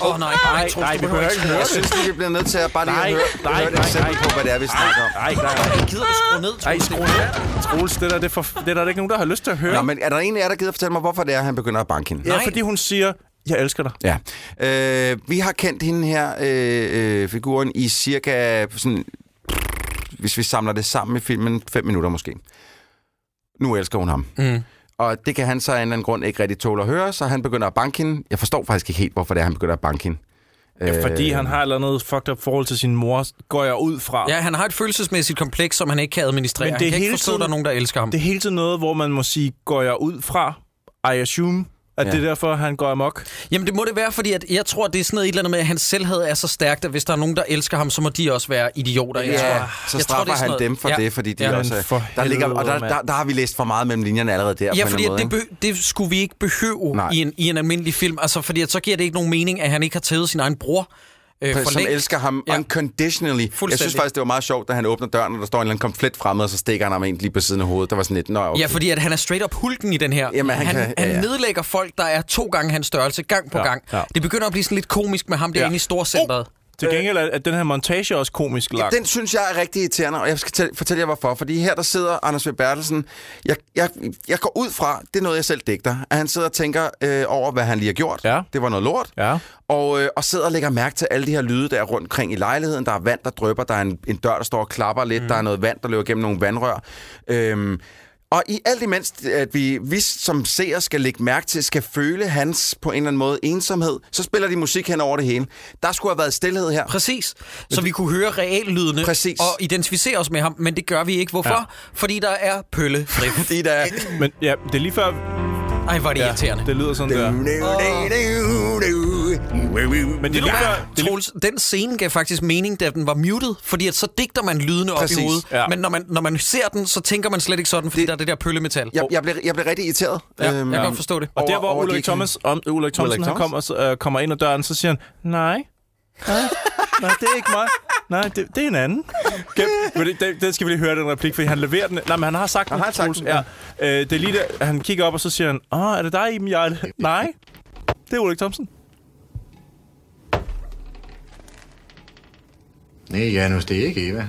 S1: Åh oh, nej, nej, Troels,
S2: nej,
S1: du
S2: vi behøver ikke høre
S3: jeg
S2: det.
S3: synes, lige, vi bliver nødt til at bare lige
S2: Nej,
S3: at høre,
S2: nej,
S3: høre et
S2: nej,
S3: eksempel
S2: nej.
S3: på, hvad det er, vi snakker om.
S2: Nej, nej, nej.
S1: Gider du skrue ned,
S2: Ej, skru ned. Troels, det der, det er, for, det er der ikke nogen, der har lyst til at høre.
S3: Nå, men er der en af jer, der gider fortælle mig, hvorfor det er, at han begynder at banke hende?
S2: Ja, fordi hun siger, jeg elsker dig.
S3: Ja. Øh, vi har kendt hende her, øh, øh, figuren, i cirka, sådan, hvis vi samler det sammen i filmen, fem minutter måske. Nu elsker hun ham.
S1: Mm.
S3: Og det kan han så af en eller anden grund ikke rigtig tåle at høre, så han begynder at banke hende. Jeg forstår faktisk ikke helt, hvorfor det er, han begynder at banke hende. Øh,
S2: Ja, fordi han har et eller andet fucked up forhold til sin mor, går jeg ud fra.
S1: Ja, han har et følelsesmæssigt kompleks, som han ikke kan administrere.
S2: Men
S1: Men
S2: det
S1: det
S2: er
S1: han kan
S2: hele
S1: ikke forstå,
S2: tiden-
S1: at der er nogen, der elsker ham.
S2: Det er hele tiden noget, hvor man må sige, går jeg ud fra, I assume, at
S1: Ja.
S2: ja. det er derfor, han går amok.
S1: Jamen, det må det være, fordi at jeg tror, det er sådan noget, et eller andet med, at hans selvhed er så stærkt, at hvis der er nogen, der elsker ham, så må de også være idioter.
S3: Ja,
S1: jeg tror,
S3: så
S1: jeg tror, det
S3: straffer
S1: er sådan
S3: han
S1: noget-
S3: dem for det, fordi de
S1: Men
S3: også...
S1: for
S3: der ligger, og der,
S1: helvede,
S3: der, der, har vi læst for meget mellem linjerne allerede der. på
S1: Ja,
S3: en
S1: fordi
S3: eller
S1: at
S3: anden
S1: det,
S3: måde,
S1: be, det skulle vi ikke behøve
S3: Nej.
S1: i en, i en almindelig film. Altså, fordi at så giver det ikke nogen mening, at han ikke har taget sin egen bror øh,
S3: ikke?
S1: for
S3: som
S1: længst.
S3: elsker ham ja. unconditionally. Jeg synes
S1: Fuldstændig.
S3: faktisk, det var meget sjovt, da han åbner døren, og der står en eller anden komplet fremmed, og så stikker han ham ind lige på siden af hovedet. Der var sådan lidt, nå, okay.
S1: Ja, fordi at han er straight up hulken i den her.
S3: Jamen, han
S1: han,
S3: kan- ja,
S1: han
S3: ja.
S1: nedlægger folk, der er to gange hans størrelse, gang på
S2: Ja,
S1: gang.
S2: ja.
S1: Det begynder at blive sådan lidt komisk med ham derinde
S2: Ja.
S1: i storcenteret.
S2: Til gengæld er at den her montage også komisk
S3: Ja,
S2: lagt.
S3: den synes jeg er rigtig irriterende, og jeg skal tæl- fortælle jer hvorfor. Fordi her der sidder Anders V. Bertelsen, jeg, jeg, jeg går ud fra, det er noget jeg selv digter, at han sidder og tænker øh, over, hvad han lige har gjort. Ja. Det var noget lort.
S2: Ja.
S3: Og, øh, og sidder og lægger mærke til alle de her lyde, der er rundt omkring i lejligheden. Der er vand, der drøber, der er en, en dør, der står og klapper lidt, mm. der er noget vand, der løber gennem nogle vandrør. Øhm, og i alt imens, at vi, vi som seere skal lægge mærke til, skal føle hans på en eller anden måde ensomhed, så spiller de musik hen over det hele. Der skulle have været stillhed her.
S1: Præcis. Så vi kunne høre reallydene
S3: Præcis.
S1: og identificere os med ham, men det gør vi ikke. Hvorfor?
S2: Ja.
S1: Fordi der er pølle
S3: Fordi der er...
S2: Men ja, det er lige før...
S1: Ej, hvor er det
S2: ja,
S1: irriterende.
S2: Det lyder sådan der. Men det er lige før... Det er lige,
S1: Troels, den scene gav faktisk mening, da den var muted, fordi at så digter man lydene op
S3: Præcis.
S1: i hovedet.
S2: Ja.
S1: Men når man, når man ser den, så tænker man slet ikke sådan, fordi det, der er det der pøllemetal.
S3: Jeg, jeg, blev, jeg blev rigtig irriteret. Øhm,
S1: Ja, jeg kan godt forstå det.
S2: og der,
S3: over-
S2: hvor
S3: over
S2: Ulrik,
S3: de-
S2: Thomas, om, Ulrik Thomsen han
S3: Thomsen?
S2: kommer, så, øh, kommer ind ad døren, så siger han, nej, nej, nej, det er ikke mig. Nej, det, det er en anden. Gem, men det, det, det skal vi lige høre, den replik, fordi han leverer den. Nej, men han har sagt den.
S3: Han har sagt
S2: Troels.
S3: den, ja.
S2: ja. øh, Det er lige der, han kigger op, og så siger han, åh, er det dig, Iben Jarl? Nej, det er Ulrik Thomsen.
S8: Nej, Janus, det er ikke Eva.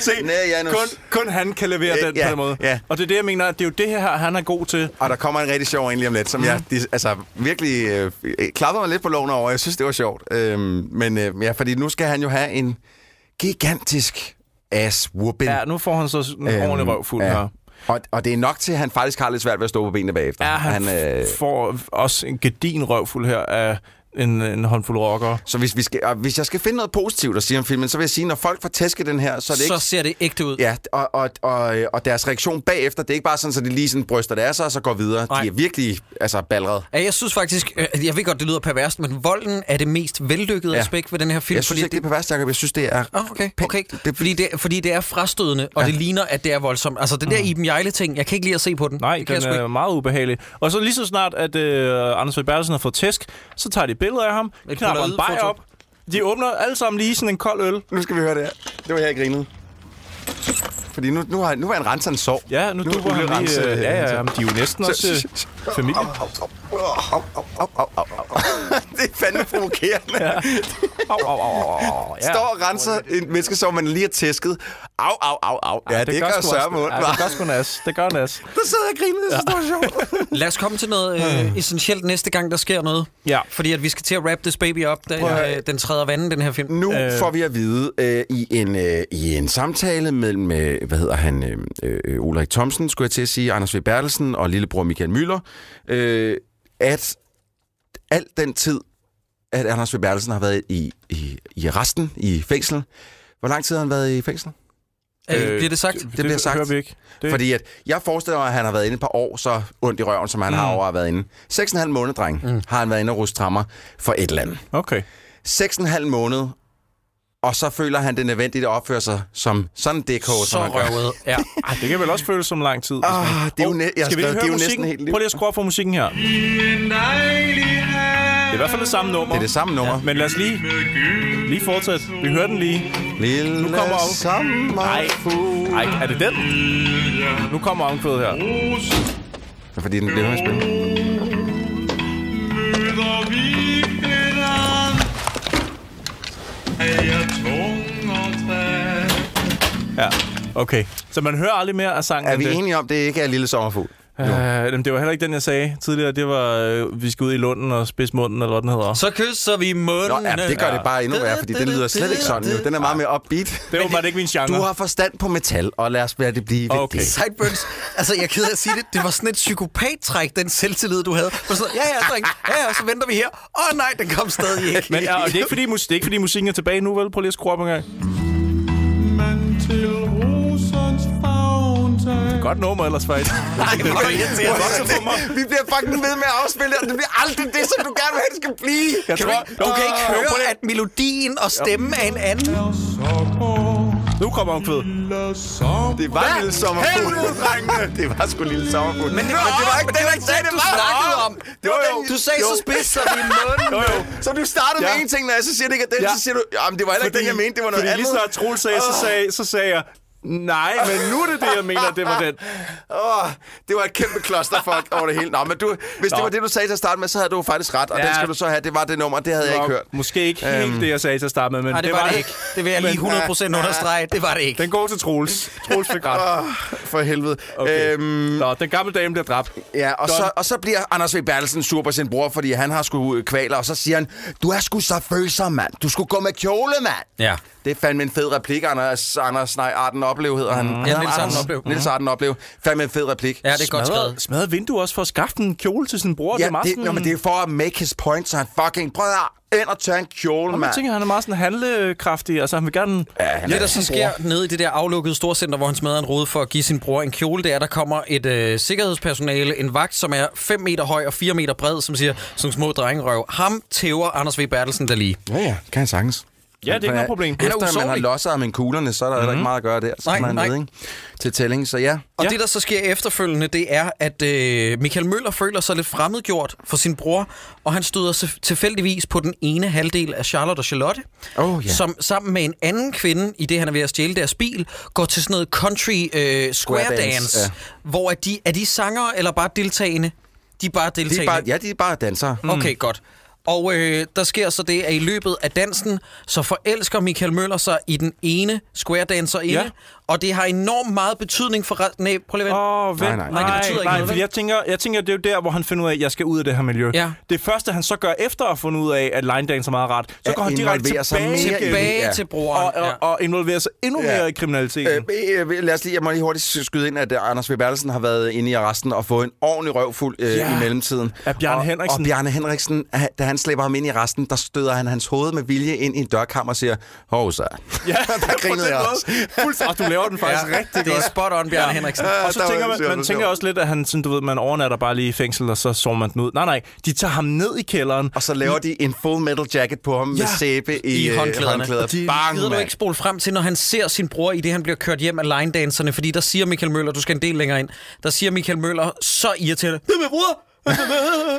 S2: Se,
S3: Nej, Janus.
S2: kun, kun han kan levere
S3: Øh,
S2: den
S3: ja,
S2: på den måde.
S3: ja.
S2: Og det er det, jeg mener, at det er jo det her, han er god til.
S3: Og der kommer en rigtig sjov en lige om lidt, som jeg de, altså, virkelig øh, øh, klappede mig lidt på loven over. Jeg synes, det var sjovt. Øhm, men øh, ja, fordi nu skal han jo have en gigantisk ass-whooping.
S2: Ja, nu får han så en øhm, ordentlig røvfuld ja. her.
S3: Og, og det er nok til, at han faktisk har lidt svært ved at stå på benene bagefter.
S2: Ja, han,
S3: øh,
S2: han øh... får også en gedin røvfuld her af en, en håndfuld rockere.
S3: så hvis, vi skal, og hvis jeg skal finde noget positivt at sige om filmen, så vil jeg sige, når folk får tæsket den her, så er det
S1: Så
S3: ikke
S1: ser det ægte ud.
S3: Ja, og, og, og, og deres reaktion bagefter, det er ikke bare sådan, at de lige sådan bryster det af sig, og så går videre.
S1: Nej.
S3: De er virkelig altså, ballerede.
S1: Ja, jeg synes faktisk, øh, jeg ved godt, det lyder perverst, men volden er det mest vellykkede
S3: Ja.
S1: ja. aspekt ved den her film.
S3: Jeg synes
S1: fordi
S3: ikke, det er perverst, Jacob. Jeg synes, det er...
S1: Åh, okay,
S3: pænt.
S1: okay.
S3: Det-
S1: Det, fordi, det, fordi det er frastødende, og det ligner, at det er voldsomt. Altså, det der Iben Jejle-ting, jeg kan ikke lide at se på den.
S2: Nej,
S1: det
S2: det
S1: kan jeg
S2: den
S1: sgu
S2: er
S1: ikke.
S2: meget ubehagelig. Og så lige så snart, at øh, Anders V. Bertelsen har fået tæsk, så tager de billeder af ham,
S1: Et
S2: knapper en bajer
S1: polaroidfoto.
S2: op. De åbner alle sammen lige sådan en kold øl.
S3: Nu skal vi høre det her. Det var her, jeg grinede. Fordi nu, nu, har, nu var han renset en sår.
S2: Ja, nu, nu duber
S3: blev
S2: han
S3: renset,
S2: lige... Øh, ja, ja,
S3: renset.
S2: jamen, de er jo næsten
S3: Så-
S2: også øh, familie.
S3: Au, au, au, au, au, au, au. det er fandme provokerende. Ja.
S2: Au, au, au, au, au. Ja.
S3: Står og renser en menneske, som man lige har tæsket. Au, au, au, au. Ja, det, det gør
S2: sgu også-
S3: sørme ondt,
S2: ja,
S3: hva'?
S2: Det gør sgu nas. Det gør nas.
S3: Der sidder jeg og griner, det er så sjovt.
S1: Lad os komme til noget øh, essentielt næste gang, der sker noget.
S2: Ja.
S1: Fordi at vi skal til at wrap this baby op, da
S3: Prøv at
S1: øh, den træder vandet, den her film.
S3: Nu øh. får vi at vide øh, i, en, øh, i en samtale mellem, øh, hvad hedder han, øh, øh, Ulrik Thomsen, skulle jeg til at sige, Anders V. Bertelsen og lillebror Michael Møller, øh, at al den tid, at Anders V. Bertelsen har været i, i, i resten, i fængsel, hvor lang tid har han været i fængsel?
S1: Øh, bliver det sagt?
S2: Det,
S3: bliver sagt.
S2: hører vi ikke. Det,
S3: Det. Fordi at jeg forestiller mig, at han har været inde et par år så ondt i røven, som han mm. har over at have været inde. 6,5 måneder, dreng, mm. har han været inde og ruste trammer for et eller andet.
S2: Okay.
S3: 6,5 måned, og så føler han det nødvendigt at opføre sig som sådan en dickhole,
S1: Så
S3: som han gør.
S1: røvet. Ja.
S2: Ej, det kan vel også føles som lang tid. hvis man-
S3: Ah, det er jo, næ- jeg
S2: Skal vi lige
S3: skrev, det er
S2: høre
S3: jo
S2: musikken?
S3: næsten helt liv.
S2: Prøv lige at skrue op for musikken her. Det er i hvert fald det samme nummer.
S3: Det er det samme nummer. Ja.
S2: Men lad os lige, lige fortsætte. Vi hører den lige.
S3: Lille
S2: Nu kommer op. Nej,
S3: sommerfugl.
S2: nej, er det den? Nu kommer omkvædet her.
S3: Ja, Fordi den bliver med at spille.
S2: Ja, okay. Så man hører aldrig mere af sangen.
S3: Er
S2: end
S3: vi
S2: det.
S3: enige om, det ikke er Lille Sommerfugl?
S2: Øh, jamen, det var heller ikke den, jeg sagde tidligere. Det var, øh, vi skal ud i Lunden og spidse munden, eller hvad den hedder.
S1: Så kysser vi munden.
S3: Nå, ja, det gør det bare endnu værre, fordi den lyder slet ikke sådan nu. Den er meget mere upbeat.
S2: Det var bare ikke min genre.
S3: Du har forstand på metal, og lad os lade det blive ved
S2: Okay.
S3: det.
S1: Sideburns, altså jeg er ked af at sige det, det var sådan et psykopattræk, den selvtillid, du havde. For sådan, ja, ja, dreng, ja, ja, så venter vi her. Åh oh, nej, den kom stadig ikke.
S2: Men er, og det, er ikke, fordi, mus- det er ikke fordi musikken er tilbage nu, vel? Prøv lige at skrue op en gang. Godt nummer ellers, faktisk.
S3: Nej, hvor er det irriterende.
S2: Vokser på mig.
S3: Vi bliver fucking ved med at afspille det, og det bliver aldrig det, som du gerne vil have, det skal blive.
S2: Jeg
S1: Kan du,
S2: tror-
S1: ikke- du kan ikke høre, at melodien og stemmen er en anden.
S2: Nu kommer omkvædet.
S3: Det var lille sommerfugl. det var sgu lille sommerfugl. Men
S1: det var- det var ikke- det var ikke den, du snakkede om.
S3: Det var
S1: Jo, jo. Du sagde, så spidser vi munden.
S2: Jo, jo.
S3: Så du startede
S2: Ja.
S3: med en ting, når jeg så siger det ikke er den,
S2: Ja.
S3: så siger du, jamen det var heller ikke den, jeg mente, det var noget
S2: fordi
S3: andet.
S2: lige snart Troels sagde, så sagde, så sagde jeg, nej, men nu er det det, jeg mener, det var den.
S3: Åh, det var et kæmpe klosterfuck over det hele. Nå, men du, hvis det
S2: Nå.
S3: var det, du sagde til at starte med, så havde du jo faktisk ret, og
S2: Ja.
S3: den skal du så have. Det var det nummer, det havde jeg ikke hørt. Øhm.
S2: Måske ikke helt det, jeg sagde til at starte med, men
S1: Nej, det, var det ikke. Det vil jeg lige 100% understrege. Det var det ikke.
S2: øh, Den går til Troels. Troels fik ret.
S3: Åh, for helvede.
S2: Okay.
S3: Øhm,
S2: Nå, den gamle dame bliver dræbt.
S3: Ja, og
S2: Done.
S3: så, og så bliver Anders V. Bertelsen sur på sin bror, fordi han har sgu øh, kvaler, og så siger han, du er sgu så følsom, mand. Du skulle gå med kjole, mand.
S1: Ja.
S3: Det er fandme en fed replik, Anders, Anders nej, Arden Oplev hedder han. Mm.
S1: Ja, Niels Arden Oplev.
S3: Niels
S2: Mm.
S3: Arden Oplev. Fandme en fed replik.
S1: Ja, det er godt skrevet.
S2: Smadrede vinduet også for at skaffe en kjole til sin bror.
S3: ja,
S2: det, er meget
S3: det,
S2: sådan-
S3: jo, men det er for at make his point, så han fucking prøver ind og tage en kjole,
S2: Nå, men jeg
S3: mand.
S2: tænker, han er meget sådan handlekraftig, altså han vil gerne... Ja,
S1: Det, der så sker nede i det der aflukkede storcenter, hvor han smadrer en rode for at give sin bror en kjole, det er, der kommer et øh, sikkerhedspersonale, en vagt, som er 5 meter høj og 4 meter bred, som siger, som små drengerøv, ham tæver Anders V. Bertelsen der lige.
S3: Ja, ja, kan han sagtens.
S2: ja det er ikke noget problem. Mhm.
S1: Han er
S3: Efter man har
S1: usårlig.
S3: losset ham i kuglerne, så er der mm-hmm. ikke meget at gøre der. Så
S1: Nej,
S3: er man
S1: nej.
S3: nede, ikke? Til tælling, så ja.
S1: Og
S2: Ja.
S1: ja. det, der så sker efterfølgende, det er, at øh, Michael Møller føler sig lidt fremmedgjort for sin bror, og han støder sig- tilfældigvis på den ene halvdel af Charlotte og Charlotte,
S3: Oh, ja.
S1: som sammen med en anden kvinde, i det han er ved at stjæle deres bil, går til sådan noget country øh, square
S3: Square
S1: dance,
S3: dance,
S1: dance
S3: ja.
S1: hvor er de, er de sanger eller bare deltagende? De er bare deltagende. Mm.
S3: De er bare, ja, de er bare dansere.
S2: Mm.
S1: Okay, godt. Og øh, der sker så det, at i løbet af dansen, så forelsker Michael Møller sig i den ene square danser inde,
S2: Ja.
S1: ja. og det har enormt meget betydning for resten af... Prøv lige at vente.
S2: Åh, oh, nej,
S3: Nej, nej,
S2: nej,
S3: nej,
S1: det
S2: nej,
S1: betyder ikke
S2: nej
S1: noget,
S2: fordi
S1: vel?
S2: jeg tænker, jeg tænker, det er jo der, hvor han finder ud af, at jeg skal ud af det her miljø.
S1: Ja.
S2: Det første, han så gør efter at finde ud af, at line dance er meget ret, så
S3: Ja,
S2: går han direkte
S3: involverer
S2: tilbage,
S3: sig
S2: igen,
S3: mere i-
S1: tilbage
S3: Ja.
S1: ja. til
S2: og,
S1: broren.
S2: og, og involverer sig endnu
S3: Ja.
S2: mere i kriminaliteten.
S3: Øh, øh, lad os lige, jeg må lige hurtigt skyde ind, at øh, Anders V. Bertelsen har været inde i arresten og fået en ordentlig røvfuld øh,
S2: Ja.
S3: ja. i mellemtiden.
S2: Af Bjarne
S3: og,
S2: Henriksen.
S3: Og Bjarne Henriksen, ah, da han slæber ham ind i arresten, der støder han hans hoved med vilje ind i en dørkammer og siger, hov så.
S2: Ja,
S3: der grinede jeg også.
S2: Fuldstændig. Og du laver den faktisk ja. rigtig
S1: Det er
S2: godt.
S1: spot on, Bjørn ja. Henriksen.
S2: Og så
S3: Øh,
S2: tænker
S3: der var det sjovt,
S2: man,
S3: det var
S2: man tænker
S3: sjovt.
S2: også lidt, at han, sådan, du ved, man overnatter bare lige i fængsel, og så sover man den ud. Nej, nej, de tager ham ned i kælderen.
S3: Og så laver de en full metal jacket på ham ja. med
S2: Ja.
S3: sæbe i,
S1: I
S3: øh,
S1: håndklæderne.
S3: håndklæder.
S1: Og de-
S3: Bang,
S1: Gider du
S3: mand.
S1: ikke spole frem til, når han ser sin bror i det, han bliver kørt hjem af linedanserne? Fordi der siger Michael Møller, du skal en del længere ind, der siger Michael Møller så irriterende, det er min bror!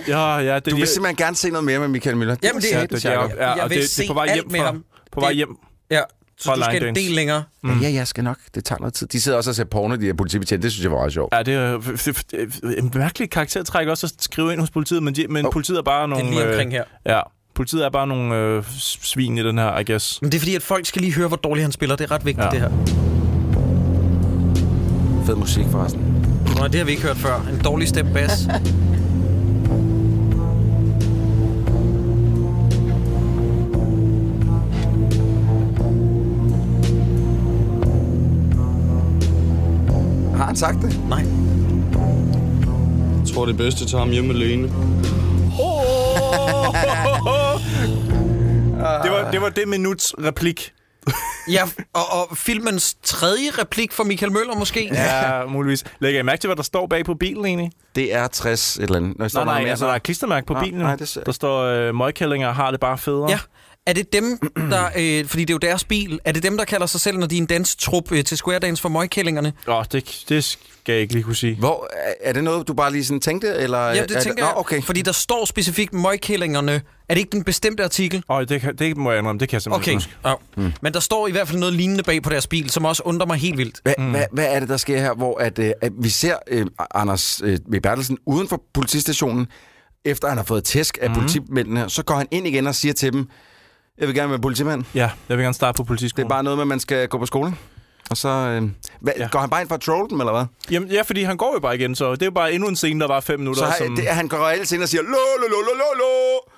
S2: Ja, ja, det,
S3: Du vil simpelthen gerne se noget mere med Michael Møller.
S1: Jamen, det er-
S2: ja, det, det, er,
S1: Jeg- jeg
S2: ja, og
S1: vil
S2: det, det er på
S1: se
S2: vej
S1: alt
S2: hjem
S1: med
S2: fra,
S1: ham.
S2: på vej
S1: Det-
S2: hjem.
S1: Ja, så
S2: Fra
S1: du skal en
S2: linedance.
S1: del længere.
S3: Ja, ja, jeg skal nok. Det tager noget tid. De sidder også og ser porno, de der politibetjente. Det synes jeg var meget sjovt.
S2: Ja, det er f- f- f- en mærkelig karaktertræk også at skrive ind hos politiet, men, de, men oh. politiet er bare nogle...
S1: lige omkring
S2: øh,
S1: her.
S2: Ja, Politiet er bare nogle øh, svin i den her, I guess.
S1: Men det er fordi, at folk skal lige høre, hvor dårligt han spiller. Det er ret vigtigt, ja. det her.
S3: Fed musik forresten.
S1: Nå, det har vi ikke hørt før. En dårlig step bass.
S3: Har han sagt det?
S1: Nej.
S11: Jeg tror, det bedste tager ham hjem alene.
S2: Det var det, var det minuts replik.
S1: ja, og, og filmens tredje replik fra Michael Møller måske.
S2: Ja, muligvis. Lægger I mærke til, hvad der står bag på bilen egentlig?
S3: Det er 60 et eller andet. Nå, der
S2: Nej,
S3: står meget
S2: nej,
S3: mere,
S2: altså
S3: så-
S2: der er klistermærke på
S3: Nå,
S2: bilen.
S3: nej,
S2: Nej,
S3: det ser-
S2: Der står, øh, møgkællinger har det bare federe.
S1: Ja. Er det dem, der... Øh, fordi det er jo deres bil. Er det dem, der kalder sig selv, når de er en dansetrup øh, til Square Dance for møgkællingerne?
S2: Åh, oh, det, det skal jeg ikke lige kunne sige.
S3: Hvor, er- er det noget, du bare lige sådan tænkte? Eller
S1: Ja,
S3: er
S1: det tænker
S3: Nå,
S1: jeg.
S3: okay.
S1: Fordi der står specifikt møgkællingerne. Er det ikke den bestemte artikel?
S2: Åh, oh, det, kan- det må jeg indrømme, det kan jeg simpelthen
S1: Okay.
S2: ikke huske.
S1: Oh. Mm. Men der står i hvert fald noget lignende bag på deres bil, som også undrer mig helt vildt.
S3: Hva, mm. hvad, hvad er det, der sker her, hvor at, øh, at vi ser øh, Anders øh, V. Bertelsen uden for politistationen, efter han har fået tæsk af mm. politimændene, så går han ind igen og siger til dem, jeg vil gerne være politimand.
S2: Ja, jeg vil gerne starte på
S3: Det
S2: politiskolen.
S3: er bare noget med, at man skal gå på skole. Og så øh, hvad, ja. går han bare ind for at trolle dem, eller hvad?
S2: Jamen, ja, fordi han går jo bare igen, så det er jo bare endnu en scene, der var fem minutter.
S3: Så har,
S2: som...
S3: det, han går reelt ind og siger, lo, lo, lo, lo, lo, lo,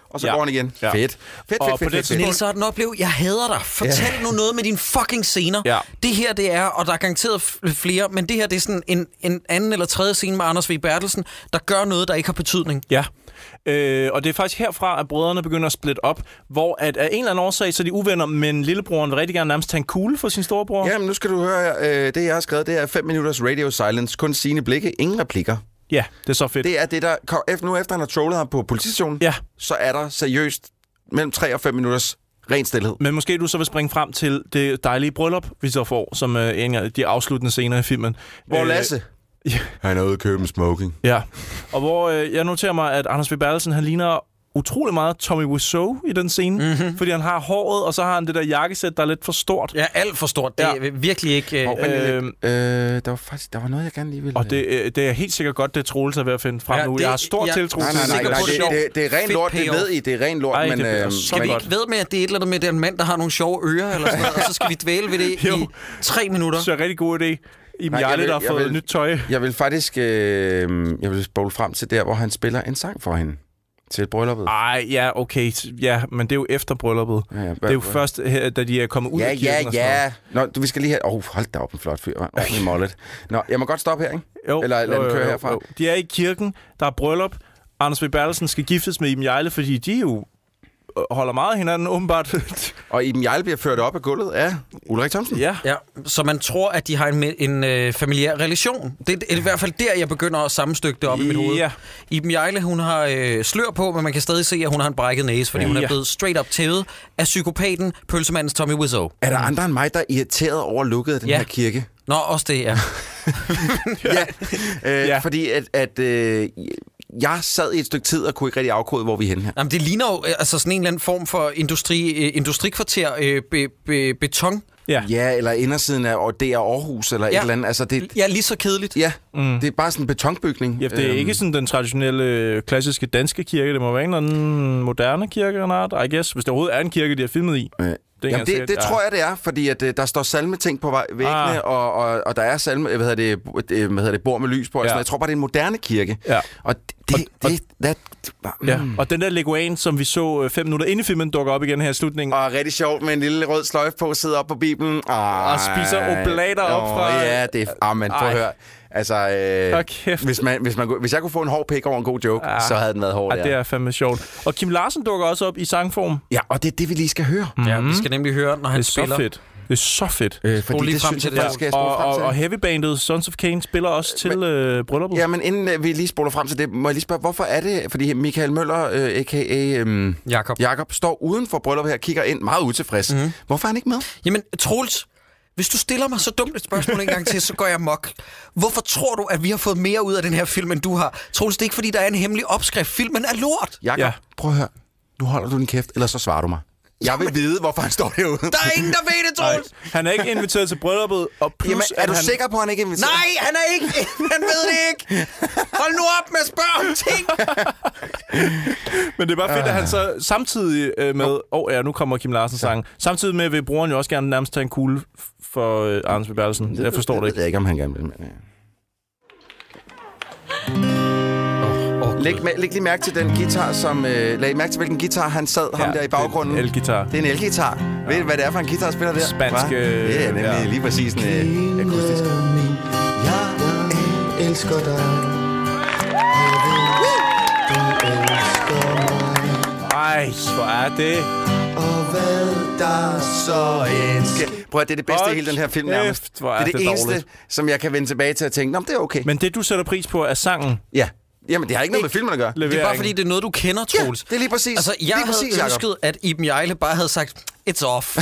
S3: og så
S2: Ja.
S3: ja. går han igen.
S2: Ja.
S3: Ja. Fedt. Fedt, fedt,
S2: Og på
S3: fedt,
S2: det
S3: fedt, fedt.
S2: tidspunkt-
S1: Niels Arden Oplev, jeg hader dig. Fortæl nu noget med dine fucking scener.
S2: Ja.
S1: Det her, det er, og der er garanteret f- flere, men det her, det er sådan en, en anden eller tredje scene med Anders V. Bertelsen, der gør noget, der ikke har betydning.
S2: Ja, øh, og det er faktisk herfra, at brødrene begynder at splitte op, hvor at af en eller anden årsag, så er de uvenner, men lillebroren vil rigtig gerne nærmest tage en kugle for sin storebror.
S3: Jamen, nu skal du høre, her. øh, det jeg har skrevet, det er 5 minutters radio silence, kun sine blikke, ingen replikker.
S2: ja det er så fedt.
S3: Det er det, der kom, efter, nu efter han har trollet ham på politistationen,
S2: Ja.
S3: så er der seriøst mellem 3 og 5 minutters ren stillhed.
S2: Men måske du så vil springe frem til det dejlige bryllup, vi så får, som øh, en af de afsluttende scener i filmen.
S3: Hvor
S2: Øh,
S3: Lasse,
S2: ja.
S3: han er ude at købe en smoking.
S2: Ja, og hvor øh, jeg noterer mig, at Anders V. Bertelsen, han ligner utrolig meget Tommy Wiseau i den scene,
S3: Mhm.
S2: mm-hmm. fordi han har håret, og så har han det der jakkesæt, der er lidt for stort.
S1: Ja, alt for stort. Det er virkelig ikke... Øh,
S2: Øh,
S3: Øh, der var faktisk der var noget, jeg gerne lige ville...
S2: og det, øh, det er helt sikkert godt, det Troels er ved at finde frem
S1: Ja,
S2: ja, nu.
S1: det-
S2: Jeg har stor
S1: jeg-
S2: ja, tiltro
S3: Nej,
S2: til
S3: nej, nej,
S1: Sikker
S3: nej
S1: på, det er
S3: det,
S1: sjovt.
S3: det, det, er ren
S1: Fedt
S3: lort, det
S1: payoff.
S3: ved I, det er ren lort,
S2: Ej, det
S3: men...
S2: bliver
S3: øhm,
S2: så
S1: skal vi
S2: godt.
S1: ikke ved med, at det er et eller andet med, at det er en mand, der har nogle sjove ører, eller sådan noget, og så skal vi dvæle ved det i
S2: Jo.
S1: tre minutter?
S2: Så er rigtig god idé. I
S3: Nej, jeg
S2: Jarle,
S3: vil-
S2: der har
S3: jeg
S2: fået
S3: vil-
S2: nyt tøj.
S3: Jeg vil faktisk... Øh, jeg vil spole frem til der, hvor han spiller en sang for hende til brylluppet.
S2: Ej, ja, okay. Ja, men det er jo efter brylluppet.
S3: Ja, ja,
S2: det er jo først, her, da de er kommet ud
S3: Ja,
S2: af kirken
S3: ja,
S2: og sådan noget.
S3: ja. Nå, du, vi skal lige have... Åh, oh, hold da op, en flot fyr. Ordentlig mollet. Nå, jeg må godt stoppe her, ikke?
S2: Jo,
S3: Eller lad
S2: jo,
S3: den
S2: jo,
S3: køre
S2: jo,
S3: herfra.
S2: jo. De er i kirken, der er bryllup. Anders V. Bertelsen skal giftes med Iben Jejle, fordi de jo øh, holder meget af hinanden, åbenbart.
S3: Og Iben Jejle bliver ført op af gulvet af Ulrik Thomsen.
S2: ja.
S1: Ja, så man tror, at de har en, me- en øh, familiær relation. Det er i hvert fald der, jeg begynder at sammenstykke det op i mit hoved.
S2: Ja.
S1: Iben Jejle, hun har øh, slør på, men man kan stadig se, at hun har en brækket næse, fordi hun
S2: Ja.
S1: er blevet straight up tævet af psykopaten, pølsemandens Tommy Wiseau.
S3: Er der andre end mig, der er irriteret over lukket af den
S1: Ja.
S3: ja. her kirke?
S1: Nå, også det, ja.
S3: ja. Øh,
S2: Ja.
S3: ja. Fordi at, at øh, jeg sad i et stykke tid og kunne ikke rigtig afkode, hvor vi er henne her.
S1: Jamen, det ligner jo øh, altså, sådan en eller anden form for industri, øh, industrikvarter, øh, be, be, beton.
S2: ja.
S3: Ja, eller indersiden af og det er Aarhus eller ja.
S1: Ja.
S3: et eller andet. Altså, det,
S1: Ja, lige så kedeligt.
S3: ja, mm. det er bare sådan en betonbygning.
S2: Ja, det er
S3: Øhm,
S2: ikke sådan den traditionelle, øh, klassiske danske kirke. Det må være en eller anden moderne kirke, eller noget, I guess. Hvis det overhovedet er en kirke, de har filmet i.
S3: Øh,
S2: Det,
S3: Jamen det, det tror jeg, det er, fordi at, øh, der står salmeting på vej- væggene,
S2: Ah.
S3: ah. og, og, og der er salme, øh, hvad hedder det, bo- øh, hvad hedder det bord med lys på,
S2: Ja.
S3: ja. sådan, jeg tror bare, det er en moderne kirke.
S2: Ja.
S3: Og det, det,
S2: og-
S3: det, that, mm.
S2: Ja. Og den der leguan, som vi så øh, fem minutter inde i filmen, dukker op igen her i slutningen.
S3: Og rigtig sjovt med en lille rød sløjfe på, sidder op på Bibelen. Ej.
S2: Ah, Og spiser oblater op
S3: Åh,
S2: fra-
S3: Ja, det er... Ah, men prøv
S2: Ej.
S3: at høre. Altså,
S2: Hold
S3: øh,
S2: kæft.
S3: hvis, man, hvis, man, kunne- hvis jeg kunne få en hård pik over en god joke,
S2: Ah.
S3: ah. så havde den været hård
S2: Ja,
S3: der.
S2: det er fandme sjovt. Og Kim Larsen dukker også op i sangform. Mhm.
S3: Ja, og det er det, vi lige skal høre. Mm.
S1: Ja, vi skal nemlig høre, når
S2: Det
S1: han
S2: er
S1: spiller.
S2: så fedt. Det er så fedt.
S3: Øh,
S1: Spol lige frem til det
S3: jeg,
S1: der.
S3: faktisk, skal jeg
S2: og,
S3: spole frem
S2: og,
S3: til.
S2: og heavybandet Sons of Kane spiller også til øh, brylluppet.
S3: Ja, men inden øh, vi lige spoler frem til det, må jeg lige spørge, hvorfor er det, fordi Michael Møller, øh, a.k.a. Øh,
S1: Jakob.
S3: Jakob, står uden for brylluppet her og kigger ind meget utilfreds. Mm.
S2: Mhm.
S3: Hvorfor er han ikke med?
S1: Jamen, Troels, hvis du stiller mig så dumt et spørgsmål en gang til, så går jeg mok. Hvorfor tror du, at vi har fået mere ud af den her film, end du har? Troels, det er ikke, fordi der er en hemmelig opskrift. Filmen er lort.
S3: Jakob,
S2: Ja.
S3: ja. prøv at høre. Nu holder du din kæft, eller så svarer du mig. Jeg vil vide, hvorfor han står derude.
S1: Der er ingen, der ved det, Troels.
S2: Nej, Han er ikke inviteret til brylluppet, og plus...
S3: Jamen, er
S2: at
S3: du
S2: han...
S3: sikker på, at han ikke er inviteret?
S1: Nej, han er ikke. Han ved det ikke. Hold nu op med at spørge om ting.
S2: Men det er bare fedt, at han så samtidig øh, med... Åh oh, ja, nu kommer Kim Larsens sang. Samtidig med vil brugeren jo også gerne nærmest tage en kugle f- for øh, Anders B. Bertelsen. Jeg forstår det
S3: Jeg
S2: ikke.
S3: ved ikke, om han gerne vil, men... ja. Læg, mæ- læg lige mærke til den guitar, som... Øh, lag mærke til, hvilken guitar han sad ja, ham der i baggrunden.
S2: det er en elguitar.
S3: Det er en elguitar. Ja. Ved du, hvad det er for en guitar, spiller der?
S2: Spansk,
S3: Hva?
S2: øh,
S3: Ja, nemlig
S2: ja.
S3: lige præcis en øh, akustisk.
S12: Jeg elsker dig.
S2: Ej, hvor er det...
S12: Og hvad der så end sker.
S3: Prøv at det er det bedste i
S2: Hold
S3: hele den her film
S2: kæft,
S3: nærmest.
S2: hvor er
S3: det er det,
S2: det
S3: eneste,
S2: dårligt.
S3: som jeg kan vende tilbage til at tænke, Nå, men det er okay.
S2: Men det, du sætter pris på, er sangen.
S3: Ja, jamen det har ikke noget med filmen at gøre.
S1: Det er bare
S2: Leveringen.
S1: fordi, det er noget, du kender, Troels.
S3: Ja, det er lige præcis.
S1: Altså, jeg
S3: Lige
S1: havde
S3: præcis,
S1: præcis,
S3: Jacob.
S1: ønsket, at Iben Jejle bare havde sagt, it's off.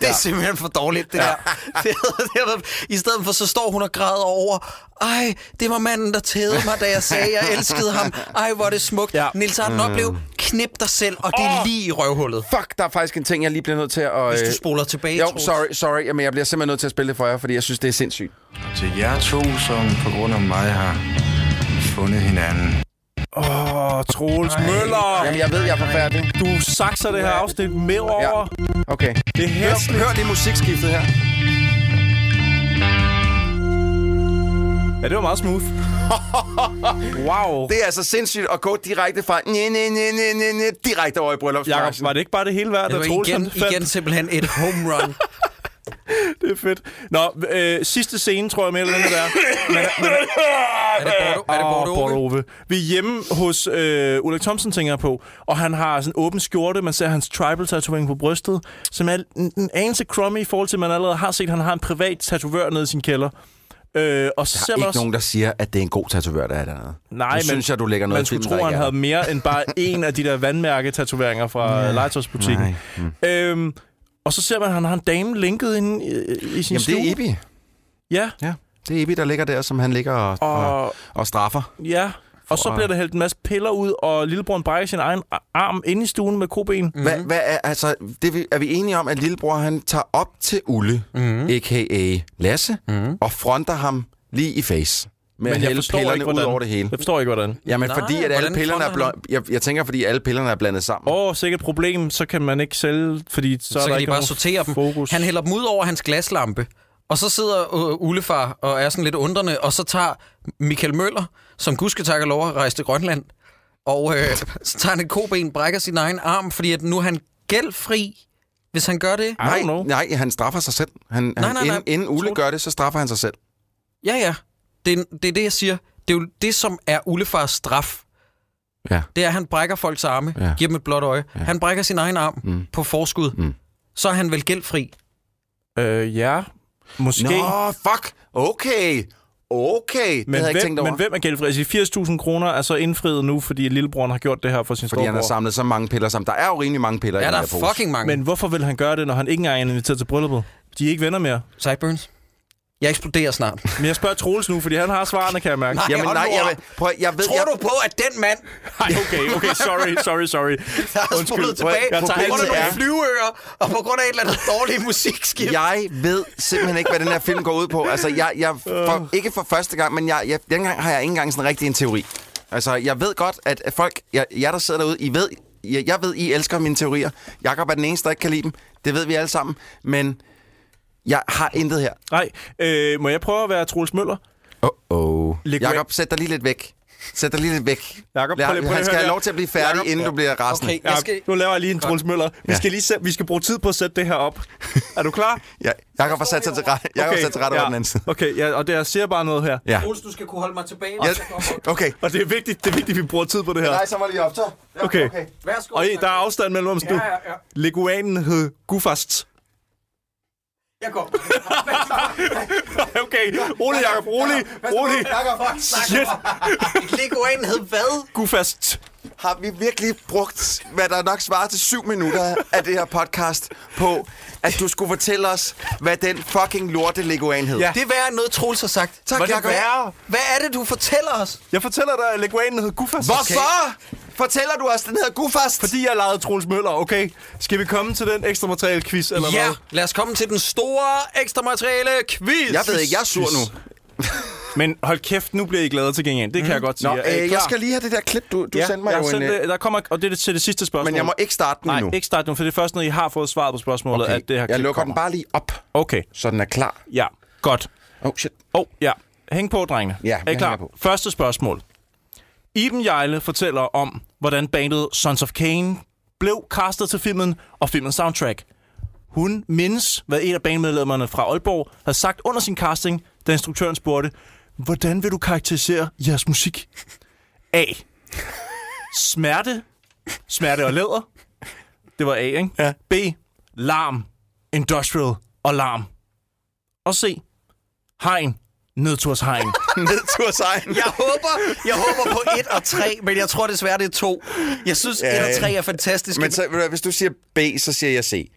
S1: Det er ja. simpelthen for dårligt, det ja. der. Det havde, det havde, I stedet for, så står hun og græder over, ej, det var manden, der tædede mig, da jeg sagde, jeg elskede ham. Ej, hvor er det smukt. Ja. Niels Arden oplev, knip dig selv, og det er lige i røvhullet.
S3: Fuck, der er faktisk en ting, jeg lige bliver nødt til at...
S1: Hvis du
S3: øh,
S1: spoler tilbage,
S3: Jo,
S1: Troels.
S3: sorry, sorry, men jeg bliver simpelthen nødt til at spille det for jer, fordi jeg synes, det er sindssygt.
S8: Til jer to, som på grund af mig har fundet hinanden.
S2: Åh, oh, Troels Møller!
S3: Jamen, jeg ved, jeg er forfærdelig.
S2: Du sakser det her afsnit med over.
S3: Okay.
S2: Det er hæsligt.
S3: Hør lige musikskiftet her.
S2: Ja, det var meget smooth. wow.
S3: Det er altså sindssygt at gå direkte fra næ, næ, næ, næ, næ, næ, direkte over i
S2: Jakob,
S3: bryllupsbranchen.
S2: var det ikke bare det hele værd,
S1: Det
S2: da
S1: var
S2: Troels han
S1: igen,
S2: fandt?
S1: igen simpelthen et home run.
S2: Det er fedt. Nå, øh, sidste scene, tror jeg, med eller andet der. Men, men,
S1: er det Bordeaux? Er det
S2: Åh,
S1: Bordeaux?
S2: Borte Ove. Vi er hjemme hos øh, Ulrik Thomsen, tænker jeg på. Og han har sådan en åben skjorte. Man ser hans tribal tatovering på brystet, som er en, en anelse crummy i forhold til, at man allerede har set, at han har en privat tatovør nede i sin kælder. Øh, og så ser man
S3: Ikke
S2: også...
S3: nogen, der siger, at det er en god tatovør, der er dernede.
S2: Nej,
S3: nu
S2: men
S3: synes jeg, du lægger noget
S2: man skulle
S3: i
S2: tro,
S3: filmen, der
S2: han
S3: ikke
S2: havde
S3: er
S2: mere end bare en af de der vandmærketatoveringer fra ja. legetøjsbutikken.
S3: Mm.
S2: Øhm, og så ser man, at han har en dame linket inde i, i sin
S3: Jamen,
S2: stue.
S3: det er Ibi.
S2: Ja,
S3: Ja, det er Ibi, der ligger der, som han ligger og, og...
S2: og,
S3: og straffer.
S2: ja. og så bliver der hældt en masse piller ud, og lillebroren brækker sin egen a- arm inde i stuen med koben. Mm.
S3: Hvad, hvad er, altså, det, vi- er vi enige om, at lillebror han tager op til Ulle, mm. a.k.a. Lasse, mm. og fronter ham lige i face. Med at hælde pillerne ud over det hele.
S2: Jeg forstår ikke, hvordan.
S3: Jamen,
S1: Nej,
S3: fordi at alle
S1: hvordan
S3: pillerne er
S1: fronter han?
S3: bl- jeg, jeg tænker, fordi alle pillerne er blandet sammen.
S2: Åh, oh, sikkert problem, så kan man ikke sælge, fordi så, er
S1: så
S2: der
S1: kan de
S2: ikke
S1: bare
S2: nogen
S1: sortere dem.
S2: fokus.
S1: Han hælder dem ud over hans glaslampe. Og så sidder øh, Ullefar og er sådan lidt undrende, og så tager Michael Møller, som gudske takker lov at rejse til Grønland, og øh, så tager han et koben, brækker sin egen arm, fordi at nu er han gældfri, hvis han gør det.
S2: I
S3: Nej,
S2: don't know.
S3: nej, han straffer sig selv. Han, nej,
S1: nej,
S3: han,
S1: nej.
S3: Inden, inden Ulle
S1: Tror
S3: gør det, så straffer han sig selv.
S1: Ja, ja. Det, er- det er det, jeg siger. Det er jo det, som er Ullefars straf.
S3: Ja.
S1: Det er, at han brækker folks arme,
S3: Ja.
S1: ja. giver dem et blåt øje. Ja. Han brækker sin egen arm mm. på forskud.
S3: Mm.
S1: Mm. Så er han vel gældfri.
S2: Øh, ja, måske.
S3: Nå, fuck! Okay! Okay! Det
S2: Men,
S3: havde jeg ikke
S2: hvem,
S3: tænkt over.
S2: men hvem er gældfri? Altså, 80.000 kroner er så indfriet nu, fordi lillebroren har gjort det her for sin
S3: Fordi han har
S2: storebror.
S3: samlet så mange piller sammen. Der er jo rimelig mange piller i
S1: Ja,
S3: den
S1: der
S3: her
S1: er
S3: pose.
S1: fucking mange.
S2: Men hvorfor vil han gøre det, når han ikke engang er inviteret til brylluppet? De er ikke venner mere.
S1: Sideburns. Jeg eksploderer snart.
S2: Men jeg spørger Troels nu, fordi han har svarene, kan jeg mærke.
S1: Nej,
S3: Jamen
S1: hold
S3: nej,
S1: nu
S3: jeg,
S1: op.
S3: ved- prøv, at- jeg ved...
S1: Tror
S3: jeg,
S1: du på, at den mand,
S2: Ej, okay, okay, sorry, sorry, sorry.
S1: der er spolet tilbage,
S2: Jeg
S1: på grund
S2: tager
S1: af
S2: altid
S1: nogle
S2: ære.
S1: flyveører, og på grund af et eller andet dårligt musikskift.
S3: Jeg ved simpelthen ikke, hvad den her film går ud på. Altså, jeg, jeg
S2: Øh.
S3: for, ikke for første gang, men jeg, jeg, dengang har jeg ikke engang sådan rigtig en teori. Altså, jeg ved godt, at folk, jeg, jeg der sidder derude, I ved, jeg, jeg ved, I elsker mine teorier. Jakob er den eneste, der ikke kan lide dem. Det ved vi alle sammen. Men jeg har intet her.
S2: Nej, øh, må jeg prøve at være Troels Møller?
S3: Oh.
S2: Læg
S3: Jakob, sæt dig lige lidt væk. Sæt dig lige lidt væk.
S2: Jakob,
S3: Lad,
S2: prøv lige- prøv lige
S3: han
S2: at
S3: skal
S2: høre
S3: have
S2: her.
S3: lov til at blive færdig,
S1: Jakob,
S3: inden du bliver rasende.
S1: Okay,
S2: Ja,
S1: jeg skal...
S2: Nu laver jeg lige en Troels Møller. Vi,
S3: Ja.
S2: skal lige se, vi skal bruge tid på at sætte det her op. Er du klar?
S3: Ja, Jakob har sat sig til ret, Jakob har sat sig til ret over
S2: ja.
S3: den anden side.
S2: Okay, ja, og det, jeg ser bare noget her.
S3: Ja.
S1: Troels, du skal kunne holde mig tilbage.
S3: Ja, Okay.
S2: Og det er vigtigt, det er vigtigt, vi bruger tid på det her.
S3: Nej, så var det lige optag. Ja,
S2: Okay.
S1: Værsgo.
S2: Og I, der er afstand mellem os
S1: Ja,
S2: nu.
S1: ja, ja.
S2: Leguanen hed Gufast.
S1: Jeg går.
S2: Okay, rolig, Jacob, rolig, rolig. Shit,
S1: Leguan hed hvad?
S2: Gufast.
S3: Har vi virkelig brugt, hvad der nok svarer til syv minutter af det her podcast, på, at du skulle fortælle os, hvad den fucking lorte leguan hed?
S2: Ja.
S1: Det er værre end noget, Troels har sagt. Tak,
S2: Var det
S1: Jacob.
S2: værre?
S1: Hvad er det, du fortæller os?
S2: Jeg fortæller dig, at leguanen hed Gufast.
S3: Hvorfor? Fortæller du os, den hedder Gufast?
S2: Fordi jeg legede Troels Møller, okay? Skal vi komme til den ekstra materiale quiz, eller
S1: ja,
S2: hvad?
S1: lad os komme til den store ekstra materiale quiz.
S3: Jeg ved ikke, jeg er sur nu.
S2: Men hold kæft, nu bliver I glade til gengæld. Det kan
S3: Mm.
S2: jeg godt sige.
S3: Nå,
S2: Er I
S3: øh, jeg
S2: klar?
S3: skal lige have det der klip, du, du
S2: ja,
S3: sendte mig
S2: jeg
S3: jo
S2: har
S3: en...
S2: sendt,
S3: øh,
S2: det. Der kommer, og det er til det sidste spørgsmål.
S3: Men jeg må ikke starte den
S2: Nej,
S3: nu.
S2: ikke starte nu, for det er først, når I har fået svaret på spørgsmålet,
S3: Okay,
S2: at det her
S3: jeg
S2: klip
S3: lukker den
S2: kommer.
S3: bare lige op.
S2: Okay.
S3: Så den er klar.
S2: Ja, godt.
S3: Oh, shit.
S2: Oh, ja. Hæng på, drengene.
S3: Ja,
S2: er I
S3: jeg
S2: klar?
S3: hænger på.
S2: Første spørgsmål. Iben Jejle fortæller om, hvordan bandet Sons of Cain blev castet til filmen og filmens soundtrack. Hun mindes, hvad et af bandmedlemmerne fra Aalborg havde sagt under sin casting, da instruktøren spurgte, hvordan vil du karakterisere jeres musik? A. Smerte. Smerte og læder. Det var A, ikke? Ja. B. Larm. Industrial og larm. Og C. Hegn. Nedturshegn.
S3: Nedturshegn.
S1: Jeg håber, jeg håber på 1 og 3, men jeg tror desværre, det er 2. Jeg synes, 1
S3: Ja,
S1: og
S3: ja.
S1: 3 er fantastiske.
S3: Men så, ved du hvad, hvis du siger B, så siger jeg C.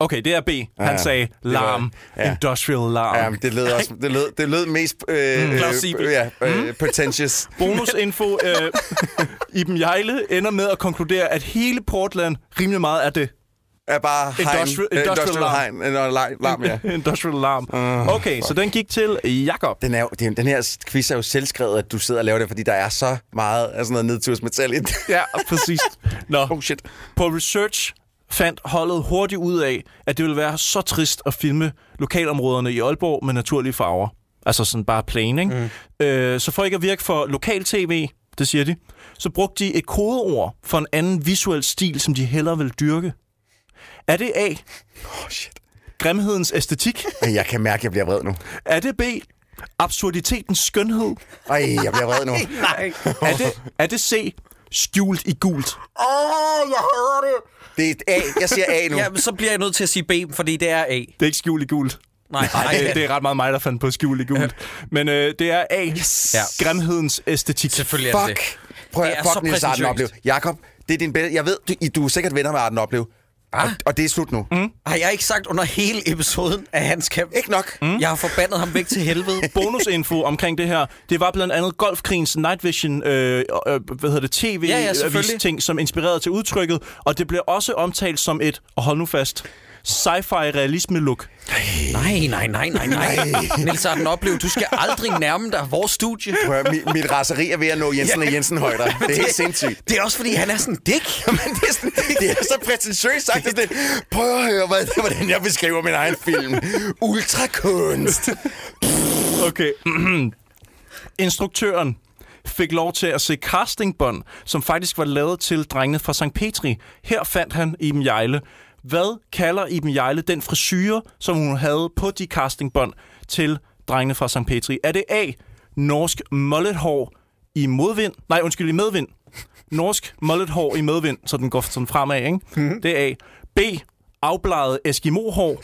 S2: Okay, det er B. Han
S3: Ja,
S2: sagde
S3: det var-
S2: larm.
S3: ja.
S2: Industrial larm.
S3: Ja, men det lød, også, det lød, det lød mest... Øh, øh,
S2: Plausibelt.
S3: ja, øh, pretentious.
S2: Bonusinfo. Øh, Iben Jejle ender med at konkludere, at hele Portland rimelig meget er det.
S3: Er bare hegn.
S2: Industrial,
S3: Øh,
S2: industrial, Mm.
S3: industrial
S2: larm.
S3: hegn. Øh, larm, larm, ja.
S2: industrial larm. Okay, så den gik til Jakob.
S3: Den, er jo, den, den her quiz er jo selvskrevet, at du sidder og laver det, fordi der er så meget af sådan noget nedtursmetal i det.
S2: Ja, præcis. Nå.
S3: Oh shit.
S2: På research fandt holdet hurtigt ud af, at det ville være så trist at filme lokalområderne i Aalborg med naturlige farver. Altså sådan bare plain, ikke? Mm. Øh, så for ikke at virke for lokal-tv, det siger de, så brugte de et kodeord for en anden visuel stil, som de hellere ville dyrke. Er det A?
S3: Oh shit.
S2: Grimhedens æstetik?
S3: Ej, Jeg kan mærke, at jeg bliver vred nu.
S2: Er det B? Absurditetens skønhed?
S3: Ej, jeg bliver vred nu.
S1: Nej.
S2: Er det, er det C? Skjult i gult?
S1: Åh, jeg hader det.
S3: Det er A. Jeg siger A nu.
S1: Ja, men så bliver jeg nødt til at sige B, fordi det er A.
S2: Det er ikke skjult i gult.
S1: Nej,
S2: Nej,
S1: nej.
S2: det, det er ret meget mig, der fandt på skjul i gult. Men øh, det er A. Yes. Ja. Grimhedens æstetik.
S1: Selvfølgelig er det
S3: Fuck.
S1: det.
S3: Prøv
S1: Det er
S3: at
S1: så
S3: fuck Niels Arden
S1: prætentiøst.
S3: Oplev. Jakob, det er din bedste. Jeg ved, du, I- du er sikkert venner med Arden Oplev. Og, og det er slut nu. Mm.
S1: Har jeg ikke sagt under hele episoden af hans kamp?
S3: Ikke nok.
S1: Mm. Jeg har forbandet ham væk til helvede.
S2: Bonusinfo omkring det her, det var blandt andet Golfkrigens Night Vision, øh, øh, hvad hedder det, tv
S1: Ja, ja, selvfølgelig.
S2: ting som inspirerede til udtrykket, og det blev også omtalt som et, og hold nu fast, sci-fi realisme look.
S1: Nej, nej, nej, nej, nej. Niels Arden Oplev, du skal aldrig nærme dig vores studie.
S3: Prøv at, høre, mit, mit raseri er ved at nå Jensen og Jensen højder. Det er helt sindssygt.
S1: Det er også, fordi han er sådan en dick.
S3: Men det er, sådan, det er så prætentiøst sagt. Det er sådan, prøv at høre, hvad, hvordan jeg beskriver min egen film. Ultrakunst.
S2: Okay. Instruktøren fik lov til at se castingbånd, som faktisk var lavet til drengene fra St. Petri. Her fandt han Iben Jejle. Hvad kalder Iben Jejle den frisyre, som hun havde på de castingbånd til drengene fra St. Petri? Er det A. Norsk mullethår i modvind? Nej, undskyld, i medvind. Norsk mullethår i medvind, så den går sådan fremad, ikke? Det er A. B. Afbleget Eskimo-hår.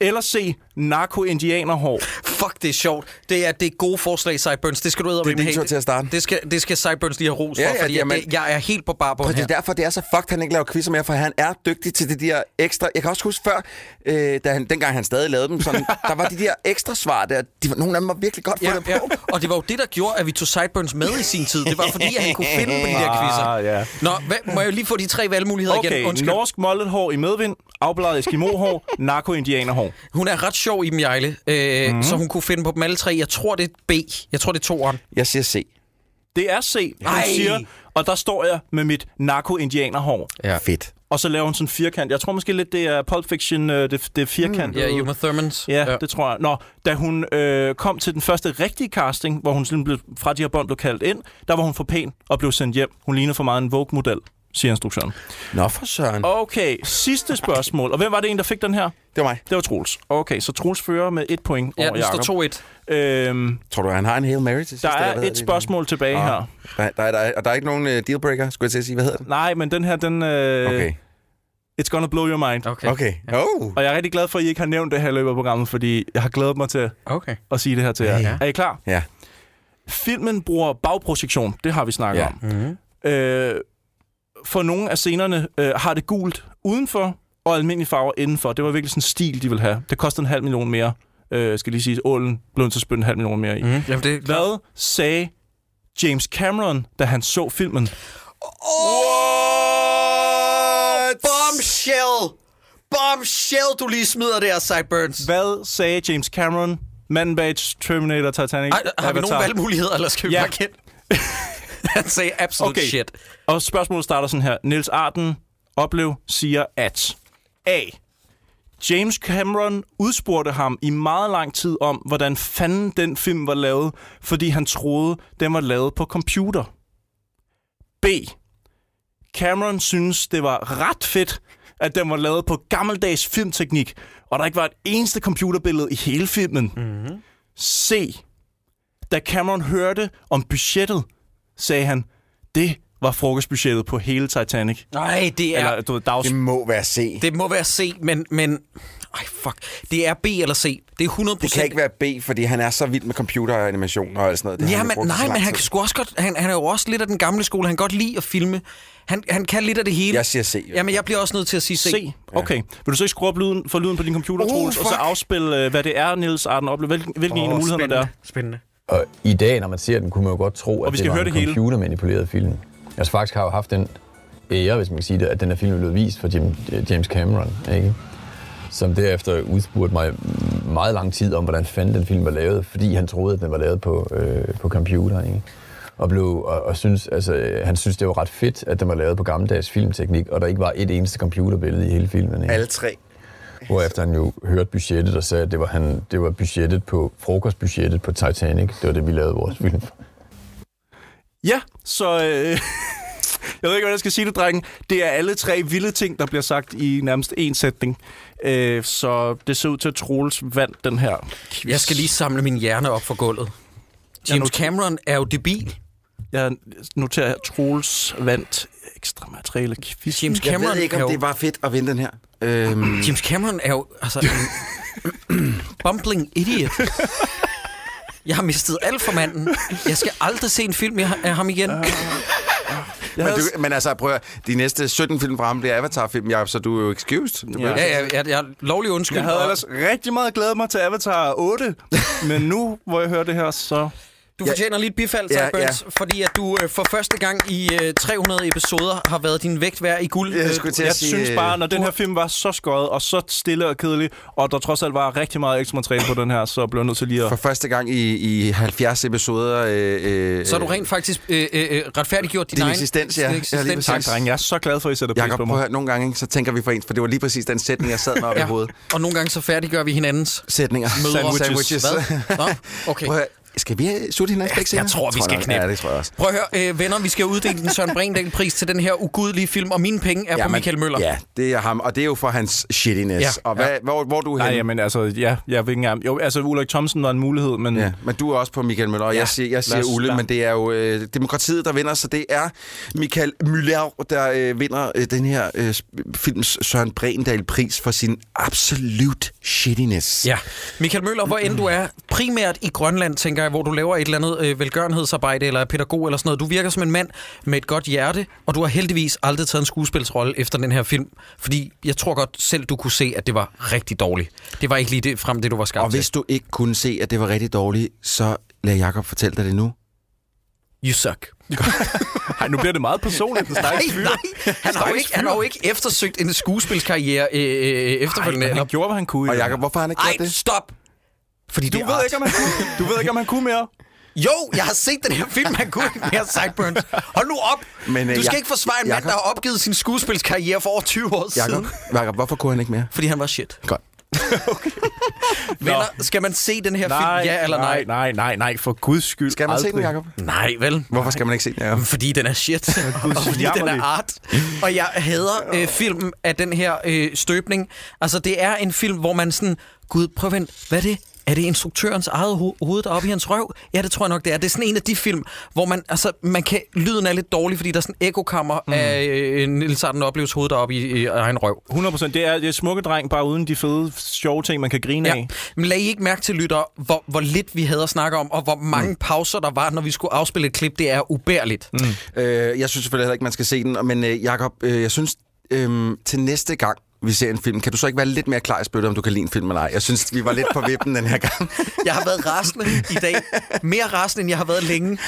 S2: Eller C. Narko-indianerhår.
S1: Fuck, det er sjovt. Det er det er gode forslag, Cyburns. Det skal du ud
S3: Det er din tur til at starte.
S1: Det skal, det skal Cyburns lige have ros
S3: Ja,
S1: for,
S3: ja,
S1: fordi
S3: jamen-
S1: det, jeg er helt på
S3: Og
S1: barbund
S3: det
S1: her.
S3: er derfor, det er så fucked, han ikke laver quizzer mere, for han er dygtig til det der ekstra... Jeg kan også huske før, øh, da han, dengang han stadig lavede dem, sådan, der var de der ekstra svar der. De, var- nogle af dem var virkelig godt fundet
S1: Ja, ja.
S3: på.
S1: Og det var jo det, der gjorde, at vi tog Sideburns med i sin tid. Det var fordi, at han kunne finde på de der quizzer.
S2: Ah, ja.
S1: Nå, hvad, må jeg lige få de tre valgmuligheder
S2: Okay,
S1: igen? Undskyld.
S2: norsk mollet-hår i medvind, afbladet eskimo-hår, narko-indianerhår.
S1: Hun er ret sjov i dem, Jejle, øh,
S2: Mhm.
S1: mm. så hun kunne finde på dem alle tre. Jeg tror, det er B. Jeg tror, det er toeren.
S3: Jeg siger C.
S2: Det er C, hun
S1: Ej.
S2: siger, og der står jeg med mit narko-indianerhår.
S3: Ja. Fedt.
S2: Og så laver hun sådan en firkant. Jeg tror måske lidt, det er Pulp Fiction, øh, det, det er firkant.
S1: Mm, Ja, Uma Thurmans.
S2: Ja, det tror jeg. Nå, da hun øh, kom til den første rigtige casting, hvor hun sådan blev, fra de her bånd blev kaldt ind, der var hun for pæn og blev sendt hjem. Hun ligner for meget en Vogue-model, siger instruktøren.
S3: Nå for søren.
S2: Okay, sidste spørgsmål. Og hvem var det en, der fik den her?
S3: Det var mig.
S2: Det var Troels. Okay, så Troels fører med et point
S1: Ja,
S2: over
S1: den
S2: Jacob.
S1: står 2-1.
S2: Øhm,
S3: Tror du, han har en Hail Mary til sidst?
S2: der
S3: eller hvad
S2: er
S3: hedder
S2: et
S3: det? Ah.
S2: spørgsmål tilbage
S3: Nå.
S2: her.
S3: Der, der, der, og der er ikke nogen uh, dealbreaker, skulle jeg til at sige. Hvad hedder den?
S2: Nej, men den her, den... Øh,
S3: Okay.
S2: It's gonna blow your mind.
S1: Okay.
S3: Okay. Oh.
S2: Og jeg er rigtig glad for, at I ikke har nævnt det her i løbet af programmet, fordi jeg har glædet mig til
S1: Okay.
S2: at sige det her til jer.
S1: Ja.
S2: Er I klar?
S3: Ja.
S2: Filmen bruger bagprojektion. Det har vi snakket
S3: Ja.
S2: om. Mm-hmm. Øh, for nogle af scenerne øh, har det gult udenfor, og almindelige farver indenfor. Det var virkelig sådan en stil, de ville have. Det kostede en halv million mere. Øh, skal lige sige, ålen blev nødt til at spytte en halv million mere i.
S1: Mm. Jamen, det er klart.
S2: Hvad sagde James Cameron, da han så filmen?
S1: What? Bombshell! Bombshell, du lige smider der, Sideburns.
S2: Hvad sagde James Cameron? Manden bag Terminator, Titanic,
S1: Ej, har vi nogen valgmuligheder, eller skal vi
S2: Ja.
S1: bare kende? Han sagde absolut okay. shit.
S2: Og spørgsmålet starter sådan her. Niels Arden oplev siger at A. James Cameron udspurgte ham i meget lang tid om, hvordan fanden den film var lavet, fordi han troede, den var lavet på computer. B. Cameron synes, det var ret fedt, at den var lavet på gammeldags filmteknik, og der ikke var et eneste computerbillede i hele filmen. Mm-hmm. C. Da Cameron hørte om budgettet, sagde han, det var frokostbudgettet på hele Titanic.
S1: Nej, det er...
S2: Eller, du, ved, dags...
S3: Det må være C.
S1: Det må være C, men... men ej, fuck. Det er B eller C. Det er 100
S3: Det kan ikke være B, fordi han er så vild med computeranimationer og alt sådan noget. Det har
S1: Ja,
S3: han jo
S1: men,
S3: brugt i så
S1: nej,
S3: lang
S1: men han,
S3: tid.
S1: kan sgu også godt, han, han er jo også lidt af den gamle skole. Han kan godt lide at filme. Han, han kan lidt af det hele.
S3: Jeg siger C. jo.
S1: Jamen, jeg bliver også nødt til at sige C.
S2: C. Okay. Vil du så ikke skrue op lyden, for lyden på din computer,
S1: Oh,
S2: oh, Troels, og så
S1: fuck.
S2: afspille, øh, hvad det er, Niels Arden oplever? Hvilken, hvilken oh, en af mulighederne der er?
S1: Spændende.
S13: Og i dag, når man ser den, kunne man jo godt tro,
S2: Og
S13: at
S2: vi
S13: vi
S2: skal
S13: det var
S2: høre
S13: en
S2: det hele.
S13: computermanipuleret film. Altså faktisk har jeg jo haft den ære, hvis man kan sige det, at den her film blev vist for Jim, James Cameron, ikke? som derefter udspurgte mig meget lang tid om, hvordan fanden den film var lavet, fordi han troede, at den var lavet på, øh, på computer. Ikke? Og, blev, og, og synes, altså, øh, han synes, det var ret fedt, at den var lavet på gammeldags filmteknik, og der ikke var et eneste computerbillede i hele filmen. Ikke?
S3: Alle tre.
S13: Hvorefter han jo hørte budgettet og sagde, at det var, han, det var budgettet på, frokostbudgettet på Titanic. Det var det, vi lavede vores film for.
S2: Ja, så... Øh, jeg ved ikke, hvad jeg skal sige det, drengen. Det er alle tre vilde ting, der bliver sagt i nærmest én sætning. Øh, så det ser ud til, at Troels vandt den her.
S1: Jeg skal lige samle min hjerne op fra gulvet. James Cameron er jo debil.
S2: Jeg noterer, at Troels vandt ekstra materiale quiz.
S1: James
S3: Jeg
S1: Cameron
S3: ved ikke,
S1: er jo-
S3: om det var fedt at vinde den her. Øhm,
S1: James Cameron er jo altså en bumbling idiot. Jeg har mistet alt for manden. Jeg skal aldrig se en film af- af ham igen.
S3: Ah. men, du, men altså, prøv at, høre, de næste 17 film fra ham bliver Avatar-film, Jacob, så du er jo excused. Du
S1: Ja, ja, ja, jeg er lovlig undskyld.
S2: Jeg havde ellers rigtig meget glædet mig til Avatar 8, men nu, hvor jeg hører det her, så...
S1: Du fortjener lige et bifald,
S2: Ja,
S1: ja, Burns,
S2: ja.
S1: ja. fordi at du øh, for første gang i øh, 300 episoder har været din vægt værd i guld. Øh,
S2: jeg synes bare, når den her film var så skøjet og så stille og kedelig, og der trods alt var rigtig meget ekstra materiale på den her, så blev jeg nødt til lige at...
S3: For første gang i, i 70 episoder... Øh, øh,
S1: Så har du rent faktisk øh, øh, øh, retfærdiggjort din,
S3: Din
S1: egen
S3: eksistens, ja.
S1: din
S3: Ja, lige præcis.
S1: Tak, drenge.
S2: Jeg er så glad for, at I sætter
S3: øh, Jacob, prøv at høre, nogle gange, ikke, så tænker vi for ens, for det var lige præcis den sætning, jeg sad med op ja. i
S1: Ja.
S3: hovedet.
S1: Og nogle gange så færdiggør vi hinandens
S3: Sætninger.
S1: Mødre.
S3: Sandwiches.
S1: Hvad? Nå, okay.
S3: Prøv at høre, skal vi øh, slutte hinanden? ikke
S1: Jeg
S3: senere?
S1: tror, vi skal
S3: nok.
S1: knæppe.
S3: Ja, det tror jeg også.
S1: Prøv at høre, øh, venner, vi skal uddele den Søren Brindal-pris til den her ugudelige film, og mine penge er ja, på
S3: men-
S1: Michael Møller.
S3: Ja, det er ham, og det er jo for hans shittiness. Ja.
S1: Ja.
S3: Og hvad,
S1: Ja.
S3: hvor, hvor er du
S2: Nej,
S3: henne?
S2: jamen altså, ja, jeg ved ikke engang... Jo, altså, Ulrik Thomsen var en mulighed, men... Ja.
S3: Men du er også på Michael Møller, og ja, jeg siger, jeg siger
S2: lad os-
S3: Ulle,
S2: lad-
S3: men det er jo øh, demokratiet, der vinder, så det er Michael Müller, der øh, vinder øh, den her øh, sp- films Søren Brendal-pris for sin absolut shittiness.
S1: Ja. Michael Møller, hvor end du er, primært i Grønland, tænker jeg, hvor du laver et eller andet øh, velgørenhedsarbejde eller er pædagog eller sådan noget. Du virker som en mand med et godt hjerte, og du har heldigvis aldrig taget en skuespilsrolle efter den her film, fordi jeg tror godt selv, du kunne se, at det var rigtig dårligt. Det var ikke lige det, frem det, du var skabt
S3: Og hvis
S1: til.
S3: du ikke kunne se, at det var rigtig dårligt, så lad Jakob fortælle dig det nu.
S1: You suck.
S2: Ej, nu bliver det meget personligt. Den stakkels fyr.
S1: nej, han har, jo ikke, han har jo ikke eftersøgt en skuespilskarriere øh, øh, efterfølgende.
S2: Ej,
S1: eller-
S2: han gjorde, hvad han kunne.
S3: Og Jakob, hvorfor har han ikke
S1: Ej,
S3: gjort det?
S1: stop! Fordi
S2: Du
S1: det er
S2: ved,
S1: art.
S2: ikke, om han kunne, du ved ikke, om han kunne mere.
S1: Jo, jeg har set den her film, han kunne ikke mere sideburns. Hold nu op!
S3: Men,
S1: Men,
S3: øh,
S1: du skal
S3: Jak-
S1: ikke forsvare en mand,
S3: Jakob-
S1: der har opgivet sin skuespilskarriere for over 20 år
S3: Jakob,
S1: siden.
S3: Jakob, hvorfor kunne han ikke mere?
S1: Fordi han var shit.
S3: Godt.
S1: Venner, skal man se den her film, ja eller nej?
S2: Nej, nej, nej, for guds skyld.
S3: Skal man se den, Jacob?
S1: Nej, vel?
S3: Hvorfor skal man ikke se den, Jacob?
S1: Fordi den er shit, og fordi den
S2: jammerlig.
S1: er art. Og jeg hader øh, filmen af den her øh, støbning. Altså, det er en film, hvor man sådan... Gud, prøv at vente. Hvad er det? Er det instruktørens eget ho- hoved, der er oppe i hans røv? Ja, det tror jeg nok, det er. Det er sådan en af de film, hvor man, altså, man kan, lyden er lidt dårlig, fordi der er sådan en ekokammer mm. af øh, Niels Arden Opleves hoved, der er oppe i, i egen røv.
S2: 100%. Det er, det er smukke dreng, bare uden de fede, sjove ting, man kan grine ja. af.
S1: Men lad I ikke mærke til, lytter, hvor, hvor lidt vi havde at snakke om, og hvor mange mm. pauser der var, når vi skulle afspille et klip. Det er ubærligt. Mm.
S3: Øh, jeg synes selvfølgelig heller ikke, man skal se den, men øh, Jakob, øh, jeg synes øh, til næste gang, vi ser en film, kan du så ikke være lidt mere klar i spyttet, om du kan lide en film eller ej? Jeg synes, vi var lidt på vippen den her gang.
S1: Jeg har været rasende i dag. Mere rasende, end jeg har været længe.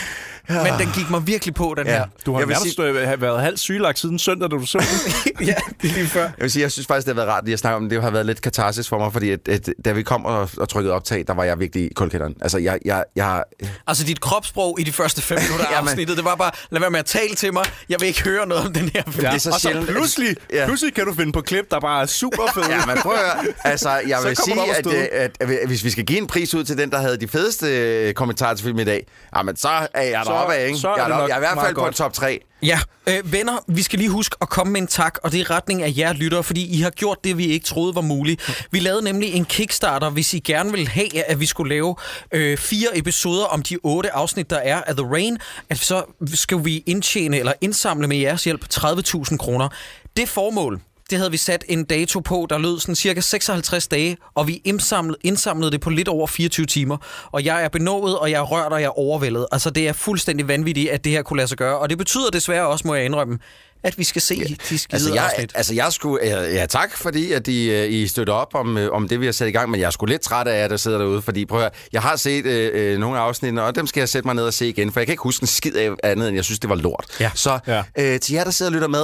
S1: Ja. Men den gik mig virkelig på, den ja. her.
S2: Du har nærmest sige... have været halvt sygelagt siden søndag, da du så den.
S1: ja, det er lige før.
S3: Jeg vil sige, jeg synes faktisk, det har været rart, at jeg snakker om det. Det har været lidt katarsis for mig, fordi at, at, da vi kom og, og trykkede optag, der var jeg virkelig i kuldkælderen. Altså, jeg, jeg, jeg...
S1: Altså, dit kropssprog i de første fem minutter af afsnittet, det var bare, lad være med at tale til mig. Jeg vil ikke høre noget om den her film.
S2: Ja. Det er så og så pludselig, ja. pludselig kan du finde på klip, der bare er super fede.
S3: ja, men prøv at høre. Altså, jeg vil sige, at, at, øh, at, at, hvis vi skal give en pris ud til den, der havde de fedeste øh, kommentarer til filmen i dag, jamen, så er jeg deroppe af, ikke?
S2: så er
S3: jeg,
S2: det
S3: deroppe.
S2: nok
S3: jeg er i hvert fald
S2: meget
S3: på en
S2: godt.
S3: top 3.
S1: Ja, øh, venner, vi skal lige huske at komme med en tak, og det er i retning af jer lyttere, fordi I har gjort det, vi ikke troede var muligt. Vi lavede nemlig en Kickstarter, hvis I gerne vil have, at vi skulle lave øh, fire episoder om de otte afsnit, der er af The Rain, at så skal vi indtjene eller indsamle med jeres hjælp 30.000 kroner. Det formål, det havde vi sat en dato på, der lød sådan cirka 56 dage, og vi indsamlede, indsamlede det på lidt over 24 timer. Og jeg er benået, og jeg er rørt, og jeg er overvældet. Altså, det er fuldstændig vanvittigt, at det her kunne lade sig gøre. Og det betyder desværre også, må jeg indrømme, at vi skal se ja, de skide
S3: Altså, jeg,
S1: afsnit.
S3: altså, jeg skulle... Ja, ja tak, fordi at I, øh, I støtter op om, øh, om det, vi har sat i gang, men jeg er sgu lidt træt af, at der sidder derude, fordi prøv at høre, jeg har set øh, øh, nogle af afsnittene, og dem skal jeg sætte mig ned og se igen, for jeg kan ikke huske en skid af andet, end jeg synes, det var lort. Ja. Så øh, til jer, der sidder og lytter med,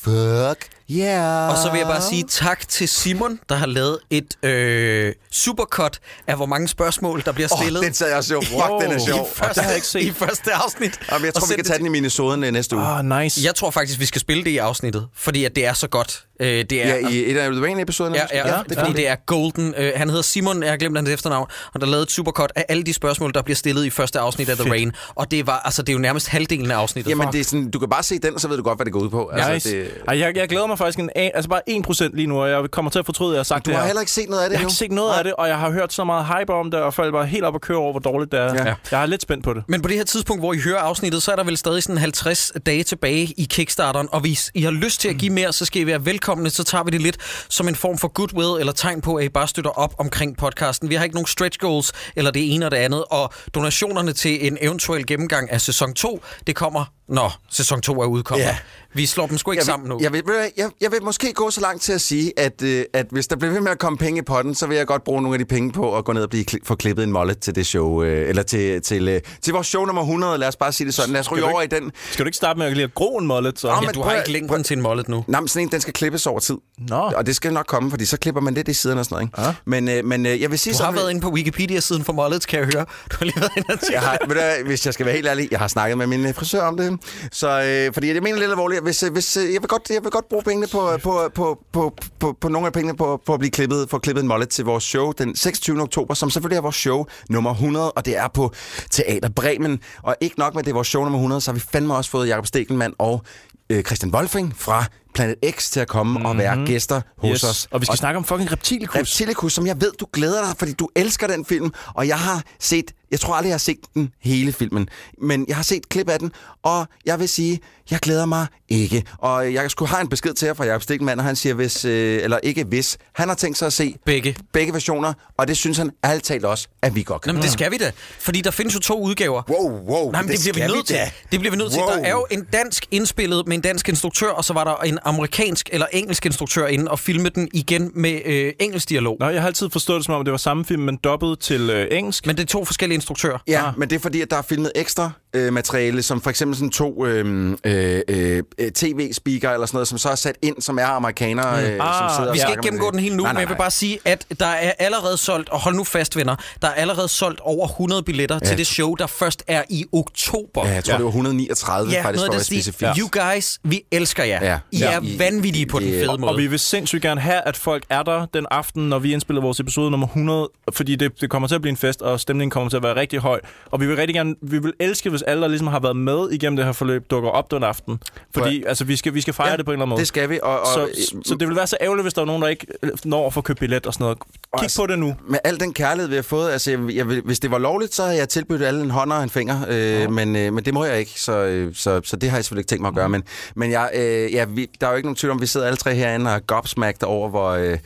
S3: fuck yeah.
S1: Og så vil jeg bare sige tak til Simon, der har lavet et øh, supercut af, hvor mange spørgsmål, der bliver
S3: Åh,
S1: stillet.
S3: den sad jeg og så. Fuck, den er sjov.
S1: I første,
S3: Det har jeg ikke
S1: I første afsnit.
S3: Jamen, jeg
S1: Og
S3: tror, vi
S1: send
S3: kan
S1: det
S3: tage den i minisoden øh, næste uge.
S2: Ah, nice.
S1: Jeg tror faktisk, vi skal spille det i afsnittet, fordi at det er så godt. Øh, det er,
S3: Ja, i et af The Rain-episoderne.
S1: Ja,
S3: måske?
S1: ja, ja,
S3: det
S1: fordi
S3: kunne
S1: det er Golden. Øh, han hedder Simon, jeg har glemt hans efternavn, og der lavede et supercut af alle de spørgsmål, der bliver stillet i første afsnit af The
S3: Fedt.
S1: Rain. Og det, var, altså, det er jo nærmest halvdelen af afsnittet.
S3: Jamen, det er sådan, du kan bare se den, og så ved du godt, hvad det går ud på.
S2: Altså, nice.
S3: det,
S2: det... Ej, jeg, jeg glæder mig faktisk en, an- altså bare 1% lige nu, og jeg kommer til at fortryde, at jeg har sagt
S3: Du
S2: det
S3: har
S2: her.
S3: heller ikke set noget af det
S2: Jeg har
S3: endnu.
S2: ikke set noget af det, og jeg har hørt så meget hype om det, og faldt bare helt op og køre over, hvor dårligt det er. Ja. Jeg er lidt spændt på det.
S1: Men på det her tidspunkt, hvor I hører afsnittet, så er der vel stadig sådan 50 dage tilbage i Kickstarteren, og hvis I har lyst til at give mere, så skal I være velkomne, så tager vi det lidt som en form for goodwill eller tegn på, at I bare støtter op omkring podcasten. Vi har ikke nogen stretch goals eller det ene og det andet, og donationerne til en eventuel gennemgang af sæson 2, det kommer, når sæson 2 er udkommet.
S3: Ja.
S1: Vi slår dem sgu ikke
S3: jeg
S1: sammen nu.
S3: vil, jeg, vil, ved du hvad, jeg, jeg vil måske gå så langt til at sige, at, øh, at hvis der bliver ved med at komme penge i potten, så vil jeg godt bruge nogle af de penge på at gå ned og blive kli- få klippet en mollet til det show, øh, eller til, til, øh, til vores show nummer 100, lad os bare sige det sådan. Lad os
S2: Skal
S3: ryge
S2: du
S3: over i
S2: ikke-
S3: den.
S2: Skal du ikke starte med at lige at gro en mollet, så?
S3: Ja, men du har prøv- ikke
S1: længden til en mollet nu.
S3: Nej, men sådan en, den skal klippes over tid.
S2: Nå.
S3: Og det skal nok komme, fordi så klipper man lidt i siden og sådan noget. Ikke? Ja. Men, øh, men øh, jeg vil sige
S1: Du har
S3: sådan...
S1: været inde på Wikipedia-siden for Mollets, kan jeg høre. Du har lige været inde og tjekke
S3: jeg har, ved du, hvad, hvis jeg skal være helt ærlig, jeg har snakket med min øh, frisør om det. Så, øh, fordi jeg mener lidt alvorligt, hvis, øh, hvis, øh, jeg, vil godt, jeg vil godt bruge pengene på, øh, på, på, på, på, på nogle af pengene på, på at blive klippet, for klippet en mollet til vores show den 26. oktober, som selvfølgelig er vores show nummer 100, og det er på Teater Bremen. Og ikke nok med, at det er vores show nummer 100, så har vi fandme også fået Jakob Stegelmann og øh, Christian Wolfing fra Planet X til at komme mm-hmm. og være gæster hos
S2: Yes.
S3: os.
S2: Og vi skal snakke om fucking Reptilicus.
S3: Reptilicus, som jeg ved, du glæder dig, fordi du elsker den film, og jeg har set, jeg tror aldrig, jeg har set den hele filmen, men jeg har set et klip af den, og jeg vil sige, jeg glæder mig ikke. Og jeg skulle have en besked til jer fra Jacob Stikman, og han siger, hvis, øh, eller ikke hvis, han har tænkt sig at se
S1: begge,
S3: begge versioner, og det synes han alt talt også, at vi godt kan.
S1: Nå, men det skal vi da, fordi der findes jo to udgaver.
S3: Wow, wow,
S1: Nej, men det,
S3: det
S1: det bliver
S3: skal
S1: vi
S3: vi
S1: nødt til.
S3: da.
S1: Det bliver vi nødt wow.
S3: Wow.
S1: til. Der er jo en dansk indspillet med en dansk instruktør, og så var der en amerikansk eller engelsk instruktør inde og filmede den igen med øh, engelsk dialog.
S2: Nå, jeg har altid forstået det som om, at det var samme film, men dobbet til øh, engelsk.
S1: Men det er to forskellige instruktører.
S3: Ja, ah. men det er fordi, at der er filmet ekstra øh, materiale, som for eksempel sådan to øh, øh, øh, tv-speaker eller sådan noget, som så er sat ind, som er amerikanere, øh, som sidder og
S1: Mm. Ah, vi skal
S3: snakker
S1: ikke
S3: med
S1: gennemgå
S3: det.
S1: den helt nu,
S3: nej, nej,
S1: men jeg vil
S3: nej.
S1: bare sige, at der er allerede solgt, og hold nu fast, venner, der er allerede solgt over 100 billetter ja.
S3: Ja.
S1: til det show, der først er i oktober.
S3: Ja, jeg tror, ja. det var 139
S1: Ja, noget
S3: faktisk, for
S1: af
S3: at være
S1: den stil.
S3: specifik.
S1: You guys, vi elsker jer.
S3: Ja.
S1: I
S3: Ja.
S1: er
S3: I-
S1: vanvittige på den
S3: I-
S1: fede
S2: Og-
S1: måde.
S2: Og vi vil sindssygt gerne have, at folk er der den aften, når vi indspiller vores episode nummer 100, fordi det, det kommer til at blive en fest, og stemningen kommer til at være rigtig høj. Og vi vil rigtig gerne, vi vil elske, hvis alle, der ligesom har været med igennem det her forløb, dukker op den aften. Fordi altså, vi, skal, vi skal fejre
S3: Ja,
S2: det på en eller anden måde.
S3: det skal vi, og- øh, og-
S2: så, så det vil være så ærgerligt, hvis der er nogen, der ikke når at få købt billet og sådan noget. Kig på det nu.
S3: Med al den kærlighed, vi har fået, altså, jeg, jeg, vil- hvis det var lovligt, så havde jeg tilbudt alle en hånd og en finger, øh, ja. men, øh, men det må jeg ikke, så, øh, så, så det har jeg selvfølgelig ikke tænkt mig at gøre. Men, men jeg, øh, ja, vi, der er jo ikke nogen tvivl om, vi sidder alle tre herinde og er gobsmacked over, hvor... Øh,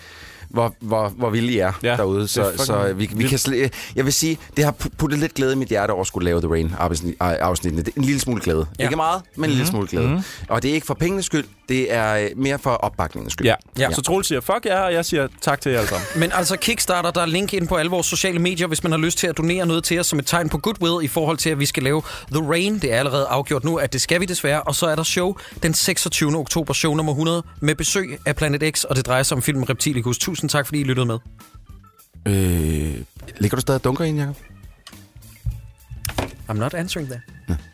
S3: hvor- hvor, hvor, hvor vilde I er ja, derude. Så,
S6: fucking
S3: så vi, vi
S6: vildt.
S3: kan slet, Jeg vil sige, det har pu- puttet lidt glæde i mit hjerte over at skulle lave The Rain afsnit- afsnittene. Det er En lille smule glæde. Ja. Ikke meget, men en lille
S2: Mhm.
S3: smule glæde.
S2: Mhm.
S3: Mm-hmm. Og det er ikke for pengenes skyld, det er øh, mere for opbakningens skyld.
S2: Ja. ja. Så Troels siger, fuck jer, og jeg siger tak til jer alle sammen.
S1: Men altså Kickstarter, der er link ind på alle vores sociale medier, hvis man har lyst til at donere noget til os som et tegn på goodwill i forhold til, at vi skal lave The Rain. Det er allerede afgjort nu, at det skal vi desværre. Og så er der show den 26. oktober, show nummer 100, med besøg af Planet X, og det drejer sig om filmen Reptilicus. Tusind tak, fordi I lyttede med.
S3: Øh, ligger du stadig og dunker ind, Jacob?
S1: I'm not answering that.
S3: Nå.